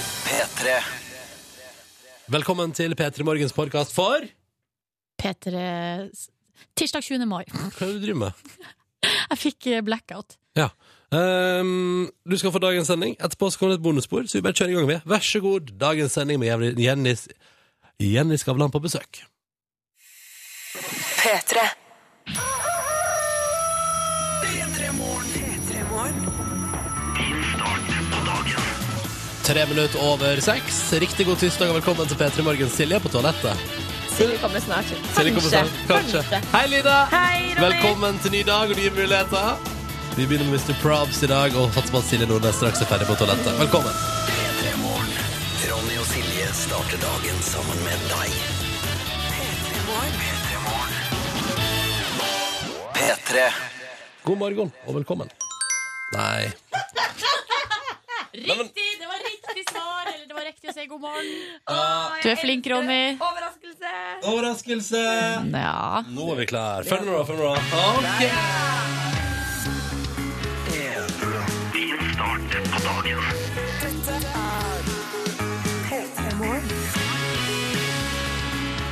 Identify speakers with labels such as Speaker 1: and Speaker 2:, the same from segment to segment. Speaker 1: P3
Speaker 2: Velkommen til P3 Morgens podkast for
Speaker 3: P3 Tirsdag 20. mai.
Speaker 2: Hva er det du driver med?
Speaker 3: Jeg fikk eh, blackout.
Speaker 2: Ja. Ehm, du skal få dagens sending. Etterpå så kommer det et bonusspor, så vi bare kjører i gang. med Vær så god, dagens sending med Jenny- Jenny, Jenny Skavlan på besøk.
Speaker 4: P3.
Speaker 2: Tre minutter over seks. Riktig god tirsdag og velkommen til P3 Morgens Silje på toalettet.
Speaker 5: Silje kommer snart.
Speaker 2: Silje kommer snart. Kanskje. Hei, Lida.
Speaker 5: Hei, Ronny.
Speaker 2: Velkommen til ny dag og nye muligheter. Vi begynner med Mr. Probs i dag og satser på at Silje Nordnes straks er ferdig på toalettet. Velkommen.
Speaker 1: P3 Morgen Ronny og Silje starter dagen sammen med deg P3 Morgen P3
Speaker 2: God morgen og velkommen. Nei.
Speaker 3: Riktig! Det var riktig svar! Eller det var riktig å si god morgen. Du er flink, Ronny.
Speaker 5: Overraskelse!
Speaker 2: Overraskelse!
Speaker 3: Ja.
Speaker 2: Nå er vi klar. Følg med, da. Følg med, da. Ok.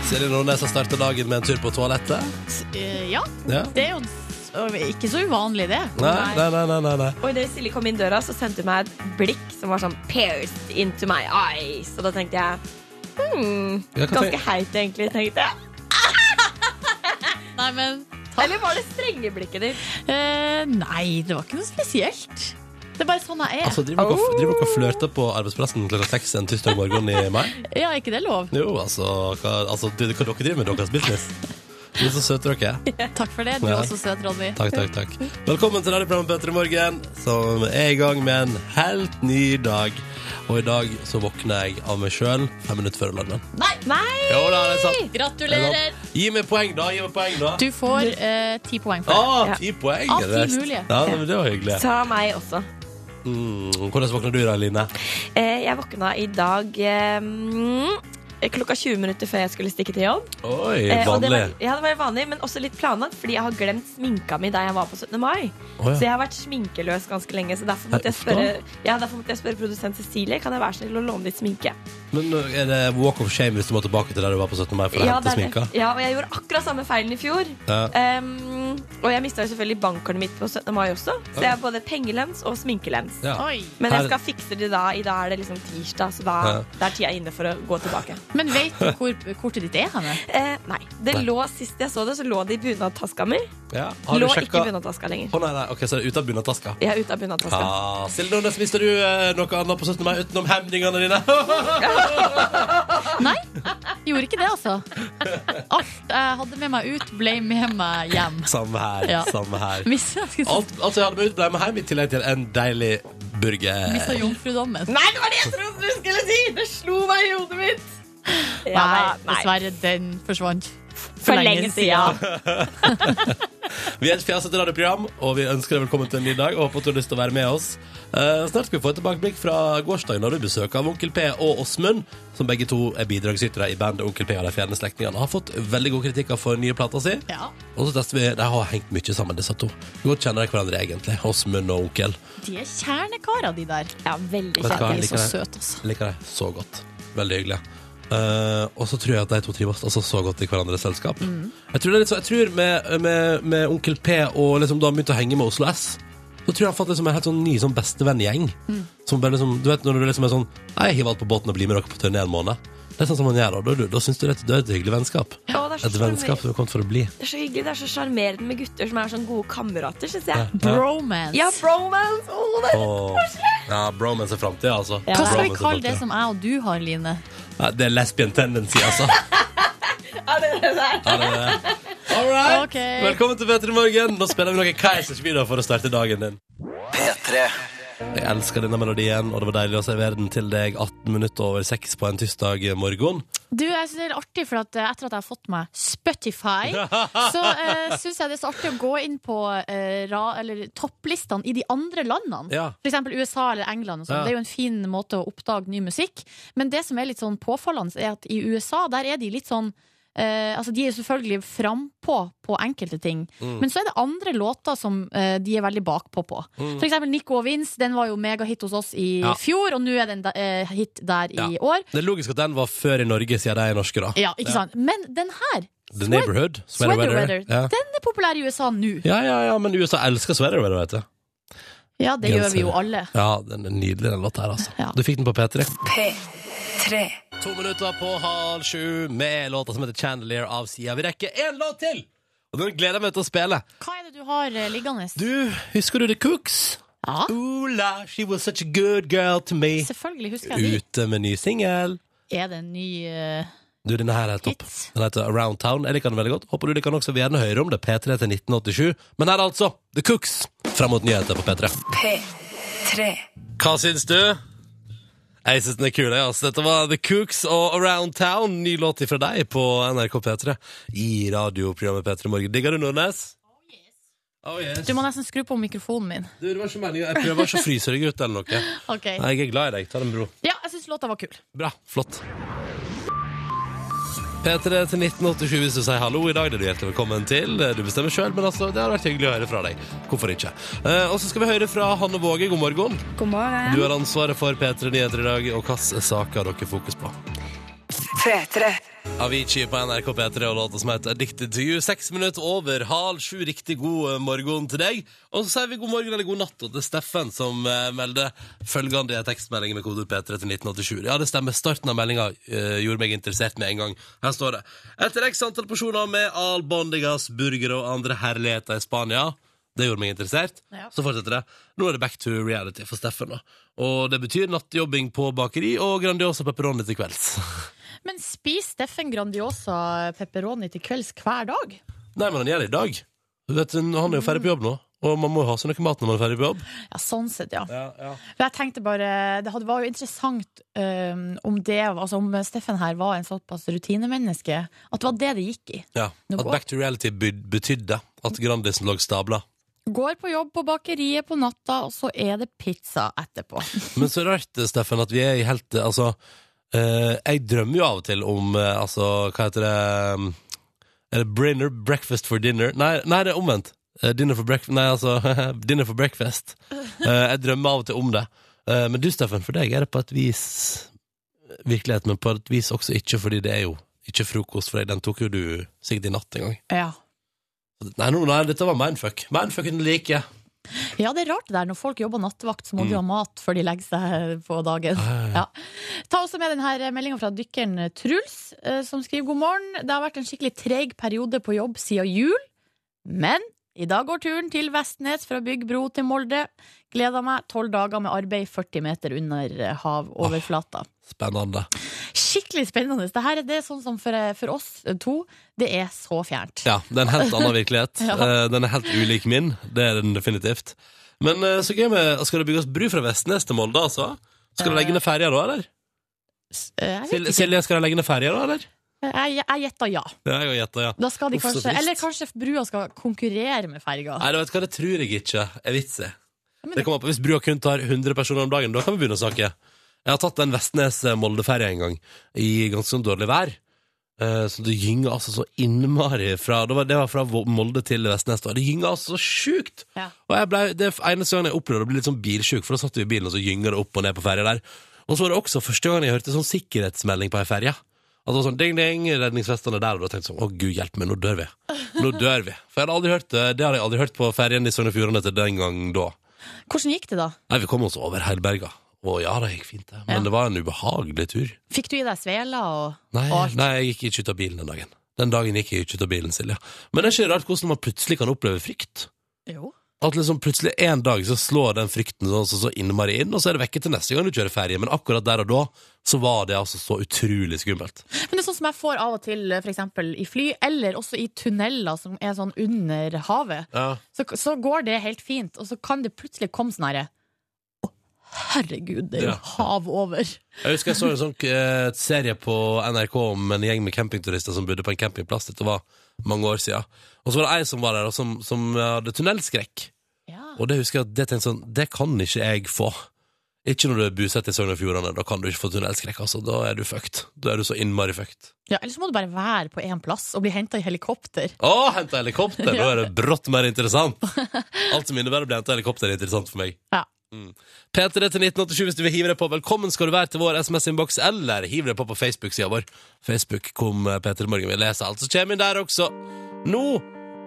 Speaker 2: Silje Nordnes har startet dagen med en tur på toalettet.
Speaker 3: S- eh, ja.
Speaker 2: Ja.
Speaker 3: Det er jo s- og ikke så uvanlig, det.
Speaker 2: Nei, nei, nei. nei, nei, nei.
Speaker 5: Og idet Silje kom inn døra, så sendte hun meg et blikk som var sånn pierced into my eyes. Og da tenkte jeg hmm,
Speaker 2: Ja, hva tenk-
Speaker 5: Ganske heit, egentlig, tenkte jeg.
Speaker 3: Nei, men
Speaker 5: Eller var det strenge blikket ditt?
Speaker 3: eh, Nei, det var ikke noe spesielt. Det er bare sånn jeg er.
Speaker 2: Altså, driver dere og- driver dere og flørter på arbeidsplassen klokka seks en tirsdag morgen i mai?
Speaker 3: ja, er ikke det lov?
Speaker 2: Jo, altså, hva, altså det, hva dere driver med deres business? Dere er så søte, dere.
Speaker 3: Takk for det. Du
Speaker 2: Ja.
Speaker 3: er også søt, Ronny.
Speaker 2: Takk, takk, takk. Velkommen til radioprogrammet Petter i morgen, som er i gang med en helt ny dag. Og i dag så våkner jeg av meg sjøl fem minutter før alarmen.
Speaker 3: Nei!
Speaker 5: Nei!
Speaker 2: Jo da, det er sant. Det er
Speaker 3: Gratulerer!
Speaker 2: sant. Gi meg poeng, da. Gi meg poeng, da.
Speaker 3: Du får eh, ti poeng for
Speaker 2: Å,
Speaker 3: det.
Speaker 5: Ja.
Speaker 2: ti poeng!
Speaker 3: Av ti
Speaker 2: det er best.
Speaker 3: mulige.
Speaker 2: Ja, men det var hyggelig.
Speaker 5: Ta meg også.
Speaker 2: Mm, hvordan våkner du da, Line?
Speaker 5: Eh, Jeg våkna i dag eh, mm, klokka 20 minutter før jeg skulle stikke til jobb.
Speaker 2: Oi,
Speaker 5: Eh, og det
Speaker 2: vanlig.
Speaker 5: var, ja, det var vanlig, men også litt planlagt, fordi jeg har glemt sminka mi da jeg var på 17. mai.
Speaker 2: Å, ja.
Speaker 5: Så jeg har vært sminkeløs ganske lenge, så derfor
Speaker 2: Her
Speaker 5: måtte, jeg
Speaker 2: i Oslo?
Speaker 5: spørre, ja, derfor måtte jeg spørre produsent Cecilie Kan jeg være snill å låne litt sminke.
Speaker 2: Men uh, er det walk of shame hvis du må tilbake til der du var på 17. mai for å
Speaker 5: Ja,
Speaker 2: hente
Speaker 5: det er det.
Speaker 2: sminka?
Speaker 5: ja, og jeg gjorde akkurat samme feilen i fjor.
Speaker 2: Ja.
Speaker 5: Um, og jeg mista jo selvfølgelig bankkortet mitt på 17. mai også, så jeg har både pengelens og sminkelens.
Speaker 2: Ja.
Speaker 3: Oi.
Speaker 5: Men jeg
Speaker 2: Her-
Speaker 5: skal fikse det da. I dag er det liksom tirsdag, så da,
Speaker 2: Ja.
Speaker 5: da er tida inne for å gå tilbake.
Speaker 3: Men vet du hvor kortet ditt er henne?
Speaker 5: Eh, nei. Det
Speaker 2: Nei.
Speaker 5: lå, Sist jeg så det, så lå det i bunadtaska mi.
Speaker 2: Ja. Har du
Speaker 5: Lå ikke
Speaker 2: sjekka
Speaker 5: i bunadtaska lenger.
Speaker 2: Å, nei, nei. Ok, så er det ute av bunnataska.
Speaker 5: Jeg er ute av bunadtaska.
Speaker 2: Ah, Silje Nordnes, mister du eh, noe annet på 17. mai utenom hemningene dine?
Speaker 3: Nei, gjorde ikke det, altså. Alt jeg hadde med meg ut, ble med meg hjem.
Speaker 2: samme her,
Speaker 3: Ja.
Speaker 2: samme her.
Speaker 3: Mist- jeg skulle si-
Speaker 2: Alt, alt jeg hadde med ut, ble med hjem i tillegg til en deilig burger.
Speaker 3: Mista jomfrudommen.
Speaker 5: Nei, det var det jeg trodde du skulle si! Det slo meg i hodet mitt.
Speaker 3: Nei, dessverre, den forsvant.
Speaker 5: For lenge siden.
Speaker 2: Vi er et fjasete radioprogram, og vi ønsker deg velkommen til en ny dag. Og håper at du har lyst til å være med oss. Eh, snart skal vi få et tilbakeblikk fra gårsdagen, da du besøk av Onkel P og Åsmund, som begge to er bidragsytere i bandet Onkel P og de fjerne slektningene. Har fått veldig gode kritikker for nye plata si.
Speaker 3: Ja,
Speaker 2: Og så tester vi, De har hengt mye sammen, disse to. Godt kjenner de hverandre, egentlig. Åsmund og onkel.
Speaker 3: de er kjernekarer, de der.
Speaker 5: Ja,
Speaker 2: Vet
Speaker 5: veldig
Speaker 2: du hva?
Speaker 3: De er
Speaker 2: liker det.
Speaker 3: så søte, altså.
Speaker 2: Jeg liker det så godt. Veldig hyggelig. Eh, og så tror jeg at de to trives altså, så godt i hverandres selskap.
Speaker 3: Mm.
Speaker 2: Jeg tror, det er litt så, jeg tror med, med, med Onkel P og liksom, da han begynte å henge med Oslo S, så tror jeg han fant liksom, en helt sånn ny sånn bestevenngjeng.
Speaker 3: Mm.
Speaker 2: Som bare liksom, du vet når du liksom er sånn Nei, jeg hiver alt på båten og blir med dere på turné en måned. Det er sånn som han gjør, og da, da, da syns du det er et- det er et hyggelig vennskap.
Speaker 5: Ja, det, er
Speaker 2: Et
Speaker 5: så
Speaker 2: vennskap
Speaker 5: sjarmerende.
Speaker 2: som er kommet for å bli.
Speaker 5: det er så hyggelig. Det er så sjarmerende med gutter som er sånn gode kamerater, syns jeg.
Speaker 3: Bromance.
Speaker 5: Ja, bromance! Å, det er så
Speaker 2: Og, ja, bromance er framtida, altså.
Speaker 5: Ja.
Speaker 3: Hva skal vi
Speaker 2: Bromance er
Speaker 3: kalle det
Speaker 2: fremtiden.
Speaker 3: som jeg og du har, Line?
Speaker 2: Nei, Det er lesbian tendency, altså.
Speaker 5: Ja, det er det der.
Speaker 2: Ja, det er det. All right.
Speaker 3: Ok.
Speaker 2: Velkommen til Petter i morgen. Nå spiller vi noe Keisers video for å starte dagen din.
Speaker 1: P3
Speaker 2: Jeg elsker denne melodien, og det var deilig å servere den til deg 18 minutter over 6 på en tirsdag morgen.
Speaker 3: Du, jeg synes det er artig, for at eh, etter at jeg har fått meg Spotify, så uh, syns jeg det er så artig å gå inn på eh, ra, eller, topplistene i de andre landene.
Speaker 2: Ja.
Speaker 3: For eksempel USA eller England. Og sånn.
Speaker 2: Ja.
Speaker 3: Det er jo en fin måte å oppdage ny musikk. Men det som er litt sånn påfallende, er at i USA der er de litt sånn eh, Altså De er jo selvfølgelig frampå på enkelte ting,
Speaker 2: Mm.
Speaker 3: men så er det andre låter som eh, de er veldig bakpå på. For eksempel Nico og Vince, den var jo megahit hos oss i
Speaker 2: Mm. Ja.
Speaker 3: fjor, og nå er den da- eh, hit der i
Speaker 2: Ja.
Speaker 3: år.
Speaker 2: Det er logisk at den var før i Norge, siden de er norske, da.
Speaker 3: Ja, ikke sant? Men den her,
Speaker 2: The Neighborhood. Sweater
Speaker 3: Sweater
Speaker 2: Weather.
Speaker 3: Weather,
Speaker 2: Ja.
Speaker 3: den er populær i USA nå.
Speaker 2: ja, ja, ja, men USA elsker Sweater Weather, vet du.
Speaker 3: Ja, det gjør vi jo alle.
Speaker 2: Ja, den er nydelig, den låta her, altså.
Speaker 3: Ja.
Speaker 2: Du fikk den på P3. To minutter på halv sju med låta som heter 'Chandelier' av Sia. Vi rekker én låt til! Og den gleder jeg meg til å spille.
Speaker 3: Hva er det du har eh, liggende?
Speaker 2: Du, husker du The Cooks?
Speaker 3: Ja,
Speaker 2: Ola, she was such a good girl to me.
Speaker 3: selvfølgelig husker jeg de.
Speaker 2: Ute med ny singel.
Speaker 3: Er det en ny eh,
Speaker 2: Du, denne her er topp.
Speaker 3: Hits.
Speaker 2: Den heter Around Town. Jeg liker den veldig godt. Håper du liker den også. Vi er gjerne høyere om det. P3 til 1987. Men her altså, The Cooks. Fram mot nyheter på P3. Hva syns du? Jeg syns den er kul. jeg, Altså. Dette var The Cooks og Around Town. Ny låt fra deg på NRK P3 i radioprogrammet P3 Morgen. Digger du Nordnes? Oh yes.
Speaker 3: Du må nesten skru på mikrofonen min.
Speaker 2: Du, det var ikke meningen. Jeg prøver ikke å fryse deg ut eller noe.
Speaker 3: Ok.
Speaker 2: Nei, Jeg er glad i deg. Ta det med ro.
Speaker 3: Ja, jeg syns låta var kul.
Speaker 2: Bra. Flott. P3 til 1987 hvis du sier hallo i dag. Det er du hjertelig velkommen til. Du bestemmer sjøl, men altså, det har vært hyggelig å høre fra deg. Hvorfor ikke? Eh, og så skal vi høre fra Hanne Våge. God morgen.
Speaker 4: God morgen.
Speaker 2: Du har ansvaret for P3 Nyheter i dag, og hvilke saker har dere fokus på? Avicii på NRK P3 og låta som heter Addicted to you. Seks minutter over halv sju. Riktig god eh, morgen til deg. Og så sier vi god morgen eller god natt og til Steffen, som eh, melder følgende tekstmelding med kodeord P3 til 1987. Ja, det stemmer. Starten av meldinga eh, gjorde meg interessert med en gang. Her står det Etter x antall porsjoner med albondigas, burgere og andre herligheter i Spania det gjorde meg interessert.
Speaker 3: Ja.
Speaker 2: Så fortsetter det. Nå er det back to reality for Steffen. da. Og det betyr nattjobbing på bakeri og Grandiosa pepperoni til kvelds.
Speaker 3: Men spiser Steffen Grandiosa pepperoni til kvelds hver dag?
Speaker 2: Nei, men han gjør det i dag. Du vet, han er jo ferdig på jobb nå, og man må jo ha seg noe mat når man er ferdig på jobb.
Speaker 3: Ja, sånn sett, ja. Men jeg tenkte bare, Det hadde- var jo interessant øhm, om det Altså om Steffen her var en såpass rutinemenneske. At det var det det gikk i.
Speaker 2: Ja.
Speaker 3: Nå
Speaker 2: At
Speaker 3: går-
Speaker 2: back to reality by- betydde at Grandisen lå stabla.
Speaker 3: Går på jobb på bakeriet på natta, og så er det pizza etterpå.
Speaker 2: Men så rart, Steffen, at vi er i helt eh, Altså, eh, jeg drømmer jo av og til om eh, Altså, hva heter det um, Er det Brinner? Breakfast for dinner? Nei, nei det er omvendt. Eh, dinner for breakfast Nei, altså Dinner for breakfast. Eh, jeg drømmer av og til om det. Eh, men du, Steffen, for deg er det på et vis virkelighet, men på et vis også ikke, fordi det er jo ikke frokost for deg. Den tok jo du sikkert i natt en gang.
Speaker 3: Ja.
Speaker 2: Nei, nå- nei, dette var mindfuck. Mindfucken liker jeg.
Speaker 3: ja, det er rart det der. Når folk jobber nattevakt, så må de ha mat før de legger seg på dagen. Mm. Ja. Ta også med denne meldinga fra dykkeren Truls, eh, som skriver god morgen. Det har vært en skikkelig treig periode på jobb siden jul, men i dag går turen til Vestnes for å bygge bro til Molde. Gleder meg. Tolv dager med arbeid 40 meter under eh, havoverflata.
Speaker 2: Spennende.
Speaker 3: Skikkelig spennende. Dette her, det er sånn som for, eh, for oss to, det er så fjernt.
Speaker 2: Ja, det er en helt annen virkelighet.
Speaker 3: Ja.
Speaker 2: Eh, Den er helt ulik min. Det er den definitivt. Men eh, så gøy med Skal det bygges bru fra Vestnes til Molde, altså? Skal du legge ned ferja da, eller?
Speaker 3: Eh, Jeg,
Speaker 2: Sil-
Speaker 3: vet ikke.
Speaker 2: Silje, skal du legge ned ferja da, eller?
Speaker 3: jeg, jeg gjetter ja.
Speaker 2: Det har jeg jo gjetta, ja.
Speaker 3: Da skal de
Speaker 2: Uff, så
Speaker 3: kanskje,
Speaker 2: trist.
Speaker 3: eller kanskje brua skal konkurrere med ferga.
Speaker 2: Nei, du vet hva, det tror jeg ikke er vits i.
Speaker 3: men
Speaker 2: Det kommer an på Hvis brua kun tar 100 personer om dagen, da kan vi begynne å snakke. Jeg har tatt en Vestnes-Molde-ferje en gang, i ganske sånn dårlig vær. Eh, Så det gynga altså så innmari fra Det var, det var fra Vo- Molde til Vestnes. da. Det gynga altså så sjukt!
Speaker 3: Ja.
Speaker 2: Og jeg ble, det er eneste gangen jeg opplevde å bli litt sånn bilsjuk, for da satt vi i bilen, og så gynga det opp og ned på ferja der. Og så var det også første gangen jeg hørte sånn sikkerhetsmelding på ei ferje. At det var sånn ding-ding, redningsvestene der, og da tenkte jeg sånn, å gud hjelpe meg, nå dør vi. Nå dør vi. For jeg hadde aldri hørt det, det hadde jeg aldri hørt på ferjen i Sogn og Fjordane til den gang da.
Speaker 3: Hvordan gikk det da?
Speaker 2: Nei, vi kom oss over Heilberga. Og ja, det gikk fint, det. Men
Speaker 3: Ja.
Speaker 2: det var en ubehagelig tur.
Speaker 3: Fikk du i deg svela og,
Speaker 2: Nei,
Speaker 3: og alt?
Speaker 2: nei, jeg gikk ikke ut av bilen den dagen. Den dagen gikk jeg ikke ut av bilen, Silja. Men det er ikke rart hvordan man plutselig kan oppleve frykt.
Speaker 3: Jo.
Speaker 2: At liksom plutselig en dag så slår den frykten sånn så, så innmari inn, og så er det vekke til neste gang du kjører ferie. Men akkurat der og da så var det altså så utrolig skummelt.
Speaker 3: Men det er sånn som jeg får av og til for eksempel i fly, eller også i tunneler som er sånn under havet.
Speaker 2: Ja.
Speaker 3: Så, så går det helt fint, og så kan det plutselig komme sånn herre Å, herregud, det er jo
Speaker 2: Ja.
Speaker 3: hav over.
Speaker 2: Jeg husker jeg så en sånn eh, serie på NRK om en gjeng med campingturister som bodde på en campingplass. Dette var mange år siden. Og så var det ei som var der, og som, som hadde tunnelskrekk.
Speaker 3: Ja.
Speaker 2: Og det husker jeg at det tenkte jeg sånn, det kan ikke jeg få. Ikke når du er bosatt i Sogn og Fjordane. Da kan du ikke få tunnelskrekk. Altså. Da er du fucked. Da er du så innmari fucked.
Speaker 3: Ja, Eller så må du bare være på én plass og bli henta i helikopter.
Speaker 2: Å, hente helikopter! Da er det brått mer interessant. Alt som innebærer å bli henta helikopter, er interessant for meg.
Speaker 3: Ja.
Speaker 2: Mm. P3 til 1987 hvis du vil hive deg på. Velkommen skal du være til vår SMS-innboks, eller hiv deg på på Facebook-sida vår. Facebook kom eh, P3 Morgen. Vi leser alt som kommer inn der også. Nå,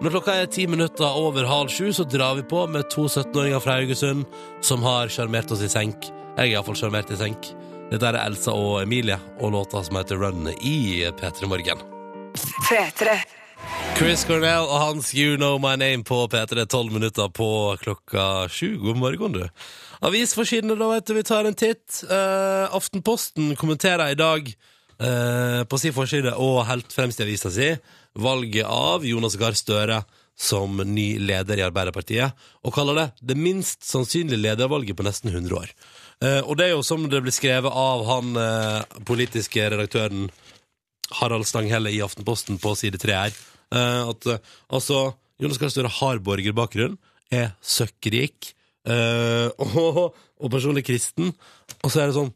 Speaker 2: når klokka er ti minutter over halv sju, så drar vi på med to 17-åringer fra Haugesund som har sjarmert oss i senk. Jeg er iallfall sjarmert i senk. Dette er Elsa og Emilie og låta som heter Run i P3 Morgen. Chris Cornell og hans You Know My Name på P3 12 minutter på klokka sju. God morgen, du. Avisforsidene, da, vet du. Vi tar en titt. Eh, Aftenposten kommenterer i dag eh, på sin forside og helt fremst i avisa si valget av Jonas Gahr Støre som ny leder i Arbeiderpartiet, og kaller det det minst sannsynlige ledervalget på nesten 100 år. Eh, og det er jo som det blir skrevet av han eh, politiske redaktøren Harald Stanghelle i Aftenposten på side 3 her. eh, at eh, altså Jonas Gahr Støre har borgerbakgrunn, er søkkrik eh, og, og personlig kristen. Og så er det sånn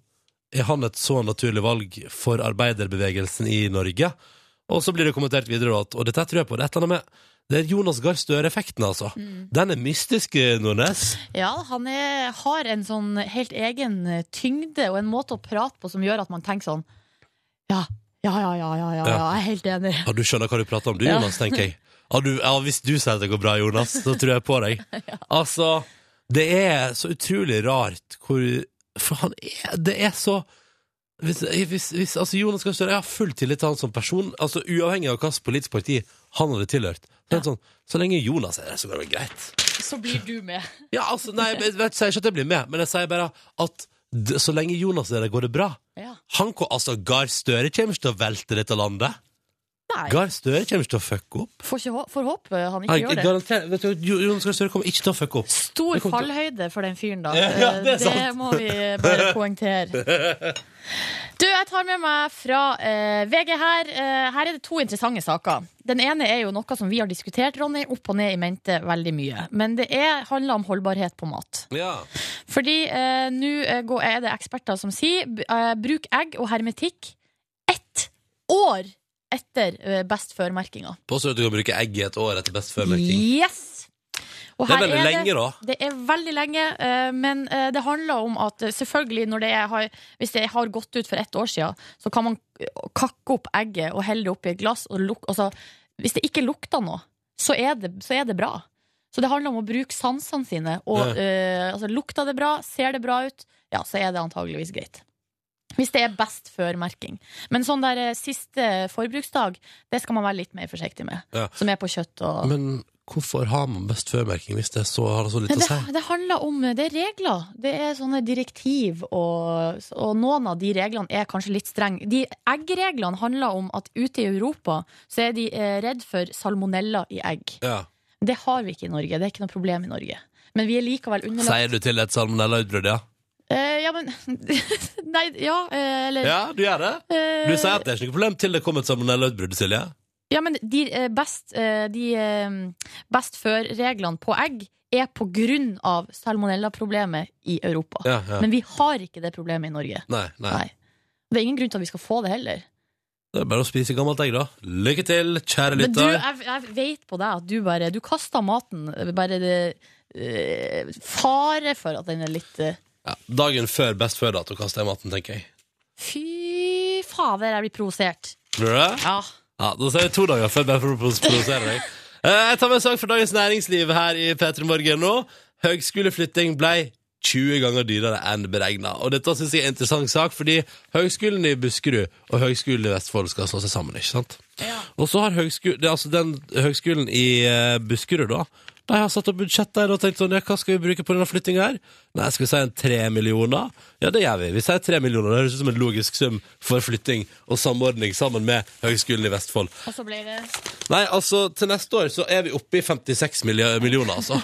Speaker 2: Er han et så naturlig valg for arbeiderbevegelsen i Norge? Og så blir det kommentert videre da at Og dette tror jeg på. Det er et eller annet med det er Jonas Gahr Støre-effekten, altså. Den er mystisk, eh, Nordnes.
Speaker 3: Ja, han er, har en sånn helt egen tyngde og en måte å prate på som gjør at man tenker sånn Ja, ja, ja, ja, ja, ja, ja jeg er helt enig.
Speaker 2: Ja, du skjønner hva du prater om, du,
Speaker 3: Ja.
Speaker 2: Jonas, tenker jeg. Ja, du, ja, hvis du sier at det går bra, Jonas, så tror jeg på deg. Altså, det er så utrolig rart hvor For han er Det er så hvis, hvis, hvis, altså Jonas Gahr Støre, jeg har full tillit til han som person, altså uavhengig av hvilket politisk parti han hadde tilhørt. Så, er det sånn, så lenge Jonas er der, så går det greit.
Speaker 3: Så blir du med.
Speaker 2: Ja, altså, nei, jeg, vet- sier ikke at jeg blir med, men jeg sier bare at d- så lenge Jonas er der, går det bra.
Speaker 3: Ja.
Speaker 2: Han, ko- altså, Gahr Støre kommer ikke til å velte dette landet.
Speaker 3: Nei,
Speaker 2: Gahr Støre kommer ikke til å fucke opp.
Speaker 3: får, ikke, hå- får håpe han ikke
Speaker 2: Jeg
Speaker 3: gjør det.
Speaker 2: garanterer, vet du, Jo- Jonas Gahr Støre kommer ikke til å fucke opp.
Speaker 3: Stor
Speaker 2: Det kommer til-
Speaker 3: fallhøyde for den fyren, da.
Speaker 2: Ja,
Speaker 3: Eh,
Speaker 2: det er sant.
Speaker 3: må vi bare poengtere. Du, jeg tar med meg fra eh, VG her. Eh, her er det to interessante saker. Den ene er jo noe som vi har diskutert, Ronny, opp og ned i mente veldig mye. Men det er, handler om holdbarhet på mat.
Speaker 2: Ja.
Speaker 3: Fordi eh, nå eh, går- er det eksperter som sier b- eh, bruk egg og hermetikk ett år etter eh, best før-merkinga.
Speaker 2: Påstår at du kan bruke egg i et år etter best før-merking.
Speaker 3: Yes! Og
Speaker 2: Det er
Speaker 3: her
Speaker 2: veldig lenge, da.
Speaker 3: Det er veldig lenge, eh, men eh, det handler om at eh, selvfølgelig når det er, har- hvis det har gått ut for ett år siden, så kan man eh, kakke opp egget og helle det oppi et glass. Og luk, altså, hvis det ikke lukter noe, så er, det, så er det bra. Så det handler om å bruke sansene sine. Og
Speaker 2: Ja.
Speaker 3: eh, altså, lukter det bra, ser det bra ut, ja, så er det antageligvis greit. Hvis det er best før-merking. Men sånn der eh, siste forbruksdag, det skal man være litt mer forsiktig med.
Speaker 2: Ja.
Speaker 3: Som er på kjøtt og
Speaker 2: Men hvorfor har man best før-merking hvis det er så, har det så lite å
Speaker 3: det,
Speaker 2: si?
Speaker 3: det handler om eh, Det er regler. Det er sånne direktiv, og, og noen av de reglene er kanskje litt strenge. De eggreglene handler om at ute i Europa så er de eh, redd for salmonella i egg.
Speaker 2: Ja.
Speaker 3: Det har vi ikke i Norge. Det er ikke noe problem i Norge. Men vi er likevel underlagt
Speaker 2: Sier du til et salmonellautbrudd, ja?
Speaker 3: eh, Ja, men Nei, ja, eh, eller
Speaker 2: Ja, du gjør det.
Speaker 3: eh,
Speaker 2: Du sier at det er ikke noe problem til det kommer et salmonellautbrudd, Silje.
Speaker 3: Ja, men de eh, best, eh, de, eh, best før-reglene på egg er på grunn av salmonellaproblemet i Europa.
Speaker 2: Ja, ja.
Speaker 3: Men vi har ikke det problemet i Norge.
Speaker 2: Nei, nei.
Speaker 3: Nei. Det er ingen grunn til at vi skal få det heller.
Speaker 2: Det er bare å spise gammelt egg, da. Lykke til, kjære
Speaker 3: Men du,
Speaker 2: lytter.
Speaker 3: jeg, jeg vet på deg at du bare Du kaster maten. Bare det eh, Fare for at den er litt eh,
Speaker 2: Ja, dagen før best før-dato kaster jeg maten, tenker jeg.
Speaker 3: Fy fader, jeg blir provosert.
Speaker 2: Blir du det?
Speaker 3: Ja.
Speaker 2: Ja, Da sier vi to dager før, bare for å pros- provosere deg. Eh, Jeg tar med en sak fra Dagens Næringsliv her i P3 Morgen nå. Høgskoleflytting ble 20 ganger dyrere enn beregna. Og dette syns jeg er en interessant sak, fordi Høgskolen i Buskerud og Høgskolen i Vestfold skal slå seg sammen, ikke sant? Og så har høgskolen, det er altså den Høgskolen i eh, Buskerud, da. De har satt opp budsjett der og tenkt sånn, ja, hva skal vi bruke på denne flyttinga her? Nei, skal vi si en tre millioner? Ja, det gjør vi. Vi sier tre millioner. Det høres ut som en logisk sum for flytting og samordning sammen med Høgskolen i Vestfold.
Speaker 3: Og så ble det
Speaker 2: Nei, altså, til neste år så er vi oppe i 56 miljø- millioner, altså.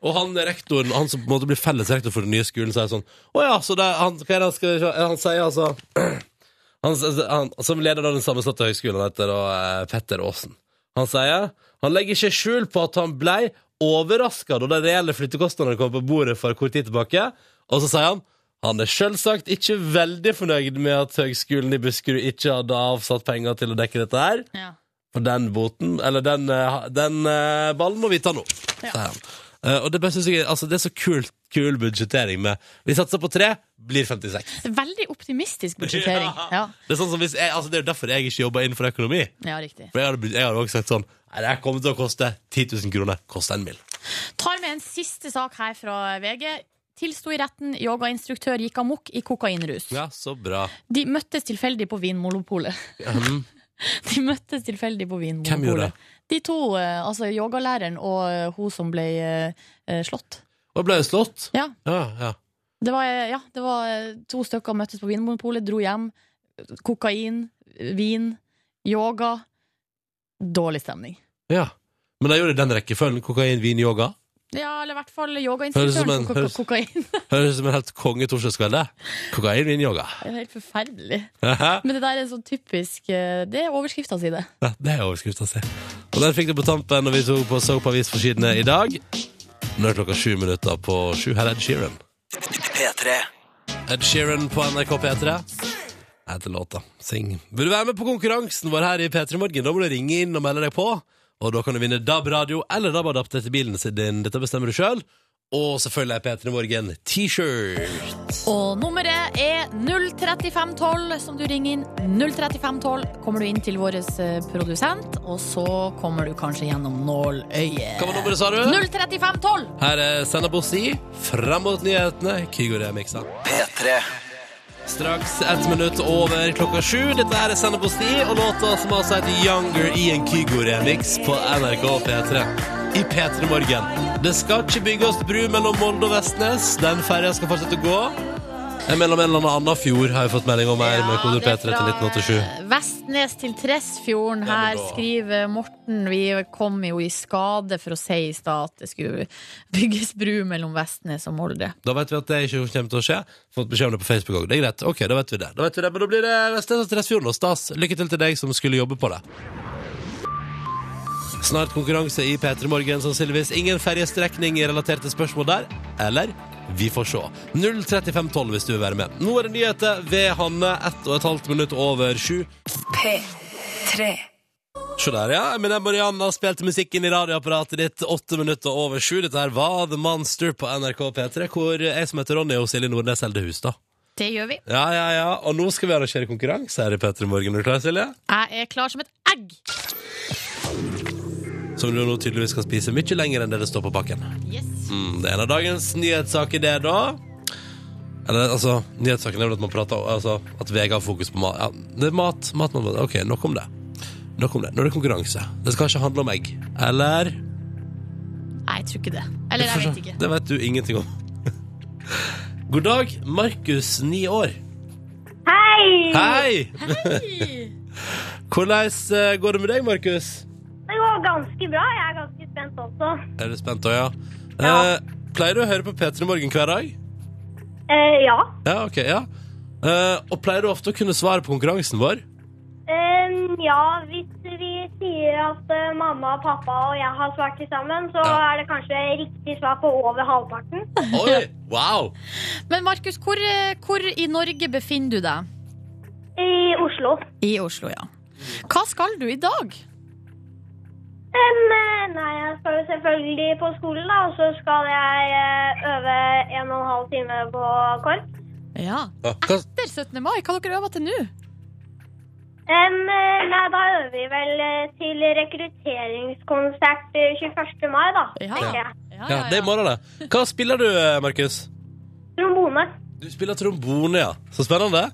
Speaker 2: Og han rektoren, han som på en måte blir felles rektor for den nye skolen, sier sånn Å ja, så det er han, hva er det han skal se?» Han sier altså han, han, Som leder av den sammensatte høgskolen, han heter da eh, Petter Aasen. Han sier han legger ikke skjul på at han blei overraska da de reelle flyttekostnadene kom på bordet for kort tid tilbake, Og så sier han han er selvsagt ikke veldig fornøyd med at Høgskolen i Buskerud ikke hadde avsatt penger til å dekke dette her.
Speaker 3: Ja.
Speaker 2: For den boten, eller den, eh, ha- den eh, ballen må vi ta nå, sier han. Eh, og det, bare synes jeg, altså, det er så kult, kul budsjettering med Vi satser på tre, blir 56.
Speaker 3: Veldig optimistisk budsjettering. Ja.
Speaker 2: Det er sånn som hvis jeg, altså, det er jo derfor jeg ikke jobber innenfor økonomi.
Speaker 3: ja, riktig.
Speaker 2: For jeg hadde, jeg hadde også sagt sånn Nei, det her kommer til å koste 10 000 kroner. Koste en mil.
Speaker 3: Tar med en siste sak her fra VG. Tilsto i retten, yogainstruktør gikk amok i kokainrus.
Speaker 2: Ja, så bra.
Speaker 3: De møttes tilfeldig på Vinmonopolet.
Speaker 2: Mhm.
Speaker 3: De møttes tilfeldig på Vinmonopolet.
Speaker 2: Hvem gjorde det?
Speaker 3: De to, eh, altså yogalæreren og eh, hun som ble eh, eh, slått.
Speaker 2: Og ble jeg slått?
Speaker 3: Ja.
Speaker 2: Ja, ja.
Speaker 3: Det var, eh, ja, det var eh, to stykker møttes på Vinmonopolet, dro hjem. Kokain, vin, yoga. Dårlig stemning.
Speaker 2: ja. Men de gjorde det i den rekkefølgen. Kokain, vin, yoga.
Speaker 3: Ja, eller i hvert fall
Speaker 2: Høres ut som
Speaker 3: yogainstruktøren
Speaker 2: en-
Speaker 3: som koka
Speaker 2: høres-
Speaker 3: kokain.
Speaker 2: Høres ut som en helt konge torsdagskveld, det. Kokain, vin, yoga.
Speaker 3: Det er helt forferdelig.
Speaker 2: Haha.
Speaker 3: Men det der er sånn typisk eh, Det er overskrifta si, det.
Speaker 2: Ja, det er overskrifta si. Og den fikk du på tampen når vi tok på så på avisforsidene i dag. Nå er klokka sju minutter på sju. Her er Ed Sheeran.
Speaker 1: P3.
Speaker 2: Ed Sheeran på NRK P3. Etter låta. Sing. Vil du være med på konkurransen vår her i P3 Morgen? Da må du ringe inn og melde deg på. Og da kan du vinne DAB-radio eller DAB-adapter til bilen din. Dette bestemmer du sjøl. Og selvfølgelig er P3 Morgen T-shirt.
Speaker 3: Og nummeret er 03512, som du ringer inn. 03512 kommer du inn til vår eh, produsent, og så kommer du kanskje gjennom nåløyet.
Speaker 2: Hva var nummeret, sa du?
Speaker 3: 03512!
Speaker 2: Her er Sanna Bossi. Fram mot nyhetene. Kygo Remiksa.
Speaker 1: P3.
Speaker 2: Straks ett minutt over klokka sju. Dette er Sende på sti og låta som altså heter Younger i en Kygo-remix på NRK P3. I P3 Morgen. Det skal ikke bygges bru mellom Molde og Vestnes. Den ferja skal fortsette å gå. Eh, Mellom en eller annen fjord har jeg fått melding om her med kode
Speaker 3: det
Speaker 2: P3
Speaker 3: er
Speaker 2: til
Speaker 3: fra,
Speaker 2: 1987.
Speaker 3: eh, Vestnes til Tresfjorden. Her
Speaker 2: da.
Speaker 3: skriver Morten Vi kom jo i skade for å si i stad at det skulle bygges bru mellom Vestnes og Molde.
Speaker 2: Da vet vi at det ikke kommer til å skje. Fått beskjed om det på Facebook òg. Det er greit. Ok, da vet vi det. Da vet vi det. Men da blir det Vestnes og Tresfjorden og stas. Lykke til til deg som skulle jobbe på det. Snart konkurranse i P3 Morgen, sannsynligvis ingen ferjestrekning i relaterte spørsmål der. Eller? Vi får se. 03512 hvis du vil være med. Nå er det nyheter ved Hanne, ett og et halvt minutt over sju. Se der, ja. Eminem og Rihanna spilte musikken i radioapparatet ditt åtte minutter over sju. Dette her var The Monster på NRK P3, hvor jeg som heter Ronny og Silje Nordnes holder hus, da.
Speaker 3: Det gjør vi.
Speaker 2: Ja, ja, ja. Og nå skal vi arrangere konkurranse her i P3 Morgen. Er du klar, Silje?
Speaker 3: Jeg er klar som et egg.
Speaker 2: Som du nå tydeligvis skal spise mye lenger enn det det står på pakken.
Speaker 3: Yes.
Speaker 2: Mm, det er en av dagens nyhetssaker, det, da. Eller, altså, nyhetssaken er vel at man prater altså, At VG har fokus på mat. Ja, det er mat, mat, mat, mat. Ok, nok om det. Nok om det. Nå er det konkurranse. Det skal ikke handle om egg. Eller?
Speaker 3: Nei, jeg tror ikke det. Eller jeg vet ikke.
Speaker 2: sånn- Det vet du ingenting om. God dag, Markus, ni år.
Speaker 4: Hei!
Speaker 2: Hei! Hvordan eh, går det med deg, Markus?
Speaker 4: Det går ganske bra. Jeg er ganske spent også.
Speaker 2: Er du spent òg, ja?
Speaker 4: Ja.
Speaker 2: Eh, pleier du å høre på P3 Morgen hver dag?
Speaker 4: Eh, ja.
Speaker 2: Ja, ok, ja. Eh, og pleier du ofte å kunne svare på konkurransen vår?
Speaker 4: Em, Eh, ja, hvis vi sier at eh, mamma, pappa og jeg har svart til sammen, så
Speaker 2: Ja.
Speaker 4: er det kanskje riktig svar på over halvparten.
Speaker 2: Oi, wow!
Speaker 3: Men Markus, hvor, eh, hvor i Norge befinner du deg?
Speaker 4: I Oslo.
Speaker 3: I Oslo, ja. Hva skal du i dag?
Speaker 4: Em, eh, nei, jeg skal jo selvfølgelig på skolen, da, og så skal jeg eh, øve en og en halv time på KORP.
Speaker 3: Ja.
Speaker 2: Ja, Hva,
Speaker 3: Etter 17. mai, hva dere øver til nå?
Speaker 4: Em, eh, nei, da øver vi vel eh, til rekrutteringskonsert eh, 21. mai, da.
Speaker 3: Ja.
Speaker 4: tenker jeg.
Speaker 2: ja, det er i morgen, det. Hva spiller du, eh, Markus?
Speaker 4: Trombone.
Speaker 2: Du spiller trombone, ja. Så spennende.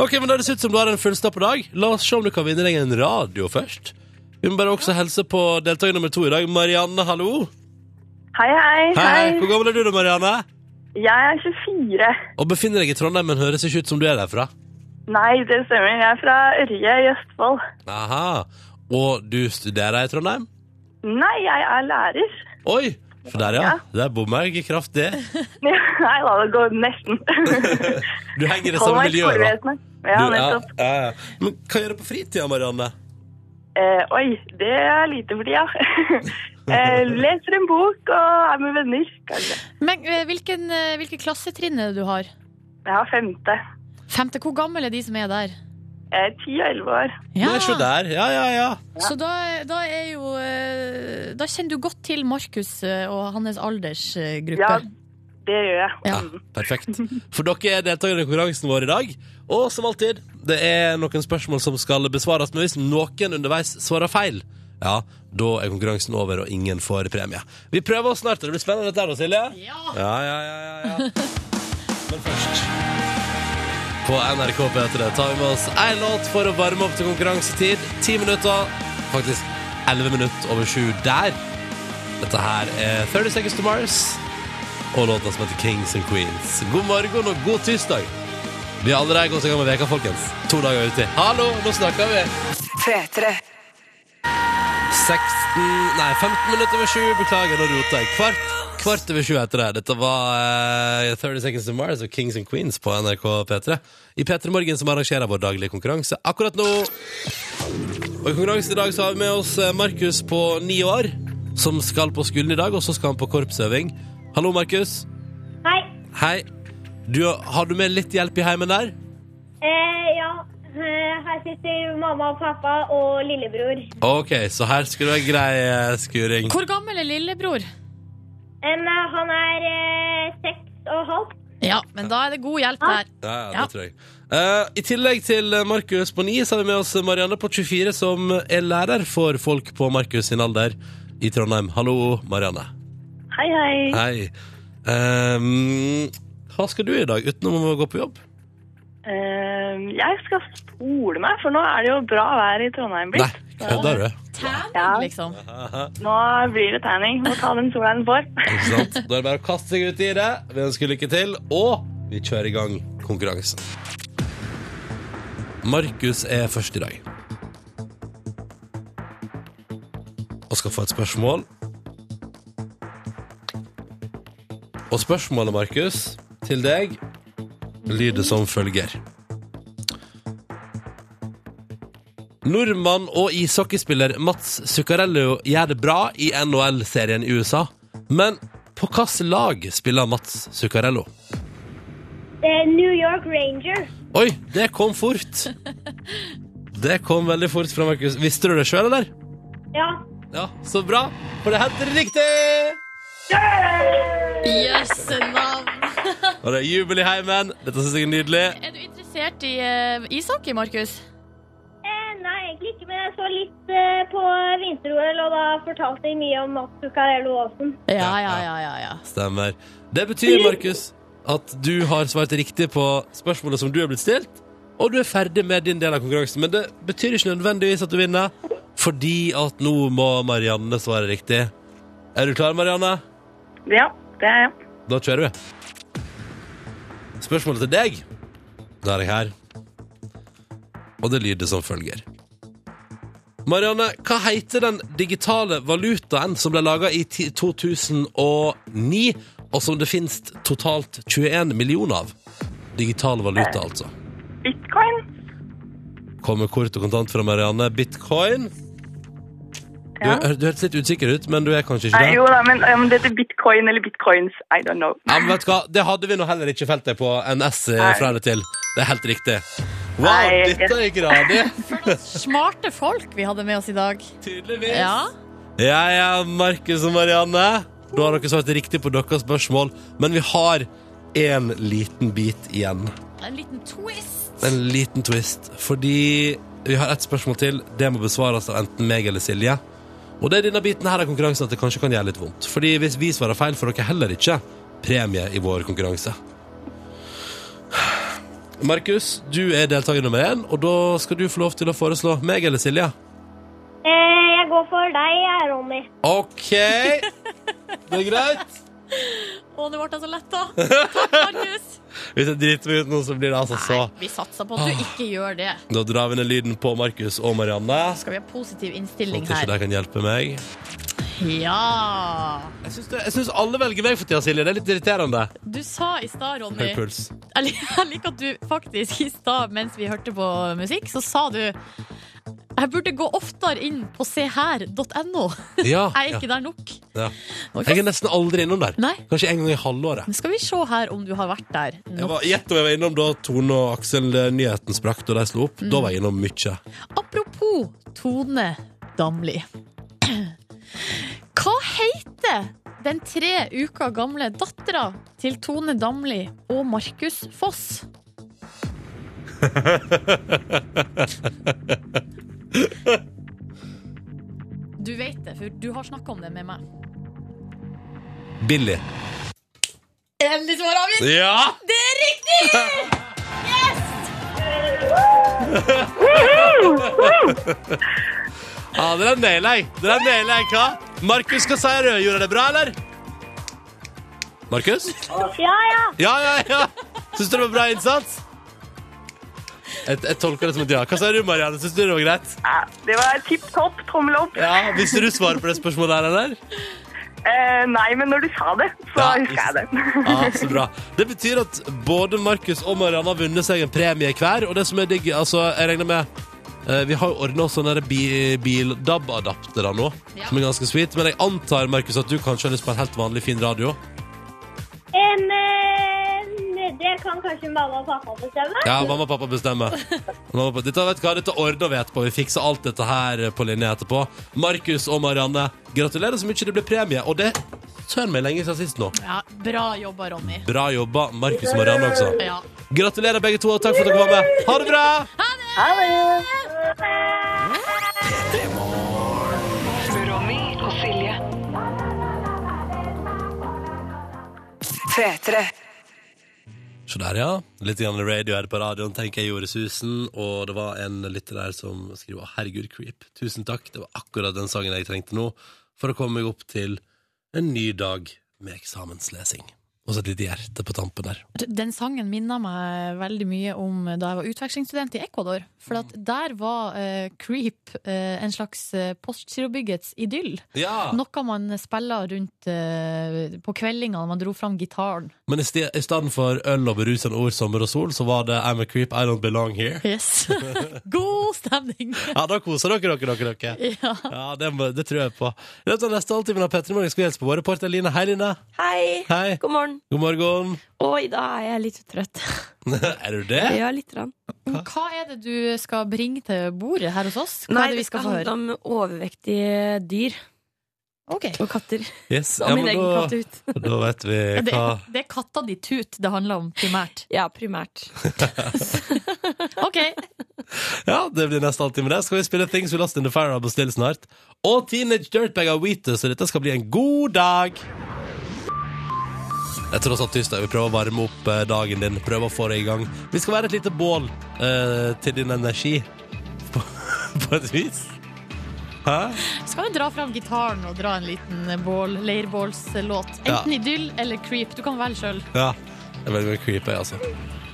Speaker 2: Ok, men Det høres ut som du har en fullstappa dag. La oss se om du kan vinne deg en radio først. Vi må bare også helse på deltaker nummer to i dag. Marianne, hallo.
Speaker 6: Hei, hei,
Speaker 2: Hei, hei. Hvor gammel er du da, Marianne?
Speaker 6: Jeg er 24.
Speaker 2: Og befinner deg i Trondheim, men høres ikke ut som du er derfra.
Speaker 6: Nei, det stemmer. Jeg er fra Ørje i Østfold.
Speaker 2: Aha. Og du studerer i Trondheim?
Speaker 6: Nei, jeg er lærer.
Speaker 2: Oi! For der, ja. Der bommer jeg kraftig.
Speaker 6: Nei da, det går nesten.
Speaker 2: Du henger i det samme miljøet. da.
Speaker 6: forberedt meg. Ja,
Speaker 2: Du-
Speaker 6: nettopp.
Speaker 2: ja, ja, ja. Men hva gjør du på fritida, Marianne?
Speaker 6: Eh, oi, det er lite for tida. Eh, leser en bok og er med venner, kanskje.
Speaker 3: Men eh, hvilken, eh, hvilke klassetrinn er det du har?
Speaker 6: Jeg har femte.
Speaker 3: Femte, hvor gammel er de som er der?
Speaker 6: Jeg er ti og elleve år.
Speaker 2: Nei, se der. Ja, ja, ja.
Speaker 3: Så da, da er jo eh, Da kjenner du godt til Markus eh, og hans aldersgruppe.
Speaker 6: Ja, det gjør jeg.
Speaker 3: Ja.
Speaker 6: Mm.
Speaker 2: Perfekt. For dere er deltakere i konkurransen vår i dag. Og som alltid, det er noen spørsmål som skal besvares, men hvis noen underveis svarer feil, ja, da er konkurransen over, og ingen får premie. Vi prøver oss snart. Det blir spennende dette her nå, Silje.
Speaker 3: Ja.
Speaker 2: Ja, ja, ja, ja, ja. Men først På NRK P3 tar vi med oss én låt for å varme opp til konkurransetid. Ti minutter, faktisk elleve minutter over sju der. Dette her er 30 Seconds to Mars og låta som heter Kings and Queens. God morgen og god tirsdag. Vi er allerede godt i gang med veka, folkens. To dager uti. Hallo, nå snakker vi. 16 Nei, 15 minutter over sju. Beklager, nå roter jeg. Kvart, kvart over sju heter det. Dette var eh, 30 Seconds to Mars og Kings and Queens på NRK P3. I P3 Morgen som arrangerer vår daglige konkurranse akkurat nå. Og i konkurransen i dag så har vi med oss eh, Markus på ni år, som skal på skolen i dag, og så skal han på korpsøving. Hallo, Markus.
Speaker 4: Hei.
Speaker 2: Hei. Du, har du med litt hjelp i heimen der?
Speaker 4: Eh, ja, eh, her sitter mamma og pappa og lillebror.
Speaker 2: Ok, så her skal du ha grei eh, skuring.
Speaker 3: Hvor gammel er lillebror?
Speaker 4: Em, eh, han er eh, seks og halvt.
Speaker 3: Ja, men da er det god hjelp der.
Speaker 2: Ja, ja,
Speaker 3: Ja.
Speaker 2: det tror jeg. Eh, I tillegg til eh, Markus på 9, så har vi med oss Marianne på 24, som er lærer for folk på Markus sin alder i Trondheim. Hallo, Marianne.
Speaker 6: Hei, hei.
Speaker 2: Hei. Ehm, hva skal du i dag, utenom å gå på jobb?
Speaker 6: Eh, jeg skal spole meg, for nå er det jo bra vær i Trondheim
Speaker 2: Nei,
Speaker 6: blitt.
Speaker 2: kødder du?
Speaker 6: Ja.
Speaker 3: Terning, liksom.
Speaker 6: Nå blir det terning. Må ta den sola den får.
Speaker 2: Ikke sant? Da er det bare å kaste seg ut i det. Vi ønsker lykke til, og vi kjører i gang konkurransen. Markus er først i dag. Og skal få et spørsmål. Og spørsmålet, Markus, til deg lyder som følger. Nordmann og ishockeyspiller Mats Zuccarello gjør det bra i NHL-serien i USA. Men på hvilket lag spiller Mats Zuccarello?
Speaker 4: Eh, New York Ranger.
Speaker 2: Oi, det kom fort! Det kom veldig fort fra Markus. Visste du det sjøl, eller?
Speaker 4: Ja.
Speaker 2: Ja, så bra, for det heter riktig!
Speaker 3: Jøsse navn.
Speaker 2: Og det er jubel i heimen. Dette syns jeg er nydelig.
Speaker 3: Er du interessert i eh, ishockey, Markus?
Speaker 4: Eh, nei, egentlig ikke, men jeg så litt eh, på vinter-OL, og da fortalte de mye om Mats Zuccarello Aasen.
Speaker 3: Ja, ja, ja, ja, ja.
Speaker 2: Stemmer. Det betyr, Markus, at du har svart riktig på spørsmålet som du er blitt stilt, og du er ferdig med din del av konkurransen. Men det betyr ikke nødvendigvis at du vinner, fordi at nå må Marianne svare riktig. Er du klar, Marianne?
Speaker 6: Ja, det er jeg.
Speaker 2: Da kjører vi. Spørsmålet til deg. Da er jeg her. Og det lyder som følger. Marianne, hva heter den digitale valutaen som ble laga i ti- 2009, og som det finnes totalt 21 millioner av? Digital
Speaker 6: Eh.
Speaker 2: valuta, altså.
Speaker 6: Bitcoin.
Speaker 2: Kommer kort og kontant fra Marianne. Bitcoin. Du,
Speaker 6: Ja.
Speaker 2: du hørtes litt usikker ut, men du er kanskje ikke
Speaker 6: Nei,
Speaker 2: det?
Speaker 6: jo da, men om det heter bitcoin eller bitcoins, I don't know.
Speaker 2: Ja, men vet du hva? Det hadde vi nå heller ikke felt deg på NS
Speaker 6: Nei.
Speaker 2: fra det til. Det er helt riktig. Wow,
Speaker 6: Nei, jeg-
Speaker 2: dette er gradig.
Speaker 3: Smarte folk vi hadde med oss i dag.
Speaker 2: Tydeligvis.
Speaker 3: Ja.
Speaker 2: Jeg er Markus og Marianne. Da har dere svart riktig på deres spørsmål, men vi har en liten bit igjen.
Speaker 3: En liten twist.
Speaker 2: En liten twist. Fordi vi har ett spørsmål til. Det må besvares av enten meg eller Silje. Og det er denne biten her av konkurransen at det kanskje kan gjøre litt vondt. Fordi hvis vi svarer feil, får dere heller ikke premie i vår konkurranse. Markus, du er deltaker nummer én, og da skal du få lov til å foreslå meg eller Silje.
Speaker 4: Eh, jeg går for deg, jeg, Ronny.
Speaker 2: OK! Det er greit.
Speaker 3: Å, det ble jeg så letta. Takk, Markus.
Speaker 2: Hvis jeg driter meg ut nå, så blir det altså så
Speaker 3: Nei, vi satser på at
Speaker 2: Ah.
Speaker 3: du ikke gjør det.
Speaker 2: Da drar vi ned lyden på Markus og Marianne.
Speaker 3: Skal vi ha positiv
Speaker 2: Sånn
Speaker 3: innstilling
Speaker 2: at ikke
Speaker 3: her?
Speaker 2: de kan hjelpe meg.
Speaker 3: Ja.
Speaker 2: Jeg syns, det, jeg syns alle velger meg for tida, Silje. Det er litt irriterende.
Speaker 3: Du sa i stad, Ronny
Speaker 2: Høy puls.
Speaker 3: Jeg lik- jeg liker at du faktisk i stad, mens vi hørte på musikk, så sa du Jeg burde gå oftere inn på seher.no.
Speaker 2: Ja,
Speaker 3: Jeg er
Speaker 2: Ah, ja,
Speaker 3: ikke der nok.
Speaker 2: ja.
Speaker 3: Må vi
Speaker 2: Jeg
Speaker 3: få-
Speaker 2: er nesten aldri innom der.
Speaker 3: Nei.
Speaker 2: Kanskje en gang i halvåret.
Speaker 3: Nå skal vi se her om du har vært der.
Speaker 2: Jeg
Speaker 3: Nå.
Speaker 2: var, gjett om jeg var innom da Tone og Aksel eh, nyheten sprakk da de slo opp. Da var jeg innom mye.
Speaker 3: Apropos Tone Damli. Hva heter den tre uker gamle dattera til Tone Damli og Markus Foss? Du vet det, for du har snakka om det med meg.
Speaker 2: Billy.
Speaker 3: Endelig svar avgitt!
Speaker 2: Ja!
Speaker 3: Det er riktig!
Speaker 2: ja det er naila jeg. Det er naila jeg, hva? Markus, hva sier du? Gjorde jeg det bra, eller? Markus?
Speaker 4: Ja, ja.
Speaker 2: Ja, ja, ja. Syns du det var bra innsats? Jeg, jeg tolker det som et ja. Hva sier du, Marianne? Syns du det var greit?
Speaker 6: Ja, det var tipp topp. Tommel opp.
Speaker 2: Ja, Visste du svaret på det spørsmålet her, eller?
Speaker 6: Eh, nei, men når du sa det, så
Speaker 2: Ja,
Speaker 6: husker jeg det.
Speaker 2: Ja, så bra. Det betyr at både Markus og Marianne har vunnet seg en premie hver. Og det som er digg, altså, jeg regner med eh, Vi har jo ordna oss sånne der bi- bildab-adaptere nå,
Speaker 3: Ja.
Speaker 2: som er ganske sweet. Men jeg antar, Markus, at du kanskje har lyst på en helt vanlig fin radio?
Speaker 4: En, eh, det kan kanskje mamma og pappa bestemme.
Speaker 2: Ja, mamma og pappa bestemmer. Mamma og pappa. Dette, vet du hva, dette ordner vi etterpå. Vi fikser alt dette her på linje etterpå. Markus og Marianne, gratulerer så mye. Det blir premie. Og det søren meg lenge siden sist nå.
Speaker 3: Ja, bra jobba, Ronny.
Speaker 2: Bra jobba, Markus og Marianne også.
Speaker 3: Ja.
Speaker 2: Gratulerer begge to, og takk for at dere var med. Ha det bra!
Speaker 6: Ha det!
Speaker 7: Ronny og Silje. P3.
Speaker 2: Så der, ja. Litt grann radio her på radioen, tenker jeg gjorde susen. Og det var en lytter der som skriver 'Herregud, creep'. Tusen takk. Det var akkurat den sangen jeg trengte nå for å komme meg opp til en ny dag med eksamenslesing. Og så et lite hjerte på tampen der.
Speaker 3: Den sangen minner meg veldig mye om da jeg var utvekslingsstudent i Ecuador. For at der var eh, Creep eh, en slags eh, postgirobyggets idyll.
Speaker 2: Ja!
Speaker 3: Noe man spiller rundt eh, på kveldinga når man dro fram gitaren.
Speaker 2: Men i, ste- i stedet for øl og berusende ord, sommer og sol, så var det 'I'm a creep, I don't belong here'.
Speaker 3: Yes. God stemning!
Speaker 2: Ja, da koser dere dere, dere. dere.
Speaker 3: Ja.
Speaker 2: Ja, det, må- det tror jeg på. I løpet av neste halvtime av Petter Morgen skal vi hilse på vår reporter Line. Hei, Line.
Speaker 5: Hei.
Speaker 2: Hei.
Speaker 5: God morgen.
Speaker 2: God morgen.
Speaker 5: Oi, da er jeg litt trøtt.
Speaker 2: er du det?
Speaker 5: Ja, litt. Rann.
Speaker 3: Hva er det du skal bringe til bordet her hos oss? Hva
Speaker 5: Nei,
Speaker 3: er det vi skal få høre?
Speaker 5: om overvektige dyr
Speaker 3: Ok.
Speaker 5: og katter.
Speaker 2: Yes.
Speaker 5: Og
Speaker 2: Ja,
Speaker 5: min
Speaker 2: men
Speaker 5: egen
Speaker 2: da,
Speaker 5: kattehut.
Speaker 2: da vet vi
Speaker 3: Det,
Speaker 2: hva
Speaker 3: det er katta di Tut det handler om primært.
Speaker 5: Ja, primært.
Speaker 3: Ok,
Speaker 2: Ja, det blir neste halvtime. det. Skal vi spille Things We Lost In The Fire av Bastille snart. Og Teenage Dirtbag av Wheatus, så dette skal bli en god dag. Det er tross alt tirsdag. Vi prøver å varme opp eh, dagen din. Prøver å få deg i gang. Vi skal være et lite bål eh, til din energi. På, på et vis. Hæ?
Speaker 3: Skal vi dra fram gitaren og dra en liten bål, leirbålslåt? Enten
Speaker 2: Ja.
Speaker 3: idyll eller creep. Du kan velge sjøl.
Speaker 2: Ja, det er veldig mye creepy, altså.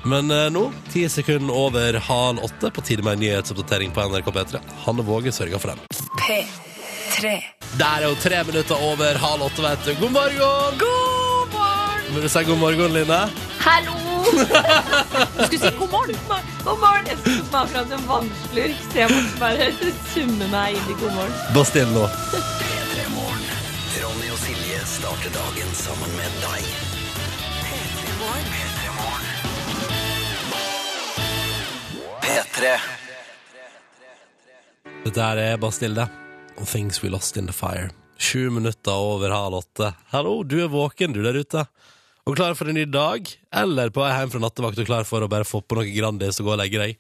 Speaker 2: Men eh, nå, ti sekunder over halv åtte, på tide med en nyhetsoppdatering på NRK P3. Hanne Våge sørger for den.
Speaker 7: P3.
Speaker 2: Der er jo tre minutter over halv åtte, vet du. God morgen!
Speaker 3: God morgen!
Speaker 2: Vil du si god morgen, Line?
Speaker 5: Hallo!
Speaker 3: Du skulle si god morgen.
Speaker 5: God morgen! Jeg skulle smake fram en vannslurk, så jeg måtte bare summe meg inn i god morgen.
Speaker 2: Bare still nå.
Speaker 1: Ronny og Silje starter dagen sammen med deg. P3.
Speaker 2: Dette her er Bare still det. Og Things We Lost In The Fire. Sju minutter over halv åtte. Hallo, du er våken, du der ute. Og klar for en ny dag, eller på vei hjem fra nattevakt og klar for å bare få på noe Grandis og gå og legge deg.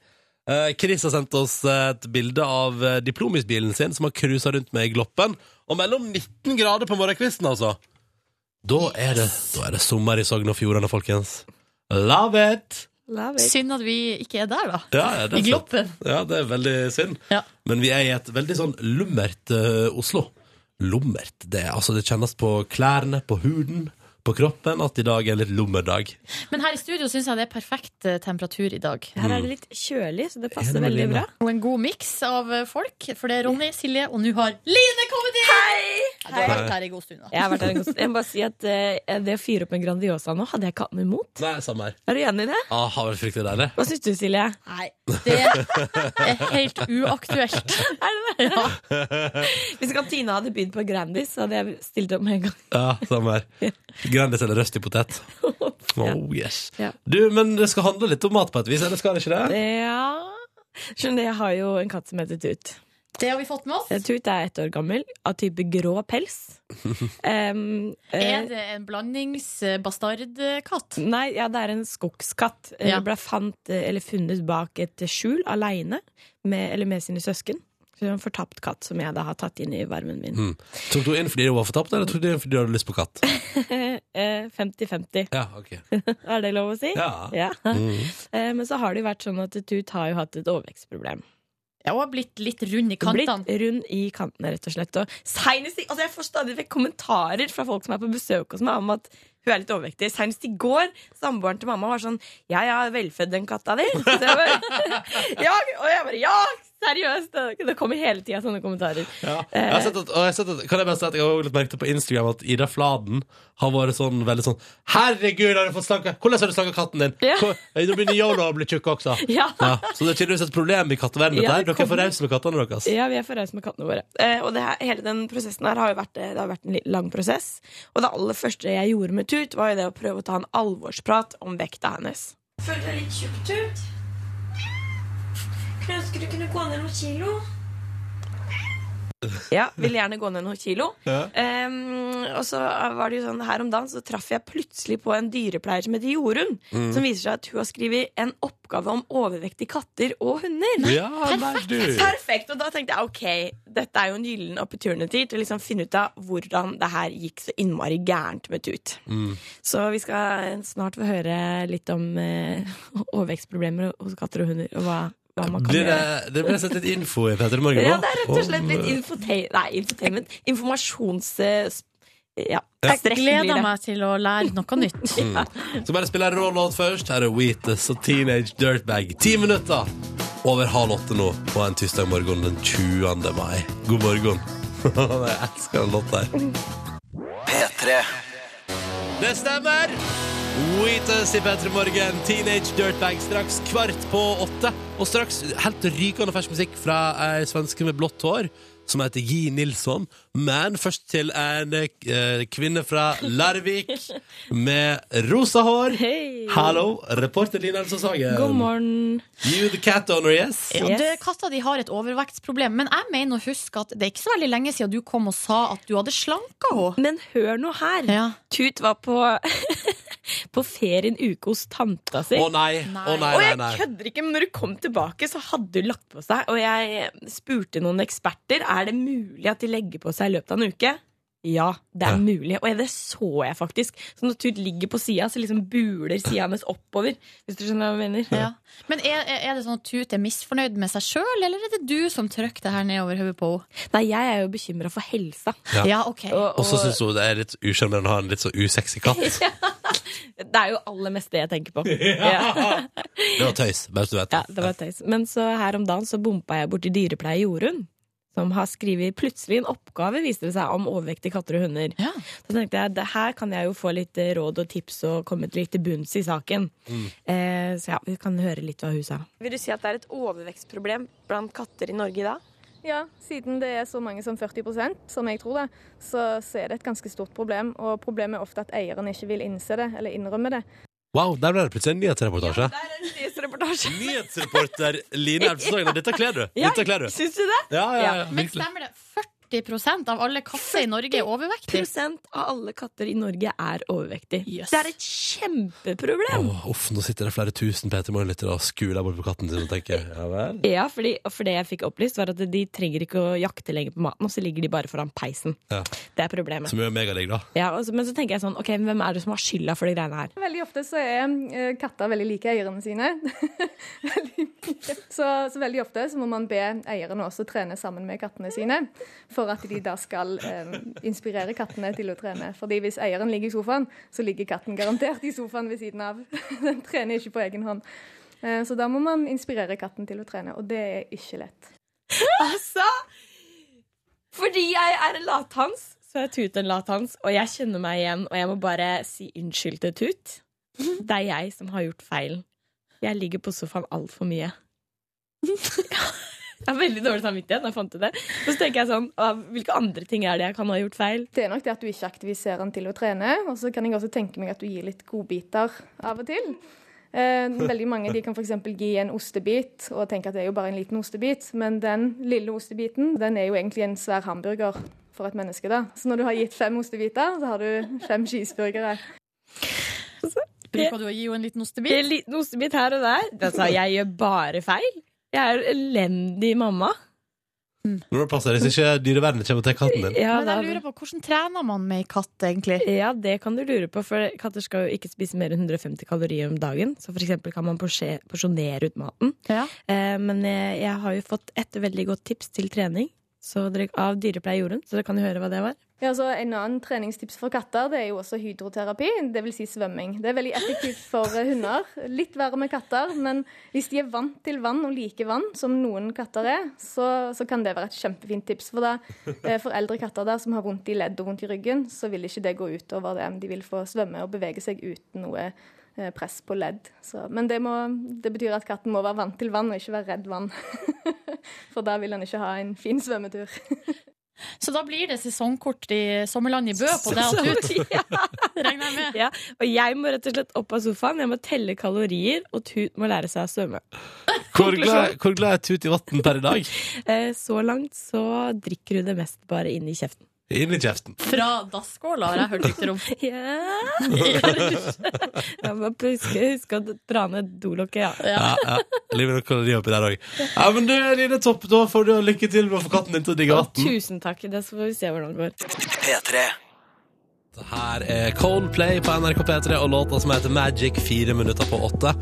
Speaker 2: Eh, Chris har sendt oss et bilde av eh, diplomisbilen sin som har cruisa rundt med i Gloppen. Og mellom 19 grader på morgenkvisten, altså! Da er det, da er det sommer i Sogn og Fjordane, folkens. Love it!
Speaker 5: Love it.
Speaker 3: Synd at vi ikke er der, da.
Speaker 2: Ja, ja, det er
Speaker 3: I
Speaker 2: flott.
Speaker 3: Gloppen.
Speaker 2: Ja, det er veldig synd.
Speaker 3: Ja.
Speaker 2: Men vi er i et veldig sånn lummert eh, Oslo. Lummert. Det, er- altså, det kjennes på klærne, på huden, på kroppen at i dag er en litt lummerdag.
Speaker 3: Men her i studio syns jeg det er perfekt eh, temperatur i dag.
Speaker 5: Her er det litt kjølig, så det passer
Speaker 2: Enig med
Speaker 5: veldig
Speaker 2: Lina.
Speaker 5: bra.
Speaker 3: Og en god miks av eh, folk, for det er Ronny, Silje, og nå har Line kommet inn! Du har vært her i god stund, da.
Speaker 5: Jeg har vært her en god stund. Jeg må bare si at eh, det å fyre opp en Grandiosa nå, hadde jeg ikke hatt noe imot.
Speaker 2: Nei, samme her.
Speaker 5: Er du enig i det?
Speaker 2: Ah, har vært fryktelig deilig.
Speaker 5: Hva syns du, Silje?
Speaker 3: Nei, det er helt uaktuelt.
Speaker 5: Er det det? Hvis kantina hadde bydd på Grandis, så hadde jeg stilt opp med en gang.
Speaker 2: Ja, samme her. Grandis eller røstig potet. Oh, yes.
Speaker 5: Ja.
Speaker 2: Du, men det skal handle litt om mat på et vis, eller skal det ikke det?
Speaker 5: Ja Skjønner, jeg har jo en katt som heter Tut.
Speaker 3: Det har vi fått med oss.
Speaker 5: Eh, Tut er ett år gammel, av type grå pels. Em, eh,
Speaker 3: Er det en eh, blandingsbastardkatt?
Speaker 5: Nei, ja, det er en skogskatt. Eh,
Speaker 3: Ja.
Speaker 5: Ble fant, eh, eller funnet bak et skjul aleine, med, eller med sine søsken. Så det er En fortapt katt som jeg da har tatt inn i varmen min.
Speaker 2: Mm. Tok du inn fordi hun var fortapt, eller tok du inn fordi du hadde lyst på katt?
Speaker 5: Eh, 50-50,
Speaker 2: Ja, ok.
Speaker 5: er det lov å si?
Speaker 2: Ja.
Speaker 5: Ja.
Speaker 2: Mm.
Speaker 5: Eh, Men så har det jo vært sånn at Tut har jo hatt et overvekstproblem.
Speaker 3: Jeg har blitt litt rund i
Speaker 5: Blitt
Speaker 3: kantene.
Speaker 5: rund i kantene, rett og slett. Og senest, i- altså jeg får stadig vekk kommentarer fra folk som er på besøk hos meg om at hun er litt overvektig. Senest i går, samboeren til mamma var sånn Ja, ja, velfødd den katta di. Så jeg bare, ja, og jeg bare Ja, seriøst! Det- Det kommer hele tida sånne kommentarer.
Speaker 2: Ja. Jeg har sett at, og jeg har sett at, kan jeg bare si at jeg har også litt merket det på Instagram at Ida Fladen har vært sånn veldig sånn Herregud, har du fått slanka Hvordan har du slanka katten din?
Speaker 5: Ja.
Speaker 2: Hvor- Nå begynner Yolo å bli tjukk også.
Speaker 5: Ja.
Speaker 2: Så det er tydeligvis et problem i katteverdenen.
Speaker 5: Ja,
Speaker 2: dette her.
Speaker 5: det
Speaker 2: Dere er for
Speaker 5: kommer-
Speaker 2: rause med kattene deres.
Speaker 5: Ja, vi er for rause med kattene våre. Eh, og det her, hele den prosessen her har jo vært, eh, det har vært en litt lang prosess. Og det aller første jeg gjorde med Tut, var jo det å prøve å ta en alvorsprat om vekta hennes.
Speaker 8: Føler du deg litt tjukk, Tut? Kunne ønske du kunne gå ned noen kilo.
Speaker 5: Ja, ville gjerne gå ned noen kilo. Ehm, og så var det jo sånn her om dagen så traff jeg plutselig på en dyrepleier som heter Jorunn. Som viser seg at hun har skrevet en oppgave om overvektige katter og hunder.
Speaker 2: Ja, nei, du.
Speaker 5: Perfekt! Og da tenkte jeg ok, dette er jo en gyllen opportunity til å liksom finne ut av hvordan det her gikk så innmari gærent med Tut. Så vi skal snart få høre litt om eh, overvekstproblemer hos katter og hunder. Og hva, hva man kan
Speaker 2: Blir
Speaker 5: gjøre.
Speaker 2: det, det blir sett litt info i Petter i morgen
Speaker 5: Ja,
Speaker 2: nå?
Speaker 5: det er rett og slett
Speaker 2: Om,
Speaker 5: litt
Speaker 2: eh,
Speaker 5: infote- nei, infotainment. Informasjons... eh, sp- Ja,
Speaker 3: Jeg
Speaker 5: strekk blir
Speaker 3: gleder
Speaker 5: det.
Speaker 3: meg til å lære noe nytt.
Speaker 2: Skal bare spille en rå låt først. Her er Wheatus og Teenage Dirtbag. Ti minutter over halv åtte nå på en tirsdag morgen den 20. mai. God morgen. Jeg elsker den låta her.
Speaker 1: P3.
Speaker 2: Det stemmer! Wheatus i P3 Morgen, Teenage Dirtbag, straks kvart på åtte. Og straks helt rykende fersk musikk fra ei svenske med blått hår som heter Gi Nilsson. Men først til en eh, kvinne fra Larvik med rosa hår.
Speaker 5: Hei.
Speaker 2: Hallo, reporter Line Elsa Sagen.
Speaker 5: God morgen.
Speaker 2: You the cat owner, yes?
Speaker 3: Ja,
Speaker 5: Yes.
Speaker 3: det, katta di har et overvektsproblem, men jeg mener å huske at det er ikke så veldig lenge siden du kom og sa at du hadde slanka henne.
Speaker 5: Men hør nå her.
Speaker 3: Ja.
Speaker 5: Tut var på, på ferie en uke hos tanta si.
Speaker 2: Å nei, å nei,
Speaker 5: og
Speaker 2: nei,
Speaker 5: jeg
Speaker 2: nei.
Speaker 5: kødder ikke, men når du kom tilbake, så hadde hun lagt på seg. Og jeg spurte noen eksperter Er det mulig at de legger på seg i løpet av en uke. Ja, det er
Speaker 2: Ja.
Speaker 5: mulig. Og det så jeg faktisk. Så når Tut ligger på sida, så liksom buler sida hennes oppover. Hvis du skjønner hva jeg mener.
Speaker 3: Ja. Men er, er er det sånn at Tut er misfornøyd med seg sjøl, eller er det du som trykker det her nedover hodet på henne?
Speaker 5: Nei, jeg er jo bekymra for helsa.
Speaker 2: Ja.
Speaker 3: Ja, ok.
Speaker 5: Og,
Speaker 2: Og så syns hun det er litt usjarmerende å ha en litt så usexy katt.
Speaker 5: det er jo aller mest det jeg tenker på. Ja.
Speaker 2: Det var tøys, bare så du vet
Speaker 5: Ja, det var tøys. Men så her om dagen så bompa jeg borti dyrepleier Jorunn. Som har skrevet plutselig en oppgave, viste det seg, om overvektige katter og hunder.
Speaker 3: Ja.
Speaker 5: Så tenkte jeg det her kan jeg jo få litt eh, råd og tips og komme litt til bunns i saken.
Speaker 2: Mm.
Speaker 5: Eh, så ja, vi kan høre litt hva hun sa. Vil du si at det er et overvekstproblem blant katter i Norge i dag?
Speaker 9: Ja, siden det er så mange som 40 som jeg tror det, så, så er det et ganske stort problem. Og problemet er ofte at eieren ikke vil innse det, eller innrømme det.
Speaker 2: Wow, der ble det plutselig en nyhetsreportasje.
Speaker 5: Der er en nyhetsreportasje.
Speaker 2: Nyhetsreporter Line Elvsågen, dette kler du.
Speaker 5: Ja,
Speaker 2: Dette kler du.
Speaker 5: syns du det?
Speaker 2: Ja, ja, ja,
Speaker 3: Men
Speaker 2: virkelig.
Speaker 3: stemmer det? 40 av alle katter i Norge er overvektige?
Speaker 5: Prosent av alle katter i Norge er overvektige.
Speaker 3: Yes.
Speaker 5: Det er et kjempeproblem!
Speaker 2: Åh, uff, nå sitter det flere tusen Peter Morgenlyttere og skuler bort på katten sin og tenker ja vel.
Speaker 5: Ja, fordi, og for det jeg fikk opplyst var at de trenger ikke å jakte lenger på maten, og så ligger de bare foran peisen.
Speaker 2: Ja.
Speaker 5: Det er problemet.
Speaker 2: Som gjør megadigg, da.
Speaker 5: Ja, og så- men så tenker jeg sånn, ok, men hvem er det som har skylda for de greiene her?
Speaker 9: Veldig ofte så er eh, katter veldig like eierne sine. veldig mye. Så, så veldig ofte så må man be eierne også trene sammen med kattene sine, for at de da skal eh, inspirere kattene til å trene. Fordi hvis eieren ligger i sofaen, så ligger katten garantert i sofaen ved siden av. Den trener ikke på egen hånd. Eh, Så da må man inspirere katten til å trene, og det er ikke lett.
Speaker 5: Altså, fordi jeg er en lathans, Så er Tut en lat hans, og jeg kjenner meg igjen, og jeg må bare si unnskyld til Tut. Det er jeg som har gjort feilen. Jeg ligger på sofaen altfor mye. Jeg har veldig dårlig samvittighet når jeg fant ut det. Og så tenker jeg sånn, «Å, hvilke andre ting er det jeg kan ha gjort feil?
Speaker 9: Det er nok det at du ikke aktiviserer den til å trene. Og så kan jeg også tenke meg at du gir litt godbiter av og til. Eh, veldig mange de kan f.eks. gi en ostebit og tenke at det er jo bare en liten ostebit. Men den lille ostebiten den er jo egentlig en svær hamburger for et menneske. da. Så når du har gitt fem ostebiter, så har du fem cheeseburgere.
Speaker 3: Bruker du å gi henne en liten ostebit?
Speaker 5: En liten ostebit her og der. Altså, jeg gjør bare feil. Jeg er en elendig mamma.
Speaker 2: Når det passer, Hvis ikke dyrevernet kommer og tar katten din.
Speaker 5: Ja,
Speaker 3: Men
Speaker 5: da-
Speaker 3: jeg lurer på, Hvordan trener man med ei katt, egentlig?
Speaker 5: Ja, det kan du lure på, for katter skal jo ikke spise mer enn 150 kalorier om dagen. Så for eksempel kan man porsje- porsjonere ut maten.
Speaker 3: Ja.
Speaker 5: Eh, men jeg, jeg har jo fått et veldig godt tips til trening så dere, av Dyrepleie Jorunn, så dere kan jo høre hva det var.
Speaker 9: Ja, så En annen treningstips for katter det er jo også hydroterapi, dvs. Si svømming. Det er veldig effektivt for eh, hunder. Litt verre med katter, men hvis de er vant til vann og liker vann, som noen katter er, så, så kan det være et kjempefint tips. For, da, eh, for eldre katter der som har vondt i ledd og vondt i ryggen, så vil ikke det gå utover det. De vil få svømme og bevege seg uten noe eh, press på ledd. Så, men det, må, det betyr at katten må være vant til vann og ikke være redd vann. For da vil han ikke ha en fin svømmetur.
Speaker 3: Så da blir det sesongkort i sommerland i Bø på deg og Tut,
Speaker 5: ja.
Speaker 3: regner jeg med.
Speaker 5: ja, og jeg må rett og slett opp av sofaen, jeg må telle kalorier, og Tut må lære seg å svømme.
Speaker 2: Hvor glad, hvor glad er Tut i vann per i dag?
Speaker 5: Eh, så langt så drikker hun det mest bare inn i kjeften.
Speaker 2: Inn i kjeften.
Speaker 3: Fra dasskåla, har jeg hørt rykter om.
Speaker 5: Ja, jeg må huske, huske å dra ned dolokket, ja.
Speaker 2: Ja, ja. Livet og kalorier oppi der òg. Ja, men du, Line Topp, da får du ha lykke til med å få katten din til å digge
Speaker 5: Og
Speaker 2: vann.
Speaker 5: tusen takk, det så får vi se hvordan det går.
Speaker 1: P3.
Speaker 2: Det Her er Coldplay på NRK P3 og låta som heter Magic, fire minutter på åtte.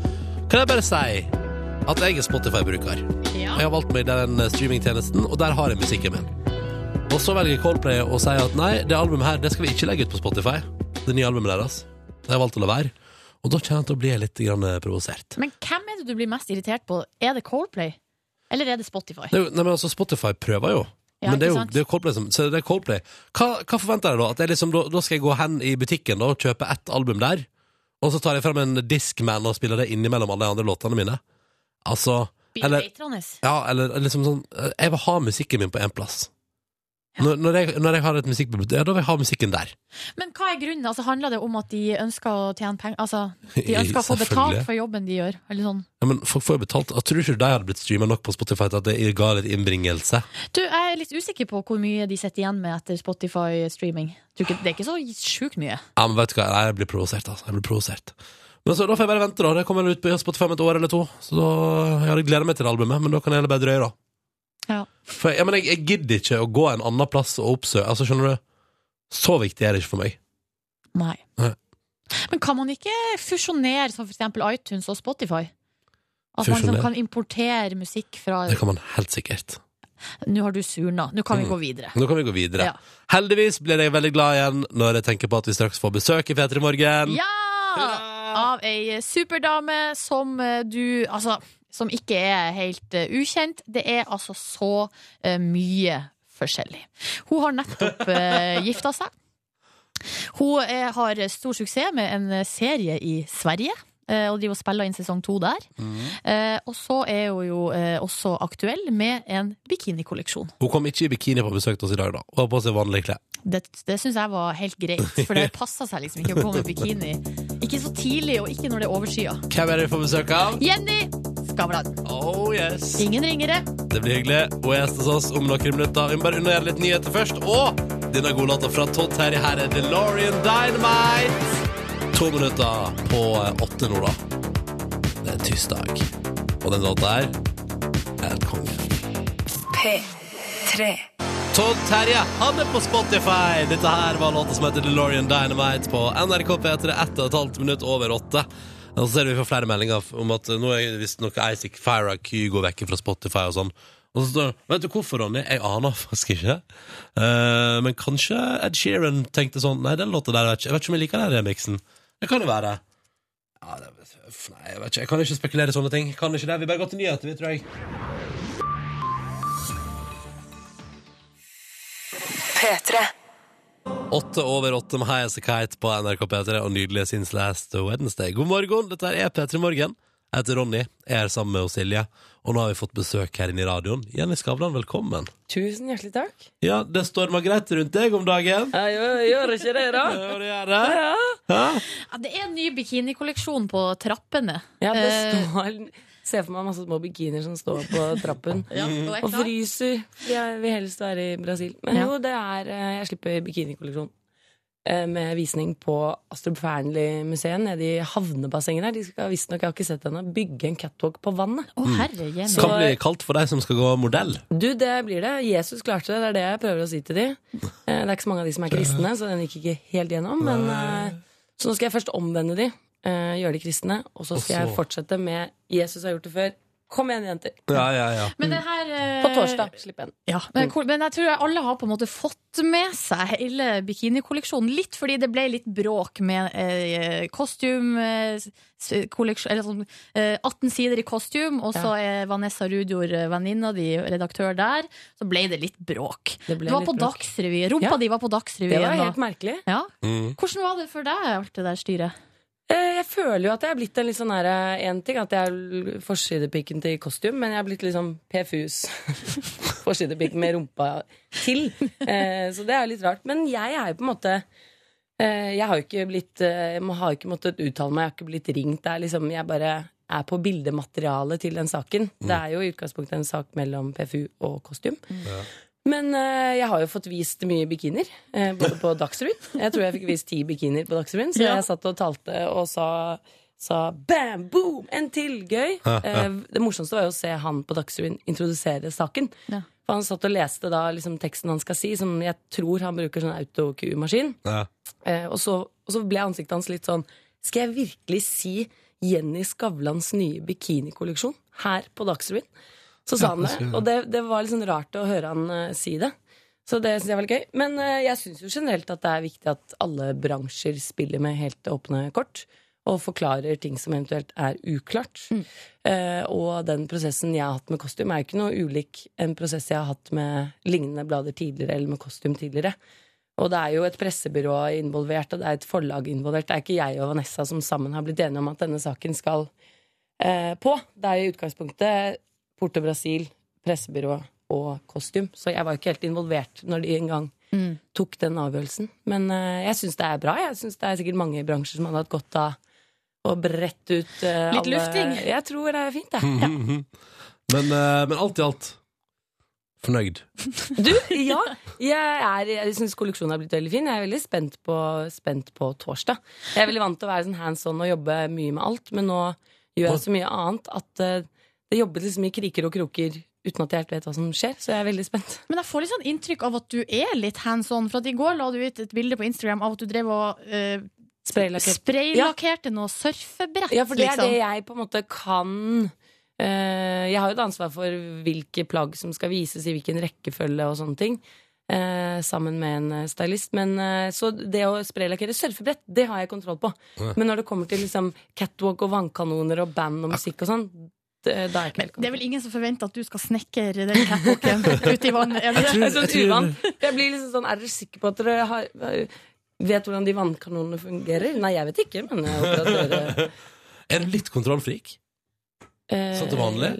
Speaker 2: Kan jeg bare si at jeg er Spotify-bruker.
Speaker 3: Ja.
Speaker 2: Jeg har valgt meg den streamingtjenesten, og der har jeg musikken min. Og så velger Coldplay å si at nei, det albumet her det skal vi ikke legge ut på Spotify. Det nye albumet deres. Det har jeg valgt å la være. Og da kjenner jeg at da blir jeg litt grann eh, provosert.
Speaker 3: Men hvem er det du blir mest irritert på? Er det Coldplay? Eller er det Spotify?
Speaker 2: Det er jo, nei, men altså, Spotify prøver jo.
Speaker 3: Ja,
Speaker 2: men det er
Speaker 3: ikke
Speaker 2: jo
Speaker 3: sant?
Speaker 2: det er Coldplay som Så det er Coldplay. Hva, hva forventer jeg da? At jeg liksom, da? Da skal jeg gå hen i butikken da, og kjøpe ett album der, og så tar jeg frem en Discman og spiller det innimellom alle de andre låtene mine? Altså Eller,
Speaker 3: Bitreitrende.
Speaker 2: ja, eller liksom sånn Jeg vil ha musikken min på én plass. Når, når, jeg, når jeg har et musikkbibliotek, ja, da vil jeg ha musikken der.
Speaker 3: Men hva er grunnen? Altså, handler det om at de ønsker å tjene penger? Altså, de ønsker å få
Speaker 2: Selvfølgelig.
Speaker 3: betalt for jobben de gjør? Eller sånn.
Speaker 2: Ja, men folk får jo betalt. Jeg tror ikke de hadde blitt streama nok på Spotify til at det ga litt innbringelse.
Speaker 3: Du, jeg er litt usikker på hvor mye de sitter igjen med etter Spotify-streaming. Tror ikke- Det er ikke så sjukt mye.
Speaker 2: Ja, men vet du hva, Nei, jeg blir provosert, altså. Jeg blir provosert. Men så, da får jeg bare vente, da. Det kommer vel ut på Spotify om et år eller to. Så da, jeg hadde gleda meg til det albumet, men da kan jeg heller bare drøye, da.
Speaker 3: Ja.
Speaker 2: For jeg, ja, men jeg, jeg gidder ikke å gå en annen plass og oppsøke Altså, skjønner du? Så viktig er det ikke for meg.
Speaker 3: Nei.
Speaker 2: Nei.
Speaker 3: Men kan man ikke fusjonere som for eksempel iTunes og Spotify? At man
Speaker 2: Fusjonere?
Speaker 3: liksom kan importere musikk fra
Speaker 2: Det kan man helt sikkert.
Speaker 3: Nå har du surna, nå kan vi
Speaker 2: Mm.
Speaker 3: gå videre.
Speaker 2: Nå kan vi gå videre.
Speaker 3: Ja.
Speaker 2: Heldigvis blir jeg veldig glad igjen når jeg tenker på at vi straks får besøk i P3 Morgen.
Speaker 3: Ja! Av ei superdame som eh, du Altså, som ikke er helt eh, ukjent. Det er altså så eh, mye forskjellig. Hun har nettopp eh, gifta seg. Hun eh, har stor suksess med en eh, serie i Sverige. eh, Og driver og spiller inn sesong to der. Eh, og så er hun jo eh, også aktuell med en bikinikolleksjon.
Speaker 2: Hun kom ikke i bikini på besøk til oss i dag, da. Hun har på seg vanlige klær.
Speaker 3: Det, det syns jeg var helt greit, for det passa seg liksom ikke å komme i bikini. Ikke så tidlig, og ikke når det er overskya.
Speaker 2: Hvem er det vi får besøk av?
Speaker 3: Jenny Skavlan.
Speaker 2: Oh yes!
Speaker 3: Ingen ringere.
Speaker 2: Det blir hyggelig. Hun er gjest hos oss om noen minutter. Vi må bare undergjøre litt nyheter først. Og denne gode låta fra Todd Terje her er DeLorean Dynamite. To minutter på eh, åtte nå, da. Det er tirsdag. Og den låta her er helt konge.
Speaker 7: P3.
Speaker 2: Todd Terje, han er på Spotify! Dette her var låta som heter DeLorean Dynamite på NRK P3 ett og et halvt minutt over åtte. Og så ser vi får flere meldinger om at nå er visstnok Isaac Farah Ky går vekk fra Spotify og sånn. Og så står det, Vet du hvorfor, Ronny? Jeg aner faktisk ikke. Eh, men kanskje Ed Sheeran tenkte sånn Nei, den låta der, jeg vet ikke, jeg vet ikke om jeg liker den remixen. Det kan jo være. Ja, det, uff, nei, jeg vet ikke. Jeg kan ikke spekulere i sånne ting. Kan ikke det. Vi bare går til nyheter, vi, tror jeg.
Speaker 7: P3.
Speaker 2: Åtte over åtte med High As A Kite på NRK P3 og nydelig Since Last Wednesday. God morgen, dette er P3 Morgen. Jeg heter Ronny, jeg er sammen med oss Silje, og nå har vi fått besøk her inne i radioen. Jenny Skavlan, velkommen.
Speaker 10: Tusen hjertelig takk.
Speaker 2: Ja, det stormer greit rundt deg om dagen.
Speaker 10: Jeg gjør, gjør ikke det, da.
Speaker 2: Ja, det gjør det. Hæ?
Speaker 3: Ja, det er en ny bikinikolleksjon på trappene.
Speaker 10: Ja, det
Speaker 3: Eh,
Speaker 10: står Se for meg masse små bikinier som står på trappen.
Speaker 3: Ja, på vekta.
Speaker 10: Mm. Og fryser. For Jeg vil helst være i Brasil. Men jo, det er eh, Jeg slipper bikinikolleksjon. eh, Med visning på Astrup Fearnley-museet nede i havnebassenget der. De skal visstnok, jeg har ikke sett det ennå, bygge en catwalk på vannet.
Speaker 3: Å, herre Jenny.
Speaker 2: Kan bli kaldt for deg som skal gå modell.
Speaker 10: Du, det blir det. Jesus klarte det. Det er det jeg prøver å si til de. Eh, Det er ikke så mange av de som er kristne, så den gikk ikke helt gjennom. Men, eh, så nå skal jeg først omvende de, eh, gjøre de kristne, og så
Speaker 2: Og
Speaker 10: skal jeg
Speaker 2: så-
Speaker 10: fortsette med Jesus har gjort det før. Kom igjen, jenter.
Speaker 2: Ja, ja, ja.
Speaker 3: Men det her eh,
Speaker 10: På torsdag. Mm. Slipp en.
Speaker 3: Ja, men, cool. men jeg tror jeg alle har på en måte fått med seg hele bikinikolleksjonen. Litt fordi det ble litt bråk med eh, kostyum eh, s- kolleksjon- eller sånn, eh, 18 sider i kostyum, og så er Vanessa Rudjord eh, venninna di redaktør der. Så ble det litt bråk.
Speaker 10: Det ble
Speaker 3: det var
Speaker 10: litt
Speaker 3: på
Speaker 10: bråk.
Speaker 3: Dagsrevyen. Rumpa
Speaker 10: Ja.
Speaker 3: di var på
Speaker 10: Det var
Speaker 3: Dagsrevyen.
Speaker 10: helt
Speaker 3: da.
Speaker 10: merkelig.
Speaker 3: Ja.
Speaker 2: Mm.
Speaker 3: Hvordan var det for deg, alt det der styret?
Speaker 10: Eh, Jeg føler jo at jeg er blitt en litt sånn her En ting at jeg er l- forsidepikken til kostyum, men jeg er blitt litt sånn PFUs. Forsidepikk med rumpa til. Eh, Så det er jo litt rart. Men jeg er jo på en måte eh, Jeg har jo ikke blitt eh, Jeg må- har jo ikke måttet uttale meg, jeg har ikke blitt ringt. Det er liksom, jeg bare er på bildematerialet til den saken. Det er jo i utgangspunktet en sak mellom PFU og kostyum. Men eh, jeg har jo fått vist mye bikinier, eh, både på Dagsrevyen. Jeg tror jeg fikk vist ti bikinier på Dagsrevyen, så
Speaker 3: Ja.
Speaker 10: jeg satt og talte og sa, sa bam, boom, en til, gøy. Eh, det morsomste var jo å se han på Dagsrevyen introdusere saken.
Speaker 3: Ja.
Speaker 10: For han satt og leste da liksom, teksten han skal si, som jeg tror han bruker sånn autoku-maskin.
Speaker 2: Ja.
Speaker 10: Eh, og, så, og så ble ansiktet hans litt sånn Skal jeg virkelig si Jenny Skavlans nye bikinikolleksjon her på Dagsrevyen? Så sa han det. Og det, det var litt sånn rart å høre han eh, si det. Så det syns jeg var litt gøy. Men eh, jeg syns jo generelt at det er viktig at alle bransjer spiller med helt åpne kort. Og forklarer ting som eventuelt er uklart. Eh, og den prosessen jeg har hatt med kostyme, er jo ikke noe ulik en prosess jeg har hatt med lignende blader tidligere, eller med kostyme tidligere. Og det er jo et pressebyrå involvert, og det er et forlag involvert. Det er ikke jeg og Vanessa som sammen har blitt enige om at denne saken skal eh, på. Det er i utgangspunktet Porto Brasil, pressebyrå og kostyme. Så jeg var jo ikke helt involvert når de en gang
Speaker 3: Mm.
Speaker 10: tok den avgjørelsen. Men eh, jeg syns det er bra. Jeg syns det er sikkert mange bransjer som hadde hatt godt av å brette ut eh,
Speaker 3: Litt lufting.
Speaker 10: Jeg tror det er fint, det.
Speaker 2: Mhm. Men, eh, men alt i alt fornøyd.
Speaker 10: Du, ja. Jeg, er- jeg syns kolleksjonen er blitt veldig fin. Jeg er veldig spent på, spent på torsdag. Jeg er veldig vant til å være sånn hands on og jobbe mye med alt, men nå gjør jeg så mye annet at eh, det jobbes liksom i kriker og kroker uten at jeg helt vet hva som skjer. Så jeg er veldig spent.
Speaker 3: Men jeg får litt sånn inntrykk av at du er litt hands on, for at i går la du ut et bilde på Instagram av at du drev og eh,
Speaker 10: Spraylakkert.
Speaker 3: spraylakkerte noe surfebrett,
Speaker 10: Ja, for det er
Speaker 3: liksom.
Speaker 10: det jeg på en måte kan Eh, Jeg har jo et ansvar for hvilke plagg som skal vises i hvilken rekkefølge og sånne ting. eh, sammen med en eh, stylist. Men, eh, så det å spraylakkere surfebrett, det har jeg kontroll på. Men når det kommer til liksom, catwalk og vannkanoner og band og musikk og sånn, det, da er jeg ikke helt
Speaker 3: Det er vel ingen som forventer at du skal snekre den catwalken ute i vannet? Er det det?
Speaker 10: Jeg er sånn uvant. Jeg blir liksom sånn, er dere sikre på at dere har, eh, vet hvordan de vannkanonene fungerer? Nei, jeg vet ikke, men jeg håper at dere
Speaker 2: Er du litt kontrollfrik?
Speaker 10: Eh,
Speaker 2: Sånn til vanlig?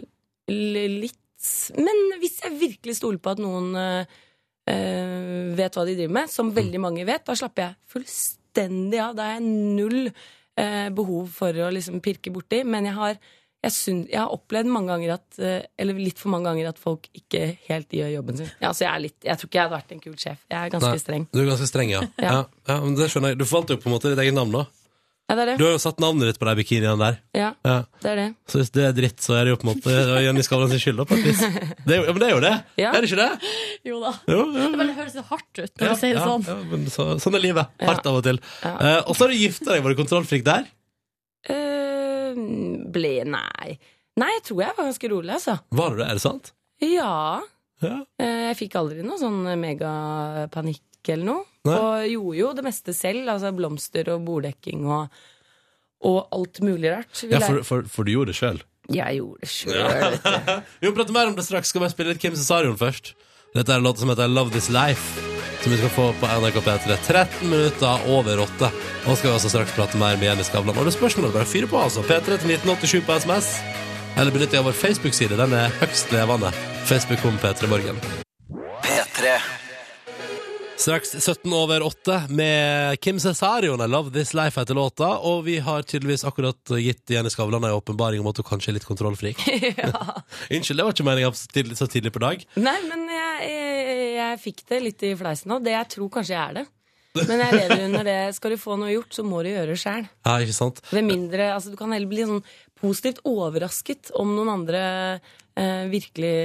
Speaker 10: l- Litt. Men hvis jeg virkelig stoler på at noen eh, eh, vet hva de driver med, som
Speaker 2: Mm.
Speaker 10: veldig mange vet, da slapper jeg fullstendig av. Da har jeg null eh, behov for å liksom pirke borti. Men jeg har, jeg, syn, jeg har opplevd mange ganger at eh, Eller litt for mange ganger at folk ikke helt gjør jobben sin. Ja, så jeg, er litt, jeg tror ikke jeg hadde vært en kul sjef. Jeg er ganske
Speaker 2: Nei.
Speaker 10: streng.
Speaker 2: Du er ganske streng, ja. ja. ja, men det skjønner jeg. Du forvalter jo på en måte ditt eget navn, da.
Speaker 10: Ja, det er
Speaker 2: Du
Speaker 10: det.
Speaker 2: har jo satt navnet ditt på de bikiniene der.
Speaker 10: Ja,
Speaker 2: Ja.
Speaker 10: det er det.
Speaker 2: Så hvis det er dritt, så er det jo på en måte det er Jenny Skavlan sin skyld, da, på et vis. Det er jo, ja, men det er jo det!
Speaker 10: Ja.
Speaker 2: Er det ikke det?
Speaker 3: Jo da.
Speaker 2: Jo, jo.
Speaker 3: Det bare høres så hardt ut når
Speaker 2: Ja,
Speaker 3: du sier det
Speaker 2: ja,
Speaker 3: sånn.
Speaker 2: ja, men så, sånn er livet. Hardt
Speaker 10: Ja.
Speaker 2: av og til. Eh, og så har du gifta deg. Var du kontrollfrik der?
Speaker 10: Eh, ble Nei. Nei, jeg tror jeg var ganske rolig, altså.
Speaker 2: Var du det? Er det sant?
Speaker 10: Ja.
Speaker 2: Ja.
Speaker 10: Eh, Jeg fikk aldri noe sånn megapanikk eller noe.
Speaker 2: Nei.
Speaker 10: Og gjorde jo det meste selv. Altså blomster og borddekking og, og alt mulig rart. Vi
Speaker 2: Ja, for,
Speaker 10: lærte-
Speaker 2: for, for du gjorde det sjøl.
Speaker 10: Jeg gjorde det sjøl.
Speaker 2: Vi må prate mer om det straks. Skal vi spille litt Kim Cesarion først? Dette er en låt som heter Love This Life. som vi skal få på NRK P3 13 minutter over 8. Og skal vi altså straks prate mer med Jenny Skavlan. Og det er spørsmål bare fyre på, altså. P3 til 1987 på SMS. Eller benytt deg av vår Facebook-side. Den er høyst levende. Facebook kom P3 Morgen.
Speaker 1: P3.
Speaker 2: Straks 17 over 8 med Kim Cesarion. I Love This Life heter låta. Og vi har tydeligvis akkurat gitt Jenny Skavlan en åpenbaring om at hun kanskje er litt kontrollfrik. Unnskyld, det var ikke meninga så tidlig- så tidlig på dag.
Speaker 10: Nei, men jeg, jeg, jeg fikk det litt i fleisen nå. Det jeg tror kanskje jeg er det. Men jeg lever under det. Skal du få noe gjort, så må du gjøre det sjæl.
Speaker 2: Ja, ikke sant?
Speaker 10: Ved mindre, altså Du kan heller bli sånn positivt overrasket om noen andre eh, virkelig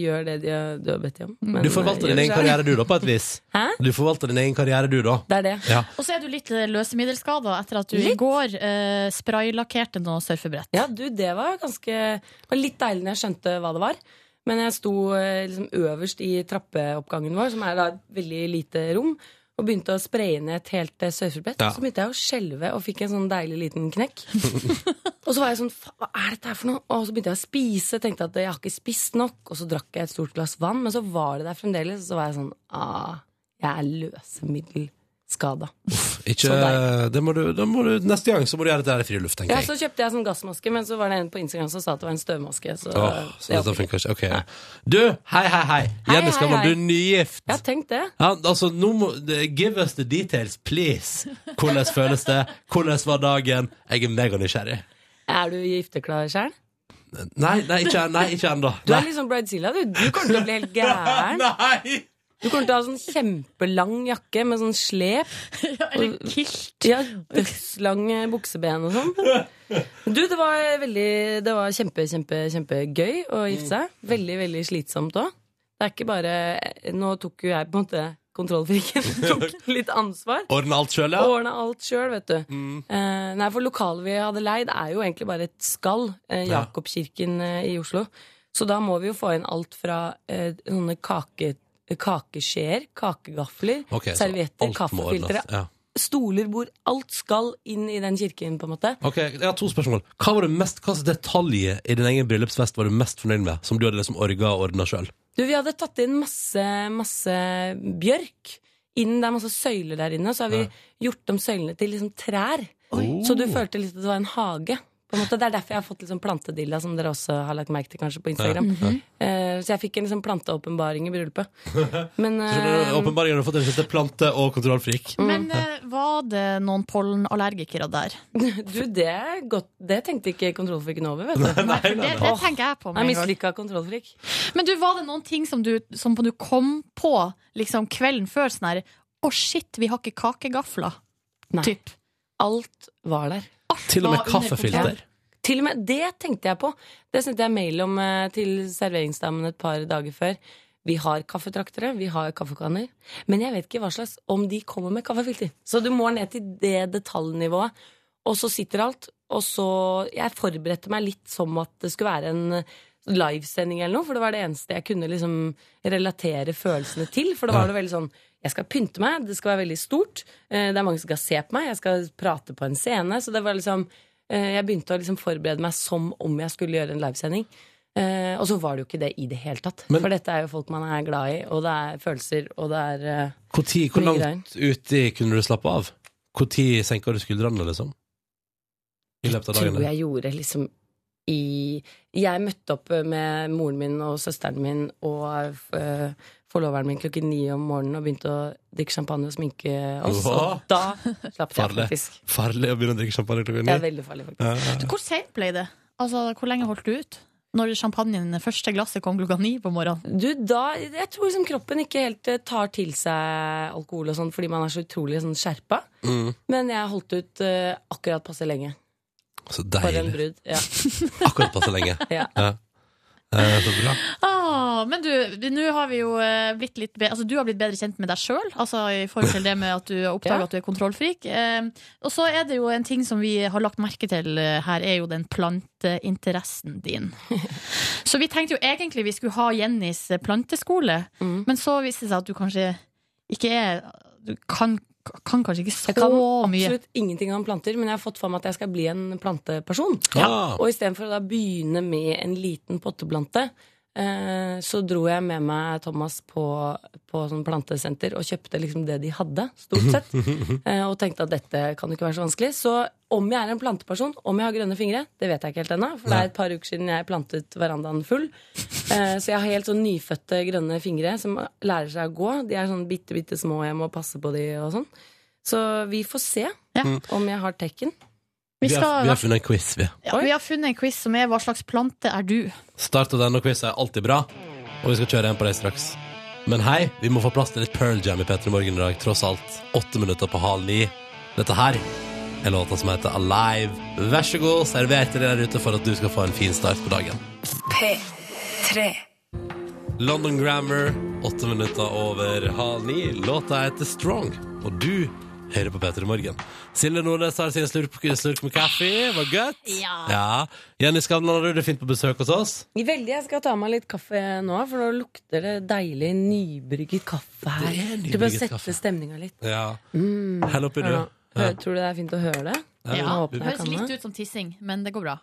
Speaker 10: gjør det de har- du har bedt dem om. Men,
Speaker 2: du forvalter
Speaker 10: eh,
Speaker 2: din
Speaker 10: gjør
Speaker 2: egen
Speaker 10: selv.
Speaker 2: karriere, du, da, på et vis.
Speaker 10: Hæ?
Speaker 2: Du forvalter din egen karriere, du, da.
Speaker 10: Det er det.
Speaker 2: Ja.
Speaker 3: Og så er du litt eh, løsemiddelskada etter at du i
Speaker 10: Litt.
Speaker 3: går eh, spraylakkerte noe surfebrett.
Speaker 10: Ja, du, det var ganske det var litt deilig når jeg skjønte hva det var. Men jeg sto eh, liksom øverst i trappeoppgangen vår, som er da et veldig lite rom, og begynte å spraye ned et helt eh, surfebrett.
Speaker 2: Ja.
Speaker 10: Så begynte jeg å skjelve og fikk en sånn deilig liten knekk. og så var jeg sånn "Fa- Hva er dette her for noe? Og så begynte jeg å spise, tenkte at jeg har ikke spist nok. Og så drakk jeg et stort glass vann, men så var det der fremdeles. Og så var jeg sånn Ah, jeg er løsemiddelskada.
Speaker 2: Ikke, det må du, da må du, neste gang så må du gjøre dette her i friluft, tenker
Speaker 10: Ja,
Speaker 2: jeg.
Speaker 10: så kjøpte jeg sånn gassmaske, men så var det en på Instagram som sa at det var en støvmaske. Så
Speaker 2: Åh, så
Speaker 10: det
Speaker 2: dette
Speaker 10: hjalp ikke.
Speaker 2: funker ikke. Ok. Du, hei, hei, hei. Jenny
Speaker 10: hei,
Speaker 2: Skavlan,
Speaker 10: hei.
Speaker 2: du er nygift.
Speaker 10: Jeg har tenkt det.
Speaker 2: Ja, altså, nå må, give us the details, please. Hvordan føles det? Hvordan var dagen? Jeg er mega nysgjerrig.
Speaker 10: Er du gifteklar sjøl?
Speaker 2: Nei, nei, ikke, nei, ikke ennå.
Speaker 10: Du er
Speaker 2: Nei.
Speaker 10: litt sånn bridezilla, du. Du kommer til å bli helt gæren.
Speaker 2: Nei!
Speaker 10: Du kommer til å ha sånn kjempelang jakke med sånn slep.
Speaker 3: Eller kilt.
Speaker 10: Ja, dødslange bukseben og sånn. Du, det var veldig Det var kjempe, kjempe, kjempegøy å gifte seg. Veldig, veldig slitsomt òg. Det er ikke bare Nå tok jo jeg på en måte kontrollfriken. Tok litt ansvar.
Speaker 2: Ordne alt sjøl,
Speaker 10: Og
Speaker 2: ja? Mm.
Speaker 10: ordna alt sjøl, vet du. Eh, nei, for lokalet vi hadde leid, er jo egentlig bare et skall. Eh,
Speaker 2: Ja.
Speaker 10: Jakobkirken eh, i Oslo. Så da må vi jo få inn alt fra eh, sånne kake, kakeskjeer, kakegafler,
Speaker 2: Ok, så
Speaker 10: servietter,
Speaker 2: alt må ordnes,
Speaker 10: kaffefiltre.
Speaker 2: ja.
Speaker 10: Stoler, bord. Alt skal inn i den kirken, på en måte.
Speaker 2: Ok, jeg har to spørsmål. Hva var det mest, hva slags detaljer i din egen bryllupsfest var du mest fornøyd med, som du hadde liksom orga og ordna sjøl?
Speaker 10: Du, vi hadde tatt inn masse, masse bjørk. Inn, det er masse søyler der inne, så har vi gjort om søylene til liksom trær. Så
Speaker 2: Oh.
Speaker 10: du følte litt at det var en hage. På en måte. Det er derfor jeg har fått liksom plantedilla, som dere også har lagt merke til kanskje på Instagram. Eh, så jeg fikk en liksom planteåpenbaring i bryllupet. Men eh,
Speaker 2: Åpenbaringen har du fått en siste plante- og kontrollfrik.
Speaker 10: Mm.
Speaker 3: Men eh, var det noen pollenallergikere der?
Speaker 10: du, det er godt. Det tenkte ikke kontrollfriken over, vet
Speaker 2: Nei,
Speaker 10: du.
Speaker 2: nei,
Speaker 3: Det,
Speaker 2: nei,
Speaker 3: det
Speaker 2: nei.
Speaker 3: tenker jeg på.
Speaker 10: Jeg
Speaker 3: Med en gang.
Speaker 10: mislykka kontrollfrik.
Speaker 3: Men du, var det noen ting som du, som du kom på liksom, kvelden før? Sånn her Å, shit, vi har ikke kakegafler.
Speaker 10: Nei.
Speaker 3: Typ.
Speaker 10: Alt var der.
Speaker 2: Til og med
Speaker 3: var under kontroll.
Speaker 2: kaffefilter.
Speaker 10: Til og med, det tenkte jeg på. Det sendte jeg mail om eh, til serveringsdamen et par dager før. Vi har kaffetraktere, vi har kaffekanner. Men jeg vet ikke hva slags om de kommer med kaffefilter. Så du må ned til det detaljnivået. Og så sitter alt. Og så Jeg forberedte meg litt som at det skulle være en sånn livesending eller noe, for det var det eneste jeg kunne liksom relatere følelsene til. For det var
Speaker 2: Ja.
Speaker 10: det veldig sånn Jeg skal pynte meg, det skal være veldig stort. eh, Det er mange som skal se på meg, jeg skal prate på en scene. Så det var liksom eh, Jeg begynte å liksom forberede meg som om jeg skulle gjøre en livesending. Eh, og så var det jo ikke det i det hele tatt.
Speaker 2: Men-
Speaker 10: for dette er jo folk man er glad i, og det er følelser, og det er eh,
Speaker 2: Hvor, tid, hvor
Speaker 10: Mye
Speaker 2: langt uti kunne du slappe av? Hvor tid senka du skuldrene, liksom? I løpet av dagen?
Speaker 10: tror
Speaker 2: eller?
Speaker 10: jeg gjorde liksom i Jeg møtte opp eh, med moren min og søsteren min og eh, forloveren min klokken ni om morgenen og begynte å drikke champagne og sminke oss.
Speaker 2: Hva?
Speaker 10: Og da slapp jeg
Speaker 2: Farlig.
Speaker 10: faktisk.
Speaker 2: Farlig å begynne å drikke champagne klokka
Speaker 10: Det
Speaker 2: ni.
Speaker 10: er veldig farlig, faktisk.
Speaker 2: Ja, ja,
Speaker 3: Du,
Speaker 2: ja.
Speaker 3: Hvor seint ble det? Altså, Hvor lenge holdt du ut? Når champagnen, første glasset kom klokka ni på morgenen?
Speaker 10: Du, da, jeg tror liksom kroppen ikke helt eh, tar til seg alkohol og sånn fordi man er så utrolig sånn skjerpa.
Speaker 2: Mm.
Speaker 10: Men jeg holdt ut eh, akkurat passe lenge
Speaker 2: Så
Speaker 10: for en
Speaker 2: deilig.
Speaker 10: brud. Ja.
Speaker 2: Akkurat passe lenge.
Speaker 10: Ja.
Speaker 2: Eh, så bra.
Speaker 3: Ah, men du, du- nå har vi jo eh, blitt litt bedre Altså, du har blitt bedre kjent med deg sjøl, altså i forhold til det med at du har oppdaga
Speaker 10: Ja.
Speaker 3: at du er kontrollfrik. Eh, og så er det jo en ting som vi har lagt merke til eh, her, er jo den planteinteressen din. Så vi tenkte jo egentlig vi skulle ha Jennys eh, planteskole,
Speaker 10: Mm.
Speaker 3: men så viste det seg at du kanskje ikke er Du kan, kan kanskje ikke så
Speaker 10: Jeg kan
Speaker 3: mye.
Speaker 10: absolutt ingenting om planter, men jeg har fått for meg at jeg skal bli en planteperson.
Speaker 2: Ah,
Speaker 10: Og istedenfor å da begynne med en liten potteplante, eh, eh, så dro jeg med meg Thomas på, på sånn plantesenter og kjøpte liksom det de hadde, stort sett. Eh, og tenkte at dette kan jo ikke være så vanskelig. Så om jeg er en planteperson, om jeg har grønne fingre, det vet jeg ikke helt ennå. For det er et par uker siden jeg plantet verandaen full. Eh, Så jeg har helt sånn nyfødte grønne fingre som lærer seg å gå. De er sånn bitte, bitte små, jeg må passe på de og sånn. Så vi får se om jeg har tekken.
Speaker 2: Vi, har, vi har funnet en quiz, vi.
Speaker 3: Ja, vi har funnet en quiz som er 'Hva slags plante er du?'
Speaker 2: Start av denne quiz er alltid bra, og vi skal kjøre en på deg straks. Men hei, vi må få plass til litt Pearl Jam i P3 Morgen i dag, tross alt. Åtte minutter på halv ni. Dette her er låta som heter Alive. Vær så god, server til deg der ute for at du skal få en fin start på dagen.
Speaker 7: P3.
Speaker 2: London Grammar, åtte minutter over halv ni. Låta heter Strong, og du hører på P3 Morgen. Silje Nordnes har sin slurk, slurk med kaffe. Var godt?
Speaker 10: Ja.
Speaker 2: ja. Jenny Skavlan, har du det fint på besøk hos oss?
Speaker 10: Veldig. Jeg skal ta meg litt kaffe nå, for nå lukter det deilig nybrygget kaffe her.
Speaker 2: Det er nybrygget
Speaker 10: Du bør sette
Speaker 2: kaffe.
Speaker 10: stemninga litt.
Speaker 2: Ja.
Speaker 10: Mm.
Speaker 2: Hell oppi, du.
Speaker 10: Hør nå. Hør-
Speaker 2: Ja.
Speaker 10: Tror du det er fint å høre det?
Speaker 2: Ja,
Speaker 10: Jeg
Speaker 2: ja.
Speaker 10: håper
Speaker 3: Det
Speaker 10: jeg
Speaker 3: høres
Speaker 10: kan
Speaker 3: litt
Speaker 10: det.
Speaker 3: ut som tissing, men det går bra.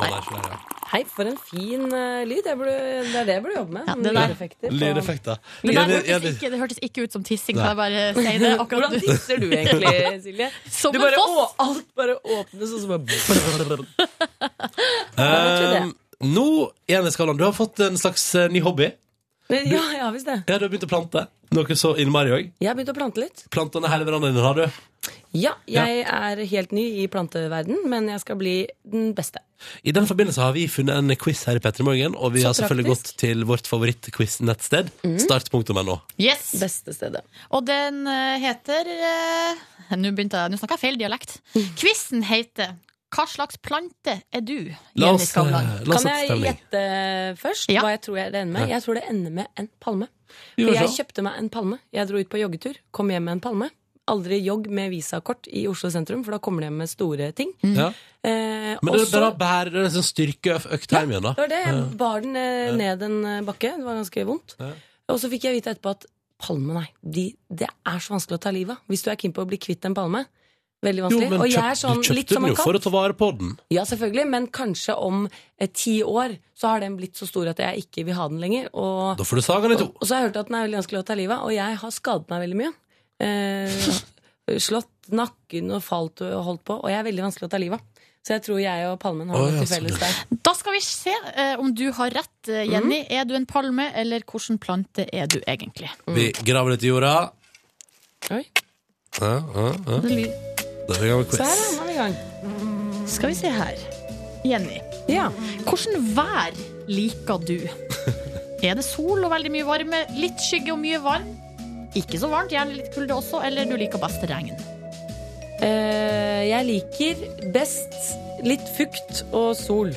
Speaker 2: Ja, det er ikke det, ja.
Speaker 10: Hei, for en fin eh, lyd. Jeg burde, det er det jeg burde jobbe med.
Speaker 3: Ja,
Speaker 10: Sånn
Speaker 3: det der.
Speaker 10: lydeffekter på-
Speaker 2: Lydeffekter.
Speaker 3: Det, der
Speaker 2: Jenny-
Speaker 3: hørtes
Speaker 2: Jenny-
Speaker 3: ikke, det hørtes ikke ut som tissing,
Speaker 2: Nei.
Speaker 3: kan jeg bare si det. akkurat
Speaker 10: Hvordan tisser du egentlig, Silje?
Speaker 3: Som
Speaker 10: du
Speaker 3: en
Speaker 10: bare,
Speaker 3: foss.
Speaker 10: å, alt bare åpnes, og så bare
Speaker 2: Um, Nå, Jenny Skavlan, du har fått en slags eh, ny hobby.
Speaker 10: Men Eh, Ja, jeg har visst det.
Speaker 2: Ja, du har begynt å plante. Noe så innmari òg.
Speaker 10: Jeg har begynt å plante litt.
Speaker 2: Plantene hele verandaen din, har du?
Speaker 10: Ja, jeg er helt ny i planteverden, men jeg skal bli den beste.
Speaker 2: I den forbindelse har vi funnet en quiz her i Petter Morgen, og vi
Speaker 10: Så
Speaker 2: har selvfølgelig
Speaker 10: praktisk. Mm.
Speaker 2: gått til vårt favorittquiz-nettsted, start.no.
Speaker 3: Yes.
Speaker 10: Beste stedet.
Speaker 3: Og den eh, heter eh, Nå begynte jeg, nå snakker jeg feil dialekt. Quizen heter 'Hva slags plante er du?'
Speaker 2: La
Speaker 3: Jenny
Speaker 2: oss,
Speaker 3: Skavlan.
Speaker 2: eh, la oss
Speaker 10: Kan
Speaker 2: sette
Speaker 10: jeg
Speaker 2: stemning.
Speaker 10: gjette eh, først
Speaker 3: Ja.
Speaker 10: hva jeg tror jeg det ender med?
Speaker 2: Ja.
Speaker 10: Jeg tror det ender med en palme.
Speaker 2: Vi
Speaker 10: For
Speaker 2: får
Speaker 10: jeg
Speaker 2: se.
Speaker 10: kjøpte meg en palme. Jeg dro ut på joggetur, kom hjem med en palme. Aldri jogg med visakort i Oslo sentrum, for da kommer de hjem med store ting.
Speaker 2: Ja.
Speaker 10: Eh,
Speaker 2: Men det
Speaker 10: og
Speaker 2: er
Speaker 10: så-
Speaker 2: bare å bære det er en sånn styrkeøkt hjem igjen, da.
Speaker 10: Det var det. Jeg bar den eh, ned en eh, bakke. Det var ganske vondt.
Speaker 2: Ja.
Speaker 10: Og så fikk jeg vite etterpå at palme, nei. De, det er så vanskelig å ta livet av. Hvis du er keen på å bli kvitt en palme. Veldig
Speaker 2: Jo,
Speaker 10: vanskelig.
Speaker 2: men
Speaker 10: og jeg
Speaker 2: kjøp-
Speaker 10: er
Speaker 2: du
Speaker 10: sånn, litt
Speaker 2: kjøpte
Speaker 10: som
Speaker 2: den
Speaker 10: en
Speaker 2: jo for å
Speaker 10: katt.
Speaker 2: ta vare på den.
Speaker 10: Ja, selvfølgelig. Men kanskje om eh, ti år så har den blitt så stor at jeg ikke vil ha den lenger. Og,
Speaker 2: Da får du saga den i to.
Speaker 10: og så har jeg hørt at den er veldig vanskelig å ta livet av. Og jeg har skadet meg veldig mye. Eh, slått nakken og falt og holdt på. Og jeg er veldig vanskelig å ta livet av. Så jeg tror jeg og palmen har
Speaker 2: Å,
Speaker 10: noe
Speaker 2: ja,
Speaker 10: til
Speaker 2: sånn,
Speaker 10: felles
Speaker 2: ja.
Speaker 10: der.
Speaker 3: Da skal vi se eh, om du har rett,
Speaker 2: Mm.
Speaker 3: eh, Jenny. Er du en palme, eller hvilken plante er du egentlig?
Speaker 10: Mm.
Speaker 2: Vi graver litt i jorda.
Speaker 10: Oi.
Speaker 2: Ja, ja, ja. Da er vi i gang med
Speaker 10: Så her
Speaker 2: quiz.
Speaker 10: er man i gang.
Speaker 3: Skal vi se her. Jenny,
Speaker 10: Ja.
Speaker 3: hvordan vær liker du? Er det sol og veldig mye varme? Litt skygge og mye varm? Ikke så varmt, gjerne litt kulde også, eller du liker best regn?
Speaker 10: Eh, jeg liker best litt fukt og sol.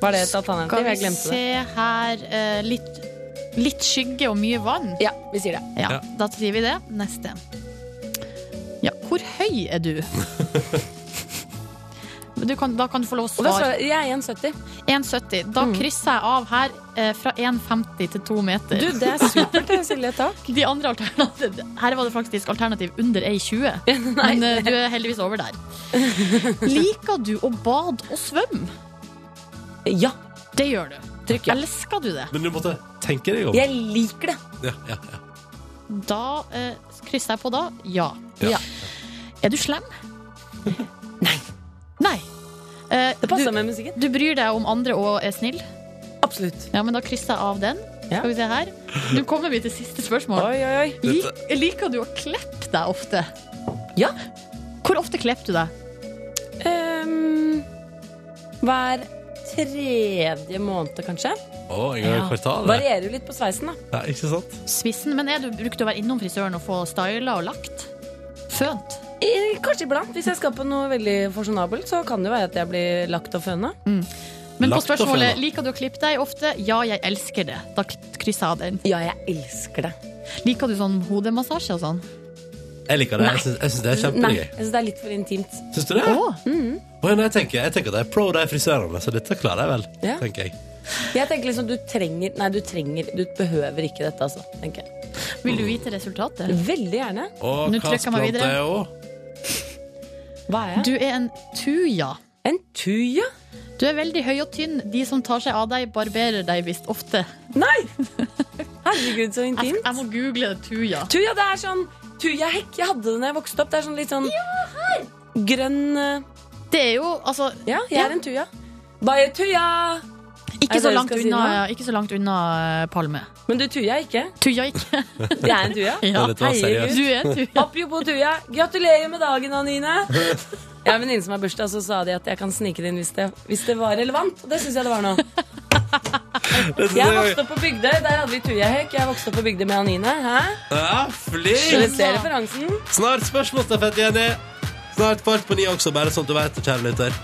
Speaker 10: Var det et alternativ? Jeg glemte det.
Speaker 3: se her eh, litt, litt skygge og mye vann.
Speaker 10: Ja, vi sier det.
Speaker 3: Ja,
Speaker 2: Ja.
Speaker 3: Da sier vi det. Neste. Ja, hvor høy er du? du kan, da kan du få lov å
Speaker 10: Og da
Speaker 3: svare.
Speaker 10: svarer jeg Mm. jeg er 1,70.
Speaker 3: 1,70. Da krysser jeg av her eh, fra 1,50 til 2 meter.
Speaker 10: Du, det er supert, Silje. Takk.
Speaker 3: De andre alternativ, Her var det faktisk alternativ under 1,20. Men eh, du er heldigvis over der. Liker du å bade og svømme?
Speaker 10: Ja.
Speaker 3: Det gjør du.
Speaker 10: Trykk ja.
Speaker 3: Elsker du det?
Speaker 2: Men du måtte tenke deg om.
Speaker 10: Jeg liker det.
Speaker 2: Ja, ja, ja.
Speaker 3: Da eh, krysser jeg på da. Ja.
Speaker 10: Ja.
Speaker 3: Er du slem?
Speaker 10: Nei.
Speaker 3: Nei. Eh,
Speaker 10: Det passer
Speaker 3: du,
Speaker 10: med musikken.
Speaker 3: du bryr deg om andre og er snill?
Speaker 10: Absolutt.
Speaker 3: Ja, men da krysser jeg av den.
Speaker 10: Ja.
Speaker 3: Skal vi se her. Nå kommer vi til siste spørsmål.
Speaker 10: Oi, oi, oi.
Speaker 3: Lik, liker du å klippe deg ofte?
Speaker 10: Ja.
Speaker 3: Hvor ofte klipper du deg?
Speaker 10: Ehm, hver tredje måned, kanskje.
Speaker 2: Å, en gang i kvartalet.
Speaker 10: Varierer jo litt på sveisen, da.
Speaker 2: Ja, ikke sant?
Speaker 3: Spissen. Men er du, bruker du å være innom frisøren og få styla og lagt? Fønt?
Speaker 10: Eh, Kanskje iblant. Hvis jeg skal på noe veldig fasjonabelt, så kan det jo være at jeg blir lagt og føna.
Speaker 3: Men på
Speaker 2: Lagt og
Speaker 3: spørsmålet
Speaker 2: føna.
Speaker 3: liker du å klippe deg ofte? Ja, jeg elsker det. Da k- krysser jeg av den.
Speaker 10: Ja, jeg elsker det.
Speaker 3: Liker du sånn hodemassasje og sånn?
Speaker 2: Jeg liker det. Jeg syns- Jeg syns det er
Speaker 10: Nei,
Speaker 2: kjempegøy.
Speaker 10: jeg synes det er litt for intimt.
Speaker 2: Syns du det?
Speaker 3: Å,
Speaker 2: Å, ja, nei, jeg, tenker, jeg tenker at jeg er pro de frisørene, så dette klarer jeg vel.
Speaker 10: Ja.
Speaker 2: tenker jeg.
Speaker 10: Jeg tenker liksom, du trenger Nei, du trenger Du behøver ikke dette, altså. Tenker jeg.
Speaker 3: vil du vite resultatet?
Speaker 10: Veldig gjerne.
Speaker 2: Og
Speaker 3: Nå
Speaker 2: hva
Speaker 3: trykker jeg meg
Speaker 2: plante
Speaker 3: videre.
Speaker 2: er jeg også?
Speaker 10: Hva er jeg?
Speaker 3: Du er en tuja.
Speaker 10: En tuja?
Speaker 3: Du er veldig høy og tynn. De som tar seg av deg, barberer deg visst ofte.
Speaker 10: Nei! Herregud, så
Speaker 3: Jeg,
Speaker 10: intimt.
Speaker 3: jeg må google tuja.
Speaker 10: Tuja, det er sånn tujahekk. Jeg hadde det da jeg vokste opp. Det er sånn litt sånn grønn eh,
Speaker 3: Det er jo, altså
Speaker 10: Ja, jeg
Speaker 3: Ja.
Speaker 10: er en tuja. Bare tuja! Er
Speaker 3: Ikke
Speaker 10: det
Speaker 3: så
Speaker 10: det du
Speaker 3: langt
Speaker 10: skal si
Speaker 3: unna,
Speaker 10: nå?
Speaker 3: ja, ikke så langt unna eh, Palme.
Speaker 10: Men du tuja ikke.
Speaker 3: Tuja ikke.
Speaker 10: Jeg er en tuja.
Speaker 3: Ja,
Speaker 2: Dette var seriøst.
Speaker 3: du er tuja.
Speaker 10: Apropos tuja, gratulerer med dagen, Anine. Jeg har en venninne som har bursdag, så sa de at jeg kan snike det inn hvis det, hvis det var relevant. Og det syns jeg det var nå. Jeg vokste opp på Bygdøy, der hadde vi tujahekk. Jeg vokste opp på Bygdøy med Anine. Hæ?
Speaker 2: Ja,
Speaker 10: Dere
Speaker 2: flink!
Speaker 10: ser referansen.
Speaker 2: Snart spørsmålsstafett, Jenny. Snart kvart på ni også, bare sånn at du vet det, kjære lytter.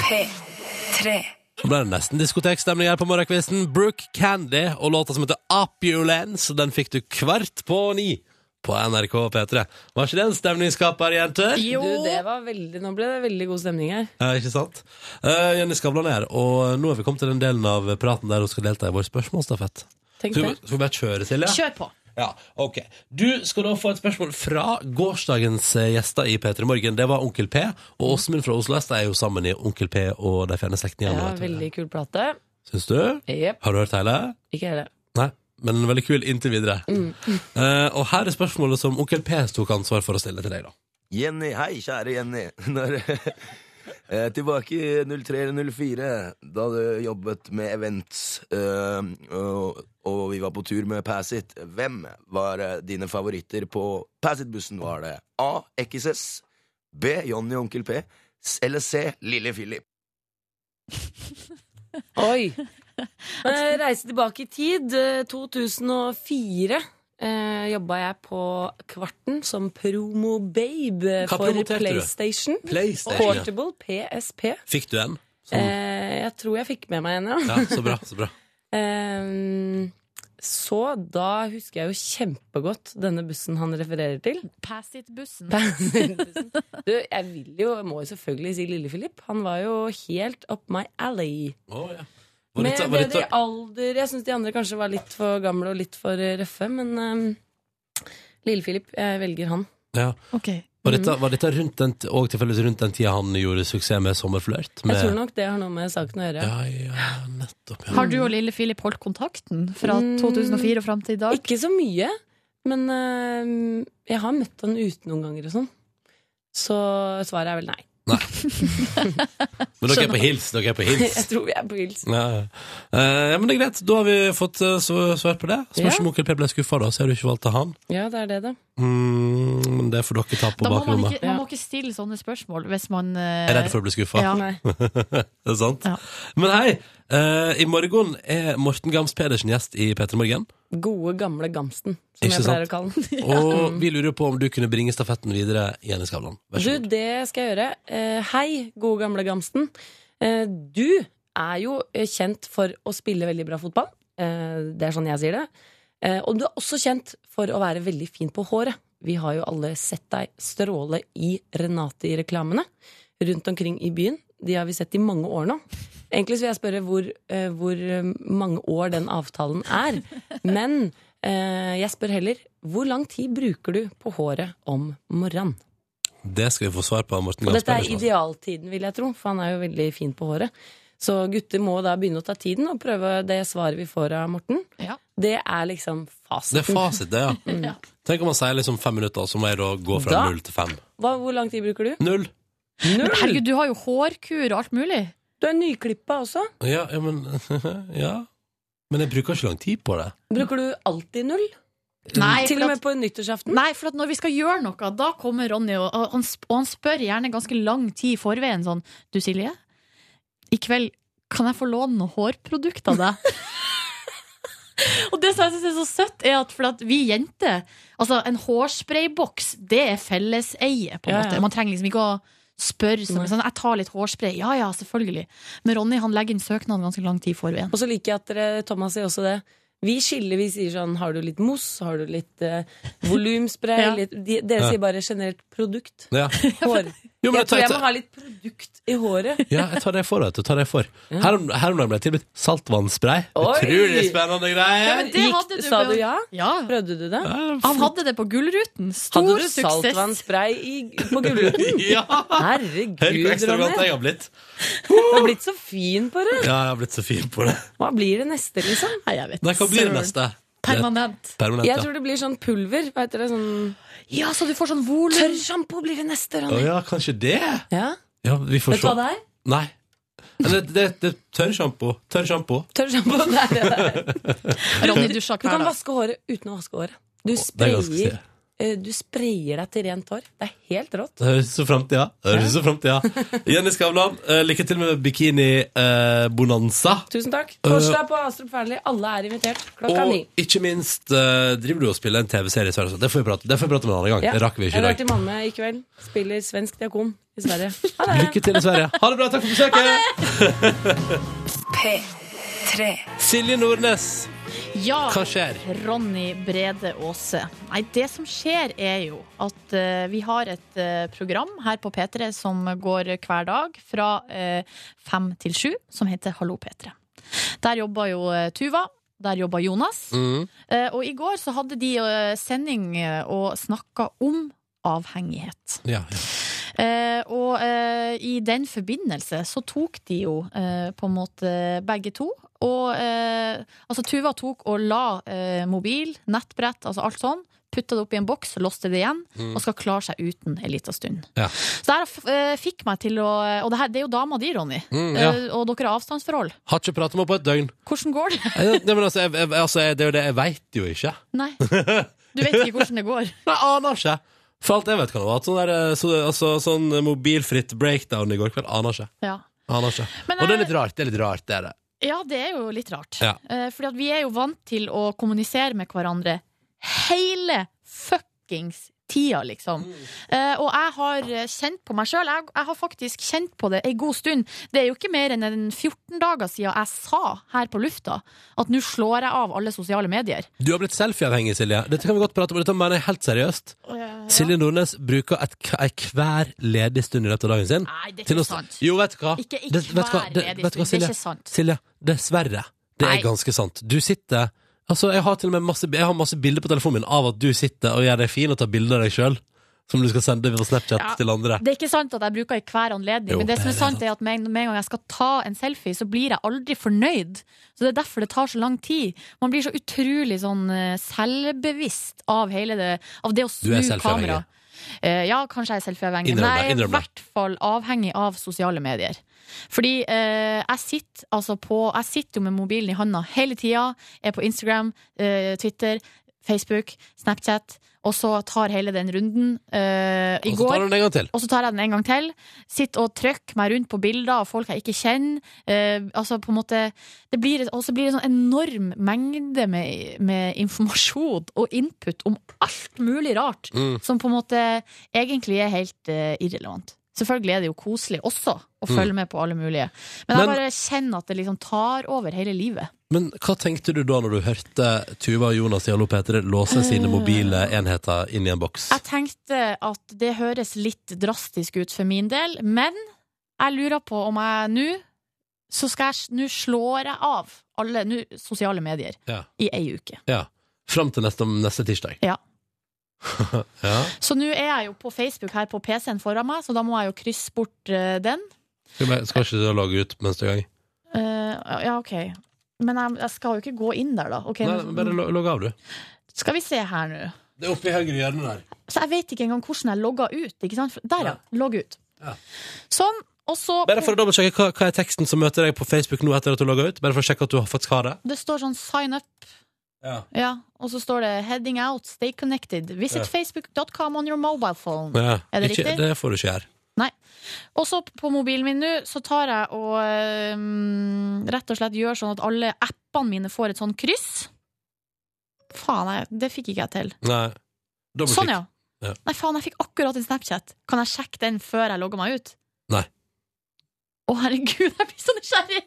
Speaker 7: P3.
Speaker 2: Nå ble det nesten diskotekstemning her på morgenkvisten. Brooke Candy og låta som heter Opulence. Den fikk du kvart på ni på NRK P3. Var ikke det en stemningsskaper, jenter?
Speaker 10: Du,
Speaker 3: Jo.
Speaker 10: det var veldig, nå ble det veldig god stemning her.
Speaker 2: Ja, ikke sant? Eh, Jenny Skavlan er her, og nå er vi kommet til den delen av praten der hun skal delta i vår spørsmålsstafett.
Speaker 10: Tenk
Speaker 2: Skal
Speaker 10: det.
Speaker 2: vi skal vi bare kjøre, Silje?
Speaker 3: Kjør på.
Speaker 2: Ja, ok. Du skal da få et spørsmål fra gårsdagens eh, gjester i P3 Morgen. Det var Onkel P, og Åsmund fra Oslo S. De er jo sammen i Onkel P og de fjerne slektningene.
Speaker 10: Mm. Ja,
Speaker 2: vet du.
Speaker 10: veldig kul plate.
Speaker 2: Syns du?
Speaker 10: Jep,
Speaker 2: Har du hørt hele?
Speaker 10: ikke hele.
Speaker 2: Nei. Men veldig kul inntil videre.
Speaker 10: Mm.
Speaker 2: Eh, og her er spørsmålet som Onkel P tok ansvar for å stille til deg, da.
Speaker 1: Jenny, hei, kjære Jenny. Når, eh, tilbake i 03-04, da du jobbet med events, eh, og, og vi var på tur med Pass It. Hvem var eh, dine favoritter på Pass It-bussen? Var det A. XS, B. Johnny og Onkel P, s- eller C. Lille Philip?
Speaker 10: Oi! Eh, Reise tilbake i tid. eh, 2004 eh, jobba jeg på Kvarten som promobabe
Speaker 2: Hva
Speaker 10: for
Speaker 2: promoterte du?
Speaker 10: PlayStation.
Speaker 2: PlayStation. ja.
Speaker 10: Portable PSP.
Speaker 2: Fikk du en? Som,
Speaker 10: Eh, jeg tror jeg fikk med meg en, ja.
Speaker 2: ja, så bra. så bra
Speaker 10: Eh, så da husker jeg jo kjempegodt denne bussen han refererer til.
Speaker 3: Pass it-bussen.
Speaker 10: du, jeg vil jo, må jo selvfølgelig si Lille Philip. Han var jo helt up my alley.
Speaker 2: Å, ja. Var
Speaker 10: Med
Speaker 2: dette- var
Speaker 10: bedre
Speaker 2: dette-
Speaker 10: alder Jeg syns de andre kanskje var litt for gamle og litt for eh, røffe, men eh, Lille Philip, jeg velger han.
Speaker 2: ja.
Speaker 3: Ok.
Speaker 2: Var dette, var dette rundt den, og tilfeldigvis rundt den tida han gjorde suksess med Sommerflørt? Med,
Speaker 10: Jeg tror nok det har noe med saken å gjøre.
Speaker 2: Ja, ja, nettopp. Ja.
Speaker 3: Har du og lille Philip holdt kontakten fra
Speaker 10: Mm.
Speaker 3: 2004 og fram til i dag?
Speaker 10: Ikke så mye, men eh, jeg har møtt han ute noen ganger og sånn. Så svaret er vel nei.
Speaker 2: Men dere er på hils. Dere er på hils.
Speaker 10: Jeg tror vi er på hils.
Speaker 2: Ja, ja. Eh, ja, men det er greit. Da har vi fått eh, sv- svar på det. Spørs om onkel P ble skuffa, da. Så har du ikke valgt av han.
Speaker 10: Ja, det er det, da.
Speaker 2: Mm, men det får dere ta på
Speaker 3: Da må man,
Speaker 2: bakrommet.
Speaker 3: ikke, man må ikke stille sånne spørsmål hvis man eh,
Speaker 2: Jeg er redd for å bli skuffa.
Speaker 3: Ja.
Speaker 10: Nei.
Speaker 2: det er sant.
Speaker 3: Ja.
Speaker 2: Men hei, eh, i morgen er Morten Gams Pedersen gjest i P3 Morgen.
Speaker 10: Gode, gamle Gamsten, som
Speaker 2: Ikke
Speaker 10: jeg pleier
Speaker 2: sant?
Speaker 10: å kalle den.
Speaker 2: Og vi lurer på om du kunne bringe stafetten videre, Jenny Skavlan. Vær så
Speaker 10: Du,
Speaker 2: god.
Speaker 10: det skal jeg gjøre. Eh, hei, gode, gamle Gamsten. Eh, du er jo eh, kjent for å spille veldig bra fotball. Eh, det er sånn jeg sier det. Eh, og du er også kjent for å være veldig fin på håret. Vi har jo alle sett deg stråle i Renate i reklamene rundt omkring i byen. De har vi sett i mange år nå. Egentlig så vil jeg spørre hvor, eh, hvor eh, mange år den avtalen er. Men eh, jeg spør heller hvor lang tid bruker du på håret om morgenen?
Speaker 2: Det skal vi få svar på av Morten
Speaker 10: Og
Speaker 2: Gams
Speaker 10: dette er
Speaker 2: Pedersen. altså.
Speaker 10: idealtiden, vil jeg tro, for han er jo veldig fin på håret. Så gutter må da begynne å ta tiden og prøve det svaret vi får av Morten.
Speaker 3: Ja.
Speaker 10: Det er liksom
Speaker 2: Det er
Speaker 10: fasiten.
Speaker 2: fasit, det, ja.
Speaker 3: Ja.
Speaker 2: Tenk om han sier liksom fem minutter, og så må jeg da gå fra
Speaker 10: Da-
Speaker 2: null til fem.
Speaker 10: Hva, hvor lang tid bruker du?
Speaker 2: Null?
Speaker 3: Men herregud, du har jo hårkur og alt mulig.
Speaker 10: Du er nyklippa også.
Speaker 2: Ja, ja, men Ja. Men jeg bruker ikke lang tid på det.
Speaker 10: Bruker du alltid null?
Speaker 3: Nei,
Speaker 10: Til
Speaker 3: for
Speaker 10: og
Speaker 3: at,
Speaker 10: med på nyttårsaften?
Speaker 3: nei, for at når vi skal gjøre noe, da kommer Ronny, og, og, han, sp- og han spør gjerne ganske lang tid i forveien sånn Du, Silje, i kveld kan jeg få låne noen hårprodukt av deg? Og det som jeg synes er så søtt, er at, for at vi jenter Altså, en hårsprayboks, det er felleseie, på en
Speaker 10: Ja,
Speaker 3: måte.
Speaker 10: ja.
Speaker 3: Man trenger liksom ikke å spørre sånn,
Speaker 10: Nei.
Speaker 3: sånn Jeg tar litt hårspray. Ja ja, selvfølgelig. Men Ronny han legger inn søknaden ganske lang tid i forveien.
Speaker 10: Og så liker jeg at dere, Thomas sier også det. Vi skiller, vi sier sånn Har du litt mousse? Har du litt eh, volumspray?
Speaker 3: Ja.
Speaker 10: litt, de, dere
Speaker 2: Ja.
Speaker 10: sier bare generelt produkt.
Speaker 2: Ja.
Speaker 10: Hår.
Speaker 2: Jo, men
Speaker 10: jeg
Speaker 2: jeg tar
Speaker 10: tror jeg
Speaker 2: etter-
Speaker 10: må ha litt produkt i håret.
Speaker 2: Ja, jeg tar det for, vet du. Tar det for. Her om her om dagen ble jeg tilbudt saltvannspray.
Speaker 10: Oi!
Speaker 2: Utrolig spennende greie.
Speaker 10: Ja, men det
Speaker 2: Gikk-
Speaker 10: hadde du Sa du ja?
Speaker 3: Prøvde
Speaker 10: du det?
Speaker 3: Han hadde det på Gullruten. Stor
Speaker 10: Hadde du
Speaker 3: suksess.
Speaker 10: saltvannspray i, på Gullruten?
Speaker 2: Ja.
Speaker 10: Herregud,
Speaker 2: Hør hvor ekstravagant
Speaker 10: Ronny.
Speaker 2: jeg har blitt.
Speaker 10: Du har blitt så fin på det.
Speaker 2: Ja, jeg har blitt så fin på det.
Speaker 10: Hva blir det neste, liksom?
Speaker 3: Nei, jeg vet
Speaker 2: Nei, hva blir det neste?
Speaker 3: Permanent.
Speaker 2: Permanent,
Speaker 10: Jeg
Speaker 2: ja.
Speaker 10: tror det blir sånn pulver. Hva heter det? Sånn
Speaker 3: Ja, så du får sånn volum.
Speaker 10: Tørrsjampo blir det neste,
Speaker 2: Å
Speaker 10: Ronny.
Speaker 2: ja, kanskje det?
Speaker 10: Ja.
Speaker 2: Ja, vi får
Speaker 10: Vet du
Speaker 2: se.
Speaker 10: hva det er?
Speaker 2: Nei. Men Det, det, det er tørrsjampo. Tørrsjampo.
Speaker 10: Tørrsjampo. Det er det der.
Speaker 3: Ronny dusja
Speaker 10: Du
Speaker 3: hver
Speaker 10: kan
Speaker 3: dag.
Speaker 10: vaske håret uten å vaske håret. Du
Speaker 2: det er ganske
Speaker 10: sprayer,
Speaker 2: stilig.
Speaker 10: eh, du sprayer deg til rent hår. Det er helt rått.
Speaker 2: Det høres ut som framtida. Det høres ut som framtida. Jenny Skavlan, eh, lykke til med eh, bikini-bonanza.
Speaker 10: Tusen takk.
Speaker 2: Eh,
Speaker 10: Torsdag på Astrup Fearnley. Alle er invitert. Klokka ni.
Speaker 2: og ikke minst eh, driver du og spiller en TV-serie i Sverige. Det får vi prate, det får vi prate om en annen gang.
Speaker 10: Ja.
Speaker 2: Det rakk vi ikke
Speaker 10: Jeg
Speaker 2: i
Speaker 10: drar
Speaker 2: dag.
Speaker 10: til Malmö i kveld. Spiller svensk diakon i Sverige.
Speaker 2: Lykke til i Sverige. Ha det bra. Takk for besøket.
Speaker 7: P3.
Speaker 2: Silje Nordnes,
Speaker 3: Ja,
Speaker 2: hva skjer?
Speaker 3: Ronny Brede Aase. Nei, det som skjer er jo at eh, vi har et eh, program her på P3 som går hver dag fra eh, fem til sju, som heter Hallo P3. Der jobber jo eh, Tuva. Der jobber Jonas.
Speaker 2: Mm.
Speaker 3: Eh, og i går så hadde de eh, sending eh, og snakka om avhengighet.
Speaker 2: Ja, ja.
Speaker 3: Eh, og eh, i den forbindelse så tok de jo eh, på en måte begge to. Og eh, altså Tuva tok og la eh, mobil, nettbrett, altså alt sånn. Putta det opp i en boks, låste det igjen
Speaker 2: Mm.
Speaker 3: og skal klare seg uten en liten stund.
Speaker 2: Ja.
Speaker 3: Så det her f- eh, fikk meg til å eh, Og det, her, det er jo dama di, Ronny.
Speaker 2: Mm, ja.
Speaker 3: Eh, og dere har avstandsforhold.
Speaker 2: Har ikke pratet med henne på et døgn.
Speaker 3: Hvordan går det?
Speaker 2: Nei, men altså, jeg, jeg, altså, jeg, det er jo det jeg veit jo ikke.
Speaker 3: Nei. Du vet ikke hvordan det går.
Speaker 2: Nei, aner ikke. For alt jeg vet, kan det ha vært sånn, der, eh, så, altså, sånn mobilfritt breakdown i går kveld. Aner ikke.
Speaker 3: Ja.
Speaker 2: Aner ikke. Og
Speaker 3: Men,
Speaker 2: det
Speaker 3: eh,
Speaker 2: er litt rart. Det er litt rart, det er det.
Speaker 3: Ja, det er jo litt rart.
Speaker 2: Ja.
Speaker 3: Eh, Fordi at vi er jo vant til å kommunisere med hverandre hele fuckings tida, liksom. Eh, og jeg har eh, kjent på meg sjøl, jeg, jeg har faktisk kjent på det ei god stund. Det er jo ikke mer enn en 14 dager siden jeg sa her på lufta at nå slår jeg av alle sosiale medier.
Speaker 2: Du har blitt selfieavhengig, Silje. Dette kan vi godt prate om. Dette mener jeg helt seriøst. Silje Nordnes bruker et, ei hver ledig stund i løpet av dagen sin
Speaker 3: Nei, det er
Speaker 2: til
Speaker 3: ikke
Speaker 2: å-
Speaker 3: sant.
Speaker 2: Jo, vet du hva?
Speaker 3: Ikke i
Speaker 2: Det- vet du hva?
Speaker 3: hver
Speaker 2: Det-
Speaker 3: ledig
Speaker 2: vet du hva,
Speaker 3: stund. Det er
Speaker 2: Silje?
Speaker 3: ikke sant.
Speaker 2: Silje, dessverre. Det er
Speaker 3: Nei.
Speaker 2: ganske sant. Du sitter Altså, jeg har til og med masse, jeg har masse bilder på telefonen min av at du sitter og gjør deg fin og tar bilder av deg sjøl, som du skal sende på Snapchat
Speaker 3: Ja.
Speaker 2: til andre.
Speaker 3: Det er ikke sant at jeg bruker i hver anledning,
Speaker 2: Jo,
Speaker 3: men det
Speaker 2: det
Speaker 3: som
Speaker 2: er
Speaker 3: er sant, er at med en med en gang jeg skal ta en selfie, så blir jeg aldri fornøyd. Så det er derfor det tar så lang tid. Man blir så utrolig sånn eh, selvbevisst av hele det Av det å
Speaker 2: Du
Speaker 3: snu
Speaker 2: er
Speaker 3: kamera.
Speaker 2: selfieavhengig.
Speaker 3: Eh, ja, kanskje jeg er selfieavhengig.
Speaker 2: Innrøm det,
Speaker 3: Men jeg er i
Speaker 2: innrøm det.
Speaker 3: hvert fall avhengig av sosiale medier. Fordi eh, jeg sitter altså på Jeg sitter jo med mobilen i handa hele tida. Er på Instagram, eh, Twitter, Facebook, Snapchat. Og så tar hele den runden. Eh, I
Speaker 2: Og så
Speaker 3: går
Speaker 2: tar du den en gang til.
Speaker 3: og så tar jeg den en gang til. Sitt og trykk meg rundt på bilder av folk jeg ikke kjenner. Eh, altså på en måte det blir, et- Og så blir det en sånn enorm mengde med, med informasjon og input om alt mulig rart
Speaker 2: Mm.
Speaker 3: som på en måte egentlig er helt eh, irrelevant. Selvfølgelig er det jo koselig også å
Speaker 2: Mm.
Speaker 3: følge med på alle mulige. Men jeg
Speaker 2: Men-
Speaker 3: bare kjenner at det liksom tar over hele livet.
Speaker 2: Men hva tenkte du da når du hørte Tuva og Jonas i Hallo Peter låse
Speaker 3: Eh.
Speaker 2: sine mobile enheter inn i en boks?
Speaker 3: Jeg tenkte at det høres litt drastisk ut for min del, men jeg lurer på om jeg nå Så skal jeg s- Nå slår jeg av alle nå, sosiale medier
Speaker 2: Ja.
Speaker 3: i ei uke.
Speaker 2: Ja. Fram til neste, neste tirsdag.
Speaker 3: Ja.
Speaker 2: ja.
Speaker 3: Så nå er jeg jo på Facebook her på PC-en foran meg, så da må jeg jo krysse bort eh, den.
Speaker 2: Skal, vi, skal ikke du logge ut neste gang?
Speaker 3: Eh, ja, OK. Men jeg, jeg skal jo ikke gå inn der, da. Ok,
Speaker 2: Nei,
Speaker 3: nå-
Speaker 2: men bare lo- logg av, du.
Speaker 3: Skal vi se her nå.
Speaker 2: Det er oppe i høyre hjørne der.
Speaker 3: Så jeg vet ikke engang hvordan jeg logga ut. Ikke sant? Der, ja. Logg ut.
Speaker 2: Ja.
Speaker 3: Sånn. Og så
Speaker 2: Bare for å dobbeltsjekke, hva, hva er teksten som møter deg på Facebook nå etter at du logga ut? Bare for å sjekke at du faktisk har det?
Speaker 3: Det står sånn 'sign up'.
Speaker 2: Ja.
Speaker 3: Ja, og så står det 'Heading out, stay connected'. Visit
Speaker 2: Ja.
Speaker 3: facebook.com on your mobile phone. Er det
Speaker 2: ikke,
Speaker 3: riktig?
Speaker 2: Det får du ikke gjøre.
Speaker 3: Og så på mobilen min nå, så tar jeg og øhm, rett og slett gjør sånn at alle appene mine får et sånn kryss. Faen, jeg, det fikk ikke jeg til.
Speaker 2: Nei. Dobbeltklikk.
Speaker 3: Sånn, ja.
Speaker 2: Ja.
Speaker 3: Nei, faen, jeg fikk akkurat en Snapchat. Kan jeg sjekke den før jeg logger meg ut?
Speaker 2: Nei.
Speaker 3: Å, herregud, jeg blir så nysgjerrig!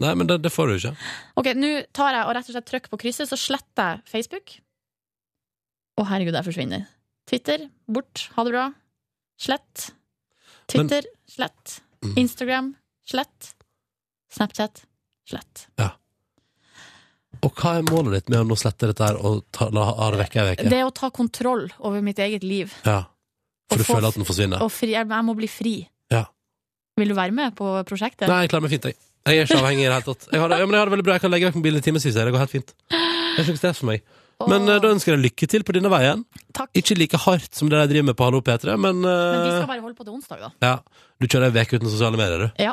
Speaker 2: Nei, men det, det får du ikke.
Speaker 3: Ok, nå tar jeg og rett og slett trykk på krysset, så sletter jeg Facebook. Å herregud, jeg forsvinner. Twitter, bort, ha det bra. Slett. Twitter slett.
Speaker 2: Mm.
Speaker 3: Instagram slett. Snapchat slett.
Speaker 2: Og hva er målet ditt med å nå slette dette her og ta, la, ha det vekk ei uke?
Speaker 3: Det er å ta kontroll over mitt eget liv.
Speaker 2: Ja.
Speaker 3: Og
Speaker 2: For du
Speaker 3: få-
Speaker 2: føler at den forsvinner?
Speaker 3: Og fri, jeg jeg må bli fri.
Speaker 2: Ja.
Speaker 3: Vil du være med på prosjektet?
Speaker 2: Nei, jeg klarer meg fint, jeg. Jeg er ikke avhengig i det hele tatt. Jeg har det, ja, men jeg har det veldig bra. Jeg kan legge vekk mobilen i timevis. jeg. Det går helt fint. Det er ikke noe stress for meg. Men eh, da ønsker jeg deg lykke til på denne veien. Ikke like hardt som det de driver med på Hallo P3, men,
Speaker 3: Men vi
Speaker 2: eh,
Speaker 3: skal bare holde på til onsdag, da.
Speaker 2: ja. Du kjører ei uke uten sosiale medier, du.
Speaker 3: Ja.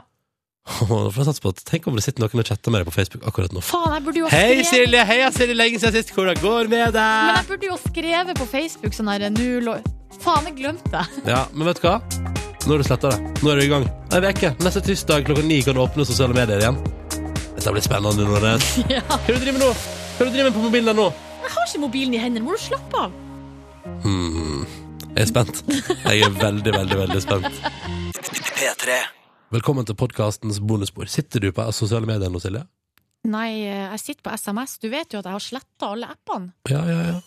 Speaker 2: Nå får jeg satse på at Tenk om det sitter noen og chatter med deg på Facebook akkurat nå.
Speaker 3: Faen, jeg burde jo ha
Speaker 2: Hei,
Speaker 3: skrevet-
Speaker 2: Silje! Hei, jeg ser deg lenge siden sist. Hvordan går det med
Speaker 3: Men
Speaker 2: deg?
Speaker 3: jeg burde jo ha skrevet på Facebook sånn her nå lå- Faen, jeg glemte det.
Speaker 2: Ja, men vet du hva? Nå har du sletta det. Nå er du i gang. Ei uke. Neste tirsdag klokka ni kan du åpne sosiale medier igjen. Dette blir spennende. Nordnes. Hva er det du driver med nå? Hva er det du driver med på mobilen din nå?
Speaker 3: Jeg har ikke mobilen i hendene, må du slappe av?
Speaker 2: Hmm. Jeg er spent. Jeg er veldig, veldig, veldig spent.
Speaker 11: P3.
Speaker 2: Velkommen til podkastens bonusbord. Sitter du på sosiale medier nå, Silje?
Speaker 3: Nei, eh, jeg sitter på SMS. Du vet jo at jeg har sletta alle appene.
Speaker 2: Ja, ja, ja.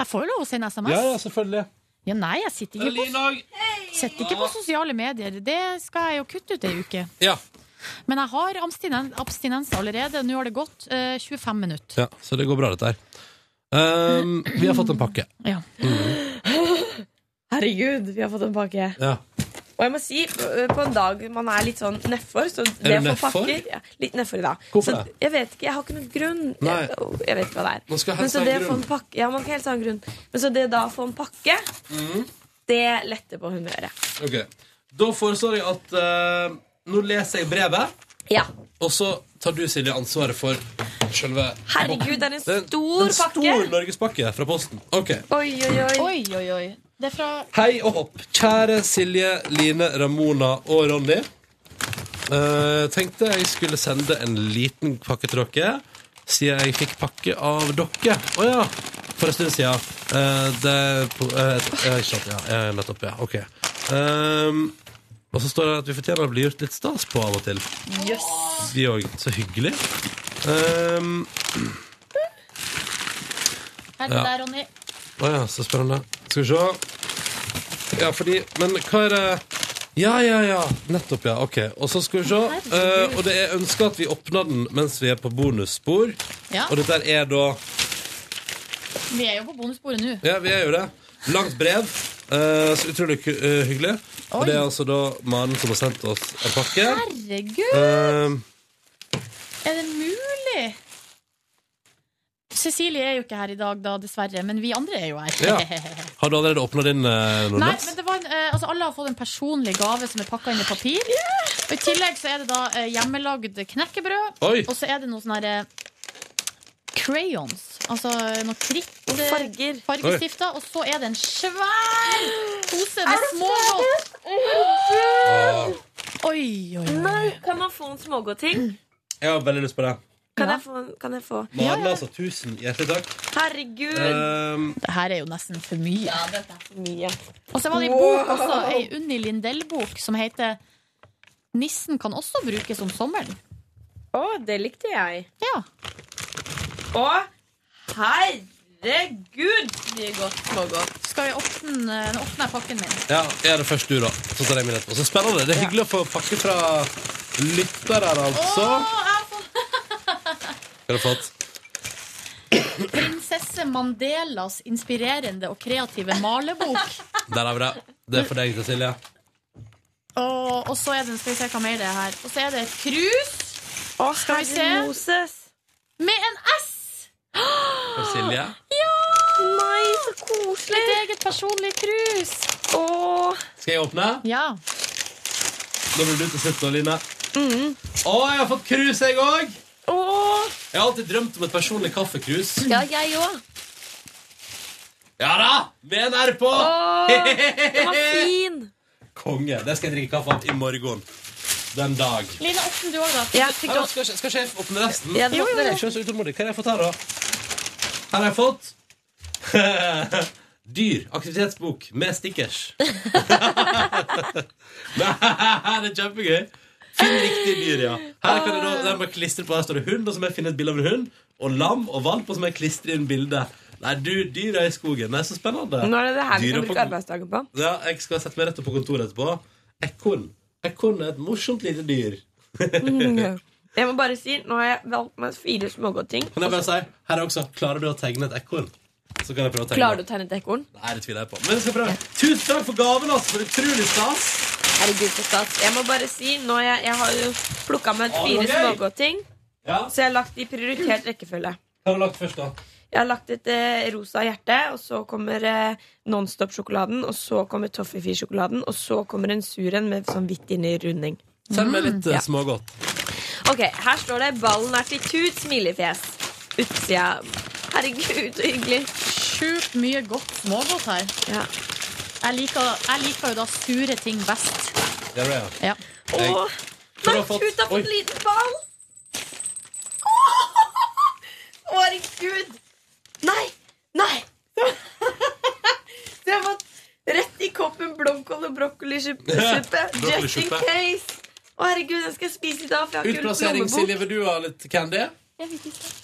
Speaker 3: Jeg får jo lov å sende SMS.
Speaker 2: Ja, ja, selvfølgelig.
Speaker 3: Ja, nei, jeg sitter ikke, på, sitter ikke på sosiale medier. Det skal jeg jo kutte ut ei uke.
Speaker 2: Ja.
Speaker 3: Men jeg har abstinen- abstinens allerede. Nå har det gått eh, 25 minutter.
Speaker 2: ja. Så det går bra, dette her. Um, vi har fått en pakke.
Speaker 3: Ja.
Speaker 5: Herregud, vi har fått en pakke.
Speaker 2: Ja.
Speaker 5: Og jeg må si, ø, på en dag man er litt sånn nedfor så
Speaker 2: Er
Speaker 5: det
Speaker 2: du
Speaker 5: å få
Speaker 2: nedfor?
Speaker 5: pakker- Ja, litt nedfor i dag.
Speaker 2: Hvorfor
Speaker 5: så
Speaker 2: det?
Speaker 5: jeg vet ikke, jeg har ikke noen grunn.
Speaker 2: Nei.
Speaker 5: Jeg, øh, jeg vet ikke hva det er.
Speaker 2: Man skal
Speaker 5: Men
Speaker 2: helst
Speaker 5: så
Speaker 2: ha en
Speaker 5: det å få
Speaker 2: grunn.
Speaker 5: en pakke, ja, man kan helst ha en grunn. Men så det da å få en pakke,
Speaker 2: Mm.
Speaker 5: det letter på humøret.
Speaker 2: Ok. Da foreslår jeg at eh, Nå leser jeg brevet,
Speaker 5: Ja.
Speaker 2: og så tar du, Silje, ansvaret for selve
Speaker 5: Herregud, det er en
Speaker 2: Det er en-
Speaker 5: stor
Speaker 2: en stor
Speaker 5: pakke.
Speaker 2: norgespakke fra Posten. Ok.
Speaker 5: Oi, oi, oi.
Speaker 3: Oi, oi, oi. Det er fra
Speaker 2: Hei og hopp. Kjære Silje, Line, Ramona og Ronny. Eh, tenkte jeg skulle sende en liten pakke til dere, siden jeg fikk pakke av dere. Å ja! For en stund siden. Eh, det er på, eh, eh, ikke sant, ja. eh, nettopp, ja. Ok. Ehm, og så står det at vi fortjener å bli gjort litt stas på av og til.
Speaker 5: Jøss.
Speaker 2: Vi òg. Så hyggelig. Ehm,
Speaker 3: Her er det
Speaker 2: Ja.
Speaker 3: der, Ronny.
Speaker 2: Å ja, så spennende. Skal vi se. Ja, fordi Men hva er det Ja, ja, ja. Nettopp, ja. Ok. Og så skal vi se. Eh, og det er ønska at vi åpner den mens vi er på bonusspor.
Speaker 3: Ja.
Speaker 2: Og dette er da
Speaker 3: Vi er jo på bonussporet nå.
Speaker 2: Ja, vi er jo det. Langt brev. eh, så utrolig hy- eh, hyggelig. Og det er altså da mannen som har sendt oss en pakke.
Speaker 3: Herregud!
Speaker 2: Eh,
Speaker 3: Er det mulig? Cecilie er jo ikke her i dag, da, dessverre. Men vi andre er jo her.
Speaker 2: Ja. har du allerede åpna din, uh,
Speaker 3: Nei, men det var en, eh, altså Alle har fått en personlig gave som er pakka inn i papir. Og I tillegg så er det da eh, hjemmelagd knekkebrød.
Speaker 2: Oi.
Speaker 3: Og så er det noe sånn herre eh, Crayons. Altså noe kritt.
Speaker 5: farger.
Speaker 3: Fargestifter. Og så er det en svær pose med smågodt. Oi, oi,
Speaker 5: Nei, kan man få en smågodting?
Speaker 2: Jeg har veldig lyst på det.
Speaker 5: Kan, jeg få en- kan jeg få
Speaker 2: Maren, altså. Tusen hjertelig takk.
Speaker 5: Herregud.
Speaker 2: Eh,
Speaker 3: Det her er jo nesten for mye.
Speaker 5: Ja, dette er for mye.
Speaker 3: Og så var det en bok også, ei Unni Lindell-bok som heter 'Nissen kan også brukes om sommeren'.
Speaker 5: Å, det likte jeg.
Speaker 3: Ja.
Speaker 5: Å, herregud, mye godt smågodt.
Speaker 3: Skal vi åpne, nå åpner jeg pakken min?
Speaker 2: Ja, jeg er det først du, da. Så tar jeg min etterpå. Så spennende. Det er hyggelig å få pakke fra lyttere, altså. Hva har du fått?
Speaker 3: Prinsesse Mandelas inspirerende og kreative malebok.
Speaker 2: Der har vi det. Det er for deg, Cecilie.
Speaker 3: Og, og så er det skal vi se hva mer det er her Og så er det et krus
Speaker 5: Å,
Speaker 3: Skal vi se?
Speaker 5: herre Moses.
Speaker 3: med en S!
Speaker 2: For Silje.
Speaker 5: Nei, så koselig.
Speaker 3: Et eget personlig krus.
Speaker 5: Å,
Speaker 2: Skal jeg åpne?
Speaker 3: Ja.
Speaker 2: Nå blir du til slutt, da, Line.
Speaker 5: Mm.
Speaker 2: Å, jeg har fått krus, jeg òg!
Speaker 5: å.
Speaker 2: Jeg har alltid drømt om et personlig kaffekrus.
Speaker 5: Ja, jeg òg.
Speaker 2: Ja da! Med en R på!
Speaker 5: Den var fin.
Speaker 2: Konge. Det skal jeg drikke kaffe av i morgen. Den dag.
Speaker 3: Line, åpne du òg, da.
Speaker 5: Ja.
Speaker 3: Fikk
Speaker 2: Ja,
Speaker 3: du
Speaker 2: men skal, skal ikke jeg åpne resten?
Speaker 5: Ja, du Jo, åpner jo, jo.
Speaker 2: Jeg er ikke så utålmodig. Hva har jeg fått her, da? Her har jeg fått Dyr. Aktivitetsbok med stickers. Nei, det er kjempegøy. Finn riktige dyr, ja. Her kan jeg da, der må jeg klistre på, her står det hund, og så må jeg finne et bilde av en hund. Og lam og valp, og så må jeg klistre inn bilde. Nei, du, dyra i skogen. Nei, så spennende.
Speaker 5: Nå er det det her vi
Speaker 2: Dyra
Speaker 5: kan bruke
Speaker 2: på-
Speaker 5: arbeidsdagen på.
Speaker 2: ja, jeg skal sette meg rett opp på kontoret etterpå. Ekorn. Ekorn er et morsomt lite dyr.
Speaker 5: Jeg må bare si, nå har jeg valgt meg fire smågodtting.
Speaker 2: Kan jeg bare si, her er også, klarer du å tegne et ekorn? Så kan jeg prøve å tegne
Speaker 5: Klarer du å tegne et ekorn?
Speaker 2: Nei, det tviler jeg på. Men jeg skal prøve. Tusen takk for gaven, altså, for utrolig stas.
Speaker 5: Herregud, for stas. Jeg må bare si, nå har jeg, jeg har jo plukka med
Speaker 2: Å, det
Speaker 5: fire
Speaker 2: var gøy!
Speaker 5: smågodtting. Så jeg har lagt det i prioritert rekkefølge.
Speaker 2: Hva har du lagt først, da?
Speaker 5: Jeg har lagt et eh, rosa hjerte, og så kommer eh, Nonstop-sjokoladen, og så kommer Toffifee-sjokoladen, og så kommer en sur en med sånn hvitt inni runding.
Speaker 2: Send meg litt eh,
Speaker 5: Mm, Ja.
Speaker 2: smågodt.
Speaker 5: Ok, her står det 'Ballen er til tut', smilefjes. Utsida. Herregud, så hyggelig.
Speaker 3: Sjukt mye godt smågodt her. Jeg, liker, jeg liker jo da sure ting best.
Speaker 2: Det er det, ja.
Speaker 3: Ja.
Speaker 2: Jeg- Tror du har fått-
Speaker 5: Tut
Speaker 2: Oi.
Speaker 5: har fått liten ball! Å, herregud! Nei! Nei! Så jeg har fått rett i koppen blomkål og brokkolisuppe. Just in
Speaker 2: Brokkolisuppe.
Speaker 5: case. Å, herregud, den skal jeg spise i dag, for jeg har ikke
Speaker 2: Utplassering, Silje,
Speaker 5: lommebok.
Speaker 2: vil du ha litt candy?
Speaker 5: Jeg fikk ikke.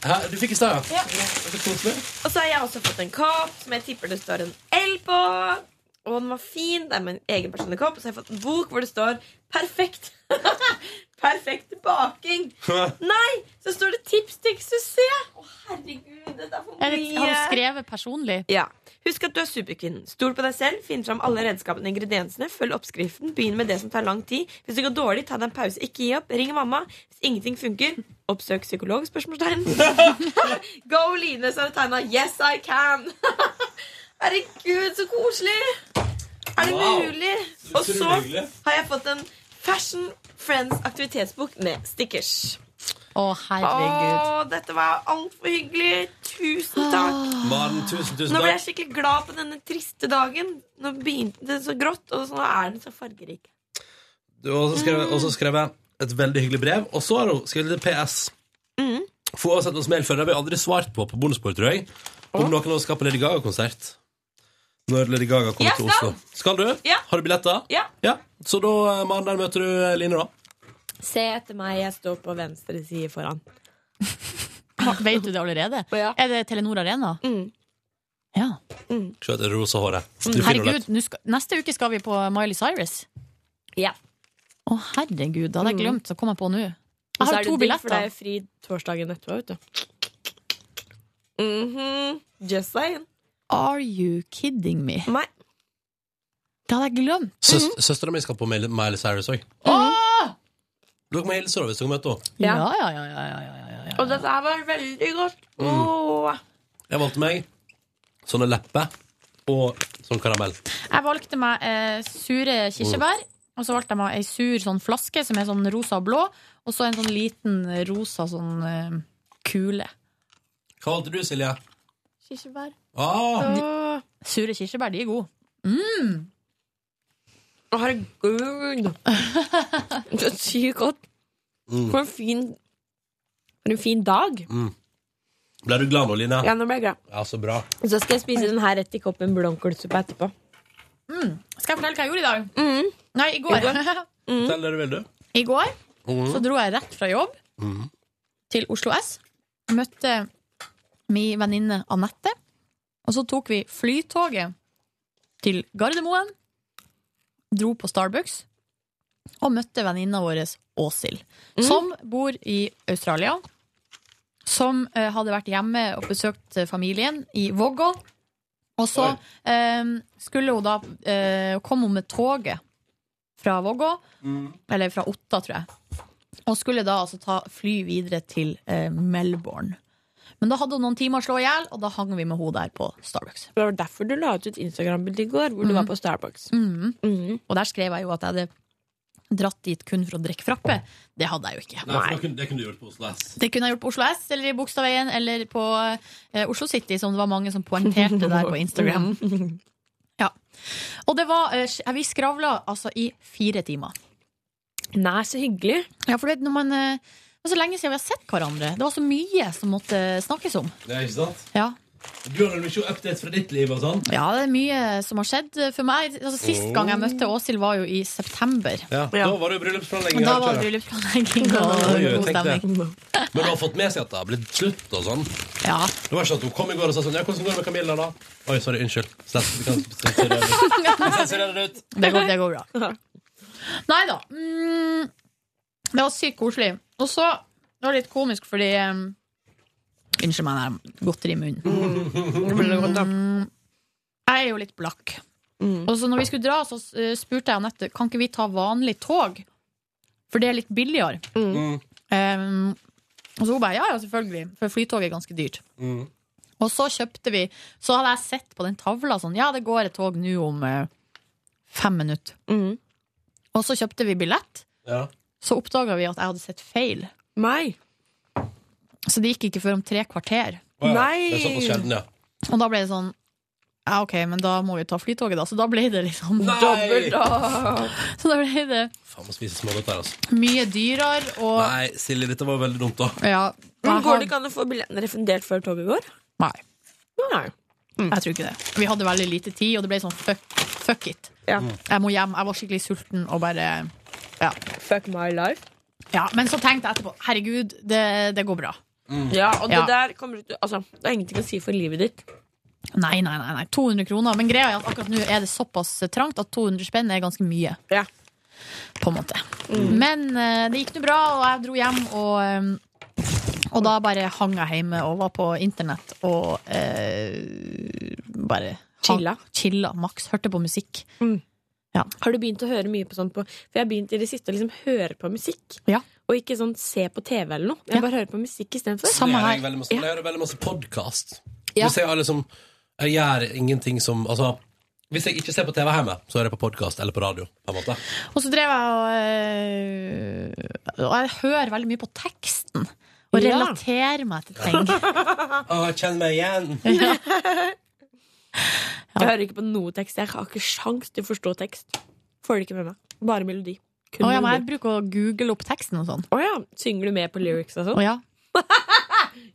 Speaker 2: Hæ? Du fikk i stad, ja?
Speaker 5: Ja.
Speaker 2: Det er koselig.
Speaker 5: Og så har jeg også fått en kopp som jeg tipper det står en L på. Og den var fin. Det er min egen personlige kopp. Og så har jeg fått en bok hvor det står 'perfekt'. perfekt baking. Nei, så står det 'tips til suksess'. Å, herregud, dette er for
Speaker 3: Er det, har hun
Speaker 5: mye.
Speaker 3: skrevet personlig?
Speaker 5: Ja. Husk at du er superkvinnen. Stol på deg selv, finn fram alle redskapene og ingrediensene, følg oppskriften, begynn med det som tar lang tid. Hvis det går dårlig, ta deg en pause, ikke gi opp, ring mamma. Hvis ingenting funker, oppsøk psykolog? spørsmålstegn. Go, Line, så har du tegna 'Yes, I can'. Herregud, så koselig! Er det
Speaker 2: Wow.
Speaker 5: mulig?
Speaker 2: Så
Speaker 5: Og så
Speaker 2: utrolig hyggelig.
Speaker 5: har jeg fått en Fashion Friends aktivitetsbok med stickers.
Speaker 3: Å, herregud.
Speaker 5: Å, dette var altfor hyggelig. Tusen takk.
Speaker 2: Maren, tusen, tusen
Speaker 5: Nå ble jeg
Speaker 2: takk.
Speaker 5: skikkelig glad på denne triste dagen. Nå begynte det så grått, og så nå er den så fargerik.
Speaker 2: Du har også skrevet, også skrevet et veldig hyggelig brev. Og så har hun skrevet et PS.
Speaker 5: Mhm.
Speaker 2: For hun har sendt oss mail før, det har vi aldri svart på på bonusbord, tror jeg. Om noen av oss skal på Lady Gaga-konsert. Når Lady Gaga kommer
Speaker 5: Jeg
Speaker 2: til
Speaker 5: skal.
Speaker 2: Oslo. Skal du?
Speaker 5: Ja.
Speaker 2: Har du billetter?
Speaker 5: Ja.
Speaker 2: Så da, eh, Maren, der møter du eh, Line, da.
Speaker 5: Se etter meg, jeg står på venstre side foran.
Speaker 3: Vet du det allerede?
Speaker 5: Ja.
Speaker 3: Er det Telenor Arena?
Speaker 5: Mm.
Speaker 3: Ja.
Speaker 2: Se etter det rosa håret. Du finner det.
Speaker 3: Herregud, nå skal, neste uke skal vi på Miley Cyrus.
Speaker 5: Ja.
Speaker 3: Å, herregud, det hadde jeg glemt. Mm. Så kom jeg på nå. Jeg
Speaker 5: Og så
Speaker 3: har
Speaker 5: er
Speaker 3: to
Speaker 5: det digg, For det
Speaker 3: billetter.
Speaker 5: er fri torsdagen etterpå, vet du. Mhm. Just saying.
Speaker 3: Are you kidding me?
Speaker 5: Nei.
Speaker 3: Det hadde jeg glemt.
Speaker 2: Søs, Søstera mi skal på Miley Miley Cyrus òg.
Speaker 3: Åh!
Speaker 2: Dere må hilse henne hvis dere møter henne.
Speaker 3: Ja,
Speaker 5: Ja.
Speaker 3: ja, ja, ja, ja, ja, ja, ja.
Speaker 5: Og dette her var veldig godt. Åh.
Speaker 2: Jeg valgte meg sånne lepper og sånn karamell.
Speaker 3: Jeg valgte meg eh, sure kirsebær. Og så valgte jeg meg ei sur sånn flaske som er sånn rosa og blå. Og så en sånn liten eh, rosa sånn eh, kule.
Speaker 2: Hva valgte du, Silje?
Speaker 5: Kirsebær.
Speaker 2: Ah,
Speaker 5: Åh.
Speaker 3: Sure kirsebær, de er gode.
Speaker 5: Å, Herregud. Så sykt godt.
Speaker 2: Mm.
Speaker 5: For en fin For en fin dag.
Speaker 2: ble du glad nå, Line?
Speaker 5: Ja, nå ble jeg glad.
Speaker 2: Ja, så bra.
Speaker 5: Og så skal jeg spise den her rett i koppen blomkålsuppe etterpå.
Speaker 3: Skal jeg fortelle hva jeg gjorde i dag?
Speaker 5: Mm.
Speaker 3: Nei, i går. Mm.
Speaker 2: Fortell det du vil, du.
Speaker 3: I går så dro jeg rett fra jobb til Oslo S. Jeg møtte min venninne Anette. Og så tok vi flytoget til Gardermoen, dro på Starbucks og møtte venninna vår Åshild, som bor i Australia. Som eh, hadde vært hjemme og besøkt eh, familien i Vågå. Og så
Speaker 2: Oi.
Speaker 3: eh, skulle hun da eh, Kom hun med toget fra Vågå, eller fra Otta, tror jeg. Og skulle da altså ta fly videre til eh, Melbourne. Men da hadde hun noen timer å slå i hjel, og da hang vi med henne der på Starbucks.
Speaker 5: Det var derfor du la ut et Instagram-bilde i går hvor du var på Starbucks.
Speaker 3: Mhm. Og der skrev jeg jo at jeg hadde dratt dit kun for å drikke frappe. Det hadde jeg jo ikke.
Speaker 2: Nei, for det kunne, det kunne du gjort på Oslo S.
Speaker 3: Det kunne jeg gjort på Oslo S, eller i Bogstadveien, eller på eh, Oslo City, som det var mange som poengterte der på Instagram. Ja. Og det var eh, Vi skravla altså i fire timer.
Speaker 5: Nei, så hyggelig.
Speaker 3: Ja, for det, når man, eh, det var så lenge siden vi har sett hverandre. Det var så mye som måtte snakkes om.
Speaker 2: Det er ikke sant?
Speaker 3: Ja,
Speaker 2: Du har vel mye updates fra ditt liv og sånn?
Speaker 3: ja det er mye som har skjedd for meg. Altså, sist gang jeg møtte Åshild, var jo i september.
Speaker 2: Ja.
Speaker 5: Ja.
Speaker 2: Da var det jo bryllupsplanlegging.
Speaker 3: Og da
Speaker 2: her,
Speaker 3: var det
Speaker 2: tror jeg.
Speaker 3: bryllupsplanlegging
Speaker 2: Oi,
Speaker 3: og
Speaker 2: jeg
Speaker 3: god
Speaker 2: tenkte det.
Speaker 3: stemning.
Speaker 2: Men du har fått med seg at det har blitt slutt og sånn? Det
Speaker 3: Ja.
Speaker 2: var ikke at hun kom i går og sa sånn Ja, hvordan går det med Camilla, da? Oi, sorry, unnskyld. Slett. Vi kan sensurere det ut. Vi kan sensurere det ut.
Speaker 3: Det går, det går bra. Nei da. Mm, det var sykt koselig. Og så Det var litt komisk fordi um, Unnskyld meg, det er godteri i munnen. Mm, jeg er jo litt blakk. Og så når vi skulle dra, så eh, spurte jeg Anette Kan ikke vi ta vanlig tog. For det er litt billigere. Um, og så hun bare ja, ja, selvfølgelig. For flytog er ganske dyrt. Og så kjøpte vi Så hadde jeg sett på den tavla sånn Ja, det går et tog nå om eh, fem minutter.
Speaker 5: Mm.
Speaker 3: Og så kjøpte vi billett.
Speaker 2: Ja.
Speaker 3: Så oppdaga vi at jeg hadde sett feil. Så det gikk ikke før om tre kvarter.
Speaker 2: Å, ja. Det er såpass sjelden, ja.
Speaker 3: Og da ble det sånn Ja, ok, men da må vi ta flytoget, da. Så da ble det liksom
Speaker 2: Nei!
Speaker 3: dobbelt opp. Så da ble det
Speaker 2: Faen, må spise smågodt her, altså.
Speaker 3: mye dyrere og
Speaker 2: Nei, Silje, dette var veldig dumt, da.
Speaker 3: Ja.
Speaker 5: Men
Speaker 3: jeg
Speaker 5: går
Speaker 3: har-
Speaker 5: det ikke an å få billettene refundert før toget går?
Speaker 3: Nei.
Speaker 5: Nei.
Speaker 3: Jeg tror ikke det. Vi hadde veldig lite tid, og det ble sånn fuck, fuck it.
Speaker 5: Ja.
Speaker 3: Jeg må hjem. Jeg var skikkelig sulten og bare Ja.
Speaker 5: Fuck my life.
Speaker 3: ja men så tenkte jeg etterpå herregud, det, det går bra.
Speaker 5: Ja, og det
Speaker 3: Ja.
Speaker 5: der kommer ut Altså, det er ingenting å si for livet ditt.
Speaker 3: Nei, nei, nei, nei. 200 kroner. Men greia er at akkurat nå er det såpass trangt at 200 spenn er ganske mye.
Speaker 5: Ja.
Speaker 3: På en måte. Men eh, det gikk nå bra, og jeg dro hjem, og, eh, og da bare hang jeg hjemme og var på internett og eh, bare hang-
Speaker 5: Chilla.
Speaker 3: Chilla maks. Hørte på musikk.
Speaker 5: Har du begynt å høre mye på sånt på For jeg har begynt i det siste å liksom høre på musikk.
Speaker 3: Ja.
Speaker 5: Og ikke sånn se på TV eller noe. Jeg
Speaker 3: Ja.
Speaker 5: bare hører på musikk istedenfor.
Speaker 3: Samme
Speaker 2: Jeg
Speaker 3: her.
Speaker 2: hører veldig masse, jeg hører veldig masse podkast.
Speaker 5: Ja.
Speaker 2: Hvis jeg har liksom Jeg gjør ingenting som Altså, hvis jeg ikke ser på TV hjemme, så hører jeg på podkast eller på radio. På en måte.
Speaker 3: Og så drev jeg og eh, Og jeg hører veldig mye på teksten. Og
Speaker 5: Ja.
Speaker 3: relaterer meg til ting.
Speaker 2: Å, kjenn meg igjen!
Speaker 5: Jeg hører ikke på noe tekst. Jeg har ikke sjans til å forstå tekst. Får det ikke med meg. Bare melodi. Kun
Speaker 3: Og ja, men jeg
Speaker 5: melodi.
Speaker 3: bruker å google opp teksten og sånn.
Speaker 5: Å ja. Synger du med på lyrics og
Speaker 3: Å
Speaker 5: sånn?
Speaker 3: ja.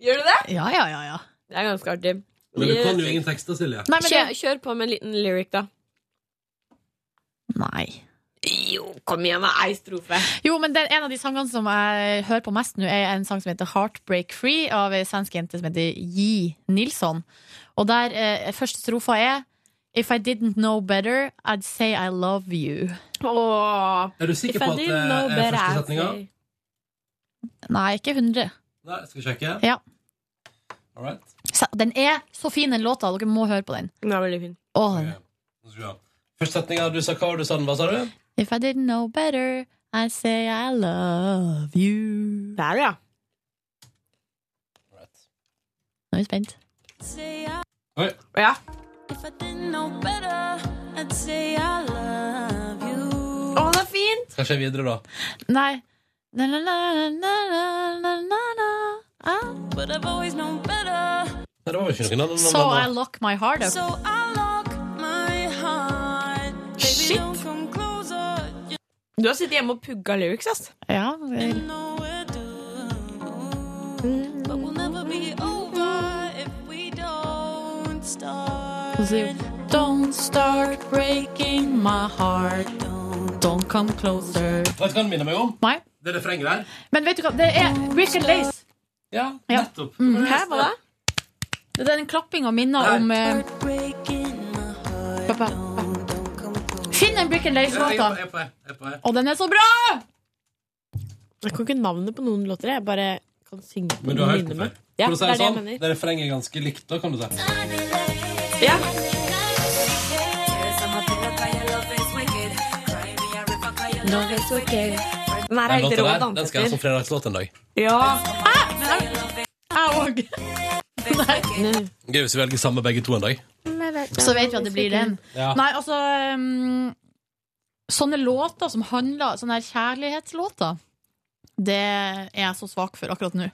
Speaker 5: Gjør du det?
Speaker 3: Ja, ja, ja, ja.
Speaker 5: Det er ganske artig.
Speaker 2: Men du kan jo ingen tekster, Silje.
Speaker 3: Nei, men
Speaker 5: Kjør,
Speaker 3: det,
Speaker 5: kjør på med en liten lyric, da.
Speaker 3: nei.
Speaker 5: Jo, kom igjen, da. Ei strofe.
Speaker 3: Jo, men den, en av de sangene som jeg hører på mest nå, er en sang som heter Heartbreak Free, av ei svensk jente som heter Ji Nilsson. Og der eh, første strofa er If I didn't know better, I'd say I love you.
Speaker 5: Åh.
Speaker 2: Er du sikker på at det
Speaker 5: know
Speaker 2: er
Speaker 5: better,
Speaker 2: første
Speaker 5: I'd
Speaker 2: setninga?
Speaker 5: say-
Speaker 3: Nei, ikke 100.
Speaker 2: Nei, skal vi sjekke?
Speaker 3: Ja.
Speaker 2: All right.
Speaker 3: Så, den er så fin, den låta. Dere må høre på den.
Speaker 5: Den er veldig fin.
Speaker 3: Åh,
Speaker 2: Ok.
Speaker 3: den.
Speaker 2: Nå skal vi ha. Første setninga du sa hva var det du sa den var, sa du?
Speaker 3: If I didn't know better, I'd say I love you.
Speaker 5: Der, ja.
Speaker 2: All right.
Speaker 3: Nå er vi spent.
Speaker 2: Oi.
Speaker 5: ja. Å, det er fint!
Speaker 2: Skal jeg se videre, da?
Speaker 3: Nei. Na, na, na, na, na, na, na, na. Ah.
Speaker 2: Nei, det var jo ikke noen annen.
Speaker 3: So I lock my heart up.
Speaker 5: Shit! Du har sittet hjemme og pugga lyrics, ass.
Speaker 3: Ja, vel. Og så sier hun, Don't start breaking my heart. Don't come closer.
Speaker 2: Vet du hva den minner meg om?
Speaker 3: Nei.
Speaker 2: Det refrenget der.
Speaker 3: Men vet du hva, det er Richard Lace.
Speaker 2: Ja,
Speaker 3: Ja. Mm,
Speaker 2: nettopp.
Speaker 5: Hæ, hva da?
Speaker 3: Den klappinga minner
Speaker 2: Nei.
Speaker 3: om eh, pappa. Finn en Brick and
Speaker 2: Jeg
Speaker 3: Lace-låta.
Speaker 2: er på, jeg er på, jeg er på.
Speaker 3: Og den er så bra!
Speaker 5: Jeg kan ikke navnet på noen låter. Jeg bare kan synge på
Speaker 2: Men du har hørt
Speaker 5: mine
Speaker 2: den
Speaker 5: med.
Speaker 2: før?
Speaker 5: Ja,
Speaker 2: For å si
Speaker 5: det er det jeg
Speaker 2: sånn,
Speaker 5: mener.
Speaker 2: det refrenget er ganske likt, da, kan du si.
Speaker 5: Ja. Den her er
Speaker 2: Den
Speaker 5: helt
Speaker 2: låta
Speaker 5: rå å
Speaker 2: der, den
Speaker 5: danse
Speaker 2: skal jeg ha
Speaker 5: til.
Speaker 2: som fredagslåt en dag.
Speaker 5: Ja.
Speaker 3: Jeg òg.
Speaker 2: Gøy hvis vi velger samme begge to en dag.
Speaker 3: Så vet vi at det blir den.
Speaker 2: Ja.
Speaker 3: Nei, altså um, Sånne låter som handler Sånne her kjærlighetslåter, det er jeg så svak for akkurat nå.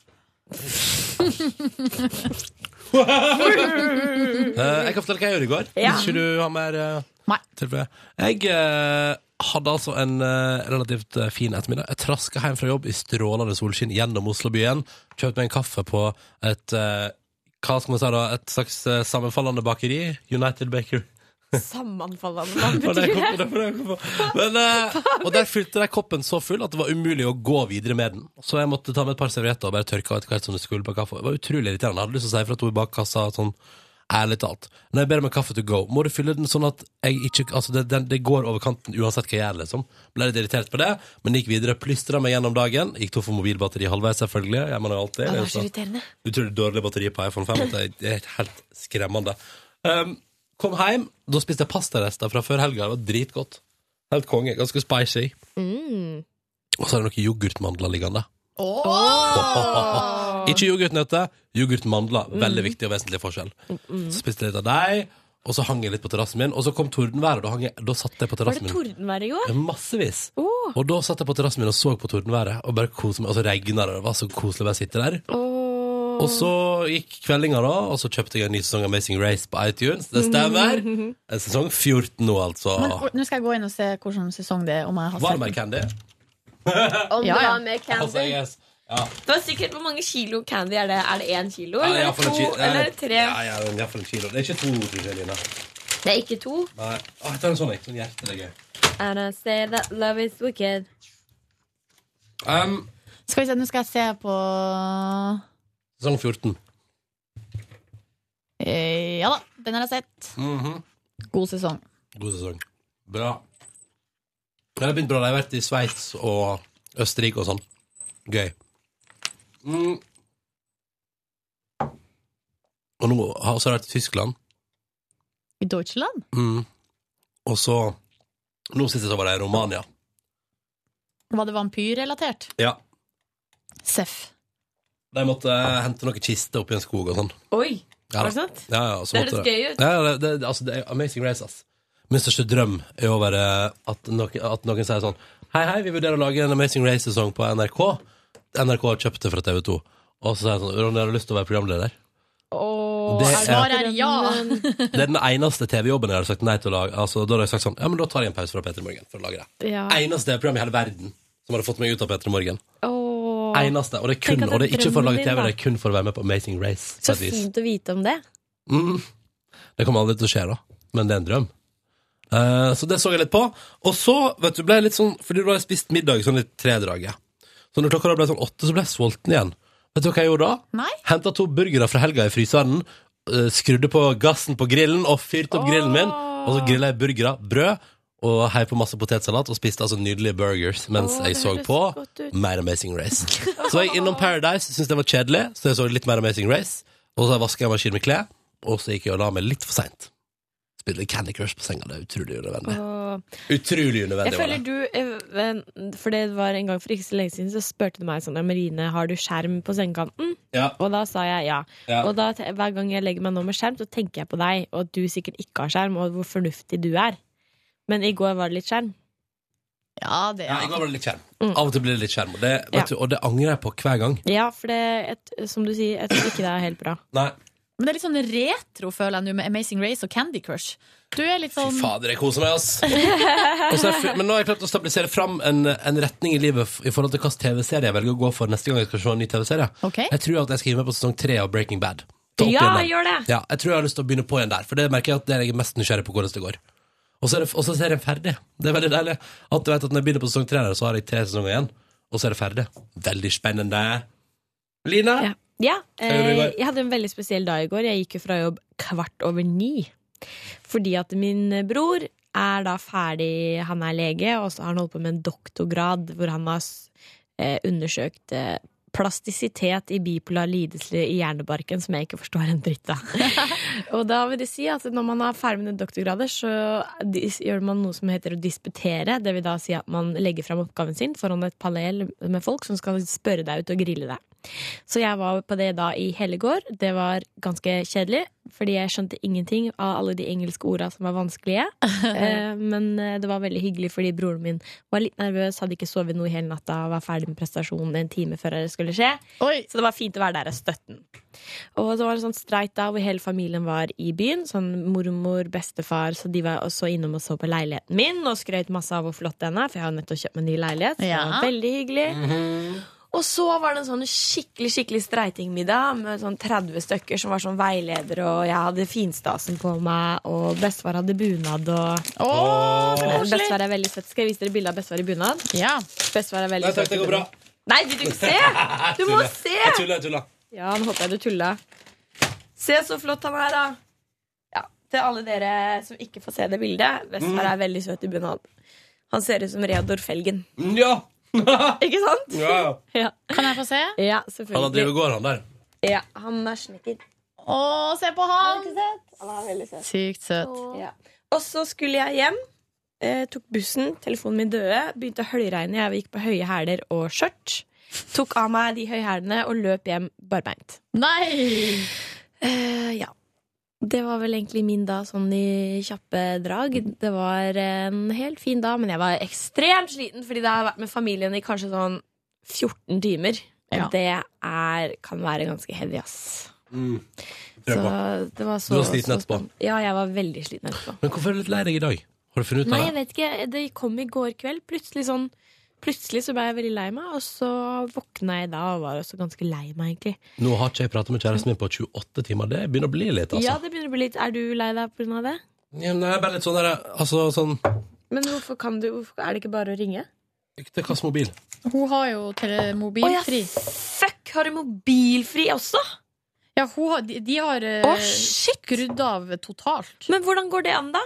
Speaker 2: Eh, jeg kan fortelle hva jeg gjorde i går.
Speaker 5: Ja.
Speaker 2: Hvis ikke du har mer eh,
Speaker 3: Nei.
Speaker 2: tilfelle. Jeg eh, hadde altså en eh, relativt eh, fin ettermiddag. Jeg traska hjem fra jobb i strålende solskinn gjennom Oslobyen. Kjøpte meg en kaffe på et eh, hva skal man si da, et slags eh, sammenfallende bakeri. United Baker.
Speaker 5: Sammenfallende. Hva
Speaker 2: Og
Speaker 5: betyr
Speaker 2: der kom,
Speaker 5: det?
Speaker 2: der, der kom, men, eh, og der fylte de koppen så full at det var umulig å gå videre med den. Så jeg måtte ta med et par servietter og bare tørke av etter hvert som det skulle på kaffe. Det var utrolig irriterende. Jeg hadde lyst til å si fra to i bakkassa sånn Ærlig talt. Når jeg ber om en kaffe to go, må du fylle den sånn at jeg ikke, altså det, den- det går over kanten uansett hva jeg gjør. liksom. Ble litt irritert på det, men gikk videre. Plystra meg gjennom dagen. Gikk tom for mobilbatteri halvveis, selvfølgelig. Jeg mener jo alltid.
Speaker 5: Ja, det er så
Speaker 2: altså.
Speaker 5: irriterende.
Speaker 2: Utrolig dårlig batteri på iPhone 5. at Det det er helt skremmende. Um, kom hjem, da spiste jeg pastarester fra før helga. Det var dritgodt. Helt konge. Ganske spicy.
Speaker 5: Mm.
Speaker 2: Og så er det noen yoghurtmandler liggende.
Speaker 5: Åh! Mm.
Speaker 2: Ikke yoghurtnøtter, yoghurtmandler. Veldig viktig og vesentlig forskjell. Så spiste jeg litt av deg, og så hang jeg litt på terrassen min. Og så kom tordenværet, og da, hang jeg, da satt jeg på
Speaker 5: Var det
Speaker 2: terrassen min.
Speaker 5: tordenvær i går?
Speaker 2: Ja, Massevis. Og da satt jeg på terrassen min og så på tordenværet, og bare koste meg. Og så regna det, og det var så koselig å bare sitte der. Og så gikk kveldinga, da, og så kjøpte jeg en ny sesong Amazing Race på iTunes. Det stemmer. En sesong 14 nå, altså.
Speaker 3: Men o- nå skal jeg gå inn og se hvilken sesong det er. Om jeg har sett
Speaker 2: Var det mer candy?
Speaker 5: Om
Speaker 3: Ja,
Speaker 5: det
Speaker 3: ja.
Speaker 5: var med
Speaker 2: Altså,
Speaker 5: candy.
Speaker 2: yes. Ja.
Speaker 5: Det var sikkert hvor mange kilo candy er det? Er det én kilo?
Speaker 2: Ja, det er
Speaker 5: Eller er det
Speaker 2: iallfall en
Speaker 5: to?
Speaker 2: kilo. Nei,
Speaker 5: Eller er det tre?
Speaker 2: Ja, ja, det er iallfall en kilo. Det er ikke to, tror jeg, Line.
Speaker 5: Det er ikke to.
Speaker 2: Nei. Å, jeg tar en sånn, jeg. Sånn hjerte, det er gøy.
Speaker 5: And I say that love is wicked.
Speaker 2: Um,
Speaker 3: Skal vi se, Nå skal jeg se på
Speaker 2: sesong 14.
Speaker 3: eh, Ja da, den har jeg sett.
Speaker 2: Mhm.
Speaker 3: God sesong.
Speaker 2: God sesong. Bra. Det har begynt bra. Jeg har vært i Sveits og Østerrike og sånn. Gøy. Mm. Og nå har jeg også vært i Tyskland.
Speaker 3: I Deutschland?
Speaker 2: Mm. Og så Nå sist jeg var jeg i Romania.
Speaker 3: Var det vampyrrelatert?
Speaker 2: Ja.
Speaker 3: Seff.
Speaker 2: De måtte eh, hente noen kister oppi en skog og sånn.
Speaker 5: Oi,
Speaker 2: Ja,
Speaker 5: var det
Speaker 2: da.
Speaker 5: sant?
Speaker 2: Ja, ja, så
Speaker 5: Det
Speaker 2: måtte
Speaker 5: høres
Speaker 2: det.
Speaker 5: gøy ut.
Speaker 2: Ja, ja, det, det, altså, det er Amazing Race, ass. Min største drøm er å være at noen, at noen sier sånn Hei, hei, vi vurderer å lage en Amazing Race-sesong på NRK. NRK har kjøpt det fra TV 2. Og så sier jeg sånn Ronny, har du lyst til å være programleder?
Speaker 5: Åh,
Speaker 2: Det
Speaker 5: er
Speaker 2: er-
Speaker 3: Svaret er ja!
Speaker 2: Det er den eneste TV-jobben jeg har sagt nei til å lage. Altså, da har jeg sagt sånn Ja, men da tar jeg en pause fra P3 Morgen for å lage det.
Speaker 5: Ja.
Speaker 2: Eneste program i hele verden som hadde fått meg ut av P3 Morgen.
Speaker 5: Åh.
Speaker 2: Eneste. Og det er kun,
Speaker 5: Tenk at det er
Speaker 2: og det er ikke for å lage
Speaker 5: drømmen din,
Speaker 2: TV,
Speaker 5: da.
Speaker 2: det er kun for å være med på Amazing Race. på
Speaker 5: Så
Speaker 2: et vis.
Speaker 5: fint å vite om det.
Speaker 2: Mm. Det kommer aldri til å skje, da. Men det er en drøm. Eh, så det så jeg litt på. Og så vet du, ble jeg litt sånn Fordi da har jeg spist middag sånn i tredraget. Så når klokka da ble sånn åtte, så ble jeg sulten igjen. Vet du hva jeg gjorde da?
Speaker 3: Nei?
Speaker 2: Henta to burgere fra helga i fryseren. eh, skrudde på gassen på grillen og fyrte opp grillen min. Og så grilla jeg burgere, brød og heiv på masse potetsalat og spiste altså nydelige burgers mens
Speaker 5: Åh,
Speaker 2: jeg
Speaker 5: det
Speaker 2: så
Speaker 5: høres
Speaker 2: på
Speaker 5: godt ut.
Speaker 2: mer Amazing Race. Så var jeg innom Paradise, syntes det var kjedelig, så jeg så litt mer Amazing Race. Og så vaska jeg maskinen med klær, og så gikk jeg og la meg litt for seint. Spilte litt Candy Crush på senga, det er utrolig unødvendig.
Speaker 5: Åh.
Speaker 2: Utrolig
Speaker 5: Jeg
Speaker 2: unødvendig var
Speaker 5: føler
Speaker 2: det.
Speaker 5: du eh, ven- For det var en gang for ikke så lenge siden, så spurte du meg sånn «Ja, Marine, har du skjerm på sengekanten?
Speaker 2: Ja,
Speaker 5: Og da sa jeg ja.
Speaker 2: ja.
Speaker 5: Og da, te- hver gang jeg legger meg nå med skjerm, så tenker jeg på deg, og at du sikkert ikke har skjerm, og hvor fornuftig du er. Men i går var det litt skjerm.
Speaker 3: Ja, det
Speaker 2: Ja, I går
Speaker 3: er
Speaker 2: var det litt skjerm. Av og til blir det litt skjerm, og det, vet
Speaker 5: Mm. Ja.
Speaker 2: du, og det angrer jeg på hver gang.
Speaker 5: Ja, for det, jeg- som du sier, jeg tror ikke det er helt bra.
Speaker 2: Nei,
Speaker 3: Men det er litt sånn retro, føler jeg nå, med Amazing Race og Candy Crush. Du er litt
Speaker 2: fy
Speaker 3: sånn
Speaker 2: fader, jeg koser meg, ass. Og så er jeg fu- men nå har jeg klart å stabilisere fram en, en retning i livet f- i forhold til hvilken TV-serie jeg velger å gå for neste gang jeg skal se en ny TV-serie.
Speaker 3: Ok.
Speaker 2: Jeg tror at jeg skal gi meg på sesong tre av Breaking Bad. Ta opp
Speaker 5: Ja,
Speaker 2: igjen den.
Speaker 5: gjør det!
Speaker 2: Ja, jeg tror jeg har lyst til å begynne på igjen der, for det merker jeg at det er jeg mest nysgjerrig på hvordan det går. Og så er, det- og så er serien ferdig. Det er veldig deilig. At du vet at når jeg begynner på sesong tre, der, så har jeg tre sesonger igjen, og så er det ferdig. Veldig spennende. Line?
Speaker 5: Ja. Ja,
Speaker 2: gjorde du i
Speaker 5: eh,
Speaker 2: går?
Speaker 5: jeg hadde en veldig spesiell dag i går. Jeg gikk jo fra jobb kvart over ni. Fordi at min bror er da ferdig, han er lege, og så har han holdt på med en doktorgrad hvor han har s- eh, undersøkt eh, plastisitet i bipolar lidelse i hjernebarken, som jeg ikke forstår en dritt av. og da vil det si at når man er ferdig med den doktorgrader, så dis- gjør man noe som heter å disputere. Det vil da si at man legger fram oppgaven sin foran et panel med folk som skal spørre deg ut og grille deg. Så jeg var på det da i hele går. Det var ganske kjedelig, fordi jeg skjønte ingenting av alle de engelske orda som var vanskelige. Eh, Men eh, det var veldig hyggelig fordi broren min var litt nervøs, hadde ikke sovet noe hele natta, var ferdig med prestasjonen en time før det skulle skje.
Speaker 3: Oi!
Speaker 5: Så det var fint å være der og støtte den. Og det var en sånn streit da hvor hele familien var i byen. Sånn mormor, bestefar, så de var også innom og så på leiligheten min og skrøt masse av hvor flott den er, for jeg har jo nettopp kjøpt meg ny leilighet. Så det
Speaker 3: Ja.
Speaker 5: var veldig hyggelig.
Speaker 2: Mhm.
Speaker 5: Og så var det en sånn skikkelig skikkelig streitingmiddag med sånn 30 stykker som var sånn veiledere, og jeg hadde finstasen på meg, og bestefar hadde bunad, og
Speaker 3: Å, så koselig!
Speaker 5: Bestefar er veldig søt. Skal jeg vise dere bilde av bestefar i bunad?
Speaker 3: Ja.
Speaker 5: Bestefar er
Speaker 2: Nei
Speaker 5: veldig
Speaker 2: takk, det
Speaker 5: søt i
Speaker 2: går bra.
Speaker 5: bunad. Nei, vil du ikke se? Du må
Speaker 2: Tuller.
Speaker 5: se!
Speaker 2: Jeg tuller, jeg tuller.
Speaker 5: Ja, nå håper jeg du tulla. Se så flott han er, da. til alle dere som ikke får se det bildet. Vestberg er veldig søt i bunad. Han ser ut som Reodor Felgen.
Speaker 2: Ja!
Speaker 5: ikke sant?
Speaker 2: Ja.
Speaker 3: Kan jeg få se?
Speaker 5: Ja,
Speaker 2: Han har drevet
Speaker 5: selvfølgelig.
Speaker 2: gård, han der.
Speaker 5: Ja, han er snekker.
Speaker 3: Å, se på han!
Speaker 5: Han er veldig søt.
Speaker 3: Sykt søt.
Speaker 5: Ja. Og så skulle jeg hjem. Eh, tok bussen, telefonen min døde. Begynte å høljregne. Jeg gikk på høye hæler og skjørt. Tok av meg de høye hælene og løp hjem barbeint.
Speaker 3: Nei!
Speaker 5: Eh, ja. Det var vel egentlig min dag sånn i kjappe drag. Det var en helt fin dag, men jeg var ekstremt sliten fordi det har vært med familien i kanskje sånn 14 timer. Og
Speaker 3: Ja.
Speaker 5: det er, kan være ganske heavy, ass.
Speaker 2: Mm.
Speaker 5: Så
Speaker 2: Prøv på.
Speaker 5: det var så,
Speaker 2: Du var sliten
Speaker 5: så
Speaker 2: etterpå.
Speaker 5: spenn- Ja, jeg var veldig sliten etterpå.
Speaker 2: Men hvorfor er du litt lei deg i dag? Har du funnet ut
Speaker 5: Nei,
Speaker 2: av
Speaker 5: jeg
Speaker 2: det?
Speaker 5: vet ikke. Det kom i går kveld. Plutselig sånn Plutselig så ble jeg veldig lei meg, og så våkna jeg da og var også ganske lei meg, egentlig.
Speaker 2: Nå har ikke jeg pratet med kjæresten min på 28 timer. Det begynner å bli litt,
Speaker 5: Ja,
Speaker 2: altså.
Speaker 5: det begynner å bli litt Er du lei deg på grunn av det?
Speaker 2: Ja, men det er bare litt sånn der, altså sånn
Speaker 5: Men hvorfor kan du hvorfor, Er det ikke bare å ringe?
Speaker 2: Ikke kast mobil.
Speaker 3: Hun har jo tele- mobilfri.
Speaker 5: Å, ja, fuck! Har du mobilfri også?
Speaker 3: Ja, hun har, de, de har eh,
Speaker 5: Å, shit!
Speaker 3: skrudd av totalt.
Speaker 5: Men hvordan går det an, da?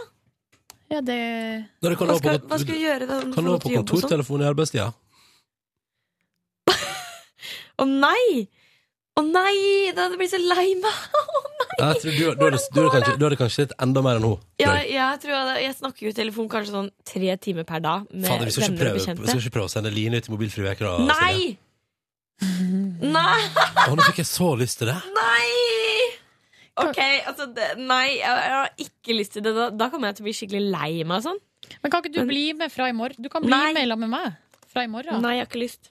Speaker 3: Ja, det
Speaker 2: Nei, du kan
Speaker 5: Hva
Speaker 2: nå
Speaker 5: skal,
Speaker 2: på-
Speaker 5: hva skal jeg gjøre? Da,
Speaker 2: Kan du ha på
Speaker 5: sånn?
Speaker 2: kontortelefon i arbeidstida?
Speaker 5: sånn? Å nei! Å nei! Da hadde jeg blitt så lei meg.
Speaker 2: Jeg tror du, du, hadde, du, hadde kanskje, du hadde kanskje litt enda mer enn hun.
Speaker 5: Ja, jeg, tror jeg, jeg snakker jo i telefon kanskje sånn tre timer per dag med
Speaker 2: Fader, vi skal, ikke
Speaker 5: venner og
Speaker 2: prøve, vi skal
Speaker 5: bekjente.
Speaker 2: ikke prøve å sende Line ut i mobilfri uke. da, Silje.
Speaker 5: Nei! Nei!
Speaker 2: Å, nå fikk jeg så lyst til det.
Speaker 5: Nei! Ok, altså det, Nei, jeg, jeg har ikke lyst til det. Da, da kommer jeg til å bli skikkelig lei meg og sånn.
Speaker 3: Men kan ikke du bli med fra i morgen? Du kan bli
Speaker 5: Nei.
Speaker 3: med sammen med meg fra i morgen.
Speaker 5: Nei, jeg har ikke lyst.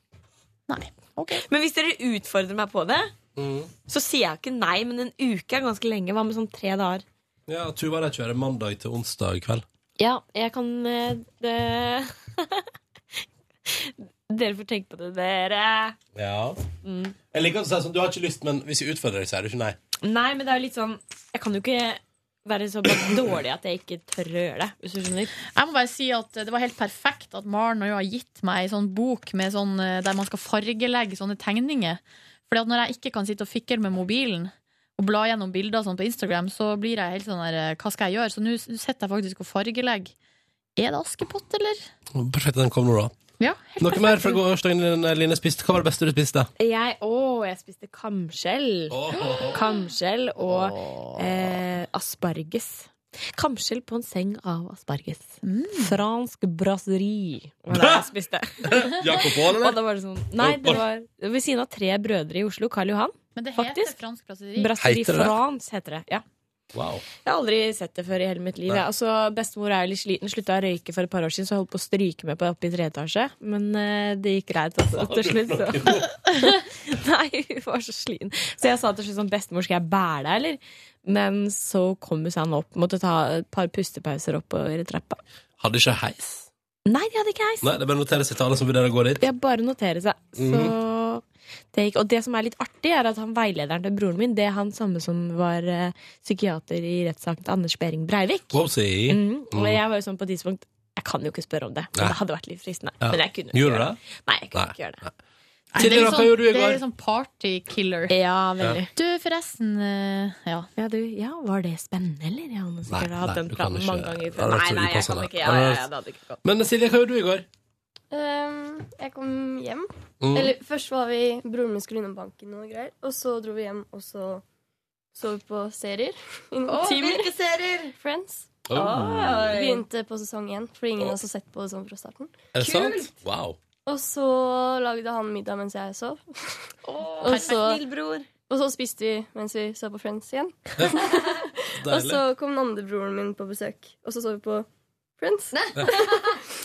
Speaker 3: Nei. Ok.
Speaker 5: Men hvis dere utfordrer meg på det, så sier jeg ikke nei. Men en uke er ganske lenge. Hva med sånn tre dager?
Speaker 2: Ja, Tuva de kjører mandag til onsdag kveld.
Speaker 5: Ja, jeg kan eh, det... Dere får tenke på det, dere.
Speaker 2: Ja. Jeg liker å si sånn, du har ikke lyst, men hvis jeg utfordrer deg, så er det ikke nei.
Speaker 5: Nei, men det er jo litt sånn Jeg kan jo ikke være så bare dårlig at jeg ikke tør å gjøre det. Hvis du skjønner
Speaker 3: Jeg må bare si at det var helt perfekt at Maren og jeg har gitt meg ei sånn bok med sånn, eh, der man skal fargelegge sånne tegninger. Fordi at når jeg ikke kan sitte og fikle med mobilen og bla gjennom bilder og sånn på Instagram, så blir jeg helt sånn der eh, Hva skal jeg gjøre? Så nå s- sitter jeg faktisk og fargelegger. Er det Askepott, eller?
Speaker 2: Perfekt, den kom nå, da.
Speaker 3: Ja, helt
Speaker 2: Noe mer fra gårsdagen din, eh, Line spiste? Hva var det beste du spiste?
Speaker 5: Jeg, Å, jeg spiste kamskjell. Kamskjell og eh, asparges. Kamskjell på en seng av asparges. Fransk brasserie Mm. var det jeg spiste.
Speaker 2: Jakob Aall,
Speaker 5: Og da var det sånn Nei, det var ved siden av tre brødre i Oslo. Karl Johan.
Speaker 3: Men det
Speaker 5: Faktisk.
Speaker 3: heter fransk brasserie.
Speaker 5: Brasserie
Speaker 2: Heter det det?
Speaker 5: France heter det. Ja.
Speaker 2: Wow.
Speaker 5: Jeg har aldri sett det før i hele mitt liv.
Speaker 2: Nei.
Speaker 5: jeg. Altså, Bestemor er jo litt sliten, slutta å røyke for et par år siden, så jeg holdt på å stryke med på oppe i tredje etasje. Men eh, det gikk greit altså, til slutt. Så. Nei, hun var så sliten. Så jeg sa til slutt sånn Bestemor, skal jeg bære deg, eller? Men så kom hun seg han opp. Måtte ta et par pustepauser oppover i trappa.
Speaker 2: Hadde ikke heis.
Speaker 5: Nei, de hadde ikke heis.
Speaker 2: Nei, det er bare å notere seg til alle som vurderer å gå dit.
Speaker 5: Det er bare å notere seg. Så det gikk. Og det som er litt artig, er at han veilederen til broren min, det er han samme som var eh, psykiater i rettssaken til Anders Behring Breivik.
Speaker 2: Wowsy.
Speaker 5: Mm. Og jeg var jo sånn på et tidspunkt Jeg kan jo ikke spørre om det. Men
Speaker 2: Nei.
Speaker 5: det hadde vært litt fristende.
Speaker 2: Ja.
Speaker 5: Men jeg kunne jo ikke
Speaker 2: Gjorde du
Speaker 5: gjøre
Speaker 2: det?
Speaker 5: det. Nei, jeg kunne
Speaker 2: Nei.
Speaker 5: ikke gjøre det.
Speaker 3: Nei, det er
Speaker 2: Silje,
Speaker 3: litt
Speaker 2: da, hva
Speaker 3: sånn-
Speaker 2: gjorde du i
Speaker 3: Det er
Speaker 2: går?
Speaker 3: litt sånn partykiller.
Speaker 5: Ja, veldig.
Speaker 3: Du, forresten eh, Ja.
Speaker 5: Ja, du, ja, var det spennende, eller? Jeg har
Speaker 2: Nei,
Speaker 5: sikkert hatt
Speaker 2: nei,
Speaker 5: den
Speaker 2: du kan
Speaker 5: planen
Speaker 2: ikke-
Speaker 5: mange ganger
Speaker 2: det hadde
Speaker 5: før.
Speaker 2: vært
Speaker 5: Nei,
Speaker 2: så
Speaker 5: nei, jeg kan
Speaker 2: upassende.
Speaker 5: ikke. Ja, ja, ja, det hadde ikke gått.
Speaker 2: Men Silje, hva gjorde du i går?
Speaker 8: Ehm, jeg kom hjem.
Speaker 2: Mm.
Speaker 8: Eller først var vi Broren min skulle innom banken og noe greier. Og så dro vi hjem, og så så vi på serier. I noen timer. Friends. Begynte på sesong én, fordi ingen har så sett på det sånn fra starten.
Speaker 2: Er det sant? Wow.
Speaker 8: Og så lagde han middag mens jeg sov. og,
Speaker 3: perfekt.
Speaker 8: så,
Speaker 5: Snill bror.
Speaker 8: og så spiste vi mens vi så på Friends igjen. Og
Speaker 2: Deilig.
Speaker 8: så kom den andre broren min på besøk, og så så vi på Friends.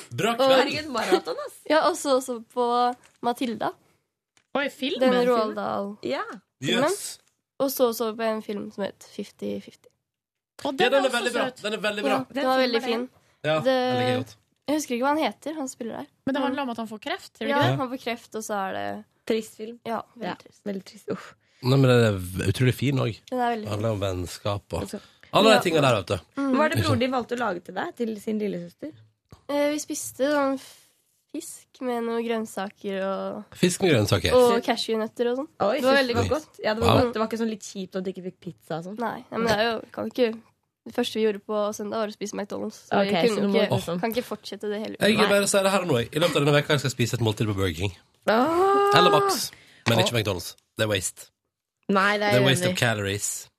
Speaker 2: Bra kveld.
Speaker 5: Herregud, maraton, ass.
Speaker 8: Ja, og så så vi på Matilda.
Speaker 3: Oi, filmen!
Speaker 8: Den Roald Dahl.
Speaker 5: Ja.
Speaker 2: Yes.
Speaker 8: Og så så vi på en film som het 50-50.
Speaker 3: Og
Speaker 2: Ja,
Speaker 3: den
Speaker 2: den
Speaker 3: er
Speaker 2: er
Speaker 3: også
Speaker 2: veldig bra.
Speaker 3: søt.
Speaker 2: Den er veldig bra.
Speaker 8: Ja, den
Speaker 5: Den
Speaker 8: var
Speaker 5: filmen
Speaker 8: veldig
Speaker 5: er
Speaker 8: fin.
Speaker 2: Ja,
Speaker 8: Det-
Speaker 2: den liker jeg godt.
Speaker 8: Jeg husker ikke hva han heter, han spiller der.
Speaker 3: Men det handler om at han får kreft. Tror du
Speaker 8: Ja,
Speaker 3: ikke det?
Speaker 8: Han får kreft, og så er det
Speaker 5: Trist film.
Speaker 8: Ja, veldig
Speaker 5: Ja.
Speaker 8: trist.
Speaker 5: Veldig trist. Uff.
Speaker 2: Nei, men den er v- utrolig fin òg.
Speaker 8: Den er veldig fin.
Speaker 2: Handler om vennskap og
Speaker 8: Altså,
Speaker 2: alle de tinga der, vet du.
Speaker 5: Hva er det broren din valgte å lage til deg? Til sin lillesøster?
Speaker 8: Eh, Vi spiste sånn fisk med noen grønnsaker og,
Speaker 2: Fisk med grønnsaker.
Speaker 8: og cashewnøtter og sånn.
Speaker 5: Oi,
Speaker 8: Det var
Speaker 5: fy
Speaker 8: veldig
Speaker 5: faen,
Speaker 8: godt.
Speaker 5: Ja, det var
Speaker 2: Wow.
Speaker 5: godt. Det var ikke sånn litt kjipt at du ikke fikk pizza og sånn.
Speaker 8: Nei, ja, men det er jo, kan ikke Det første vi gjorde på søndag, var å spise McDonald's. Så
Speaker 5: Ok,
Speaker 8: vi
Speaker 5: så
Speaker 8: kunne
Speaker 5: du
Speaker 8: jo
Speaker 5: må
Speaker 8: ikke,
Speaker 5: liksom-
Speaker 8: kan ikke fortsette det hele uka.
Speaker 2: Jeg bare sier det her og nå. jeg. I løpet av denne veka skal jeg spise et måltid på Burger King. Eller Max. Men ikke McDonald's. Det er waste.
Speaker 5: Nei, det
Speaker 2: Det
Speaker 5: er
Speaker 2: er
Speaker 5: jeg
Speaker 2: waste of
Speaker 5: uenig i.
Speaker 2: calories.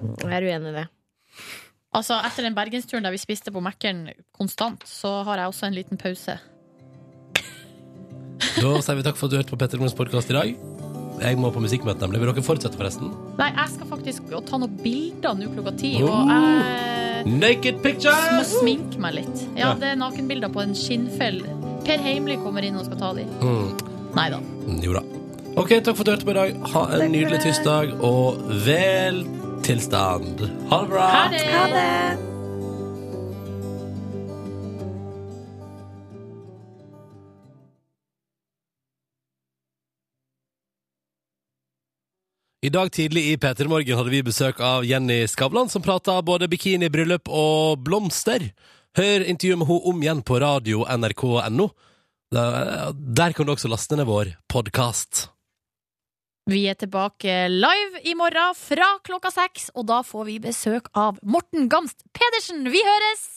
Speaker 5: Jeg er uenig i det.
Speaker 3: Altså, etter den bergensturen der vi spiste på Mækkern konstant, så har jeg også en liten pause.
Speaker 2: Da sier vi takk for at du hørte på Petter Morgens podkast i dag. Jeg må på musikkmøte, nemlig. Vil dere fortsette, forresten?
Speaker 3: Nei, jeg skal faktisk å ta noen bilder nå klokka ti,
Speaker 2: Oh.
Speaker 3: og jeg
Speaker 2: Naked
Speaker 3: må
Speaker 2: pictures!
Speaker 3: sminke meg litt. Ja,
Speaker 2: Ja.
Speaker 3: det er nakenbilder på en skinnfell. Per Heimly kommer inn og skal ta de.
Speaker 2: Mm.
Speaker 3: Nei da.
Speaker 2: Jo da. Ok, takk for at du hørte på i dag. Ha en nydelig tirsdag, og vel tilstand. Ha det bra!
Speaker 3: Ha det!
Speaker 2: I dag tidlig i P3 Morgen hadde vi besøk av Jenny Skavlan, som prata både bikini, bryllup og blomster. Hør intervjuet med henne om igjen på radio nrk.no. Der eh, der kan du også laste ned vår podkast.
Speaker 3: Vi er tilbake live i morgen fra klokka seks, og da får vi besøk av Morten Gamst Pedersen. Vi høres!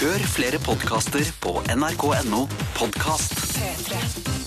Speaker 11: Hør flere podkaster på nrk.no podkast.
Speaker 7: P3.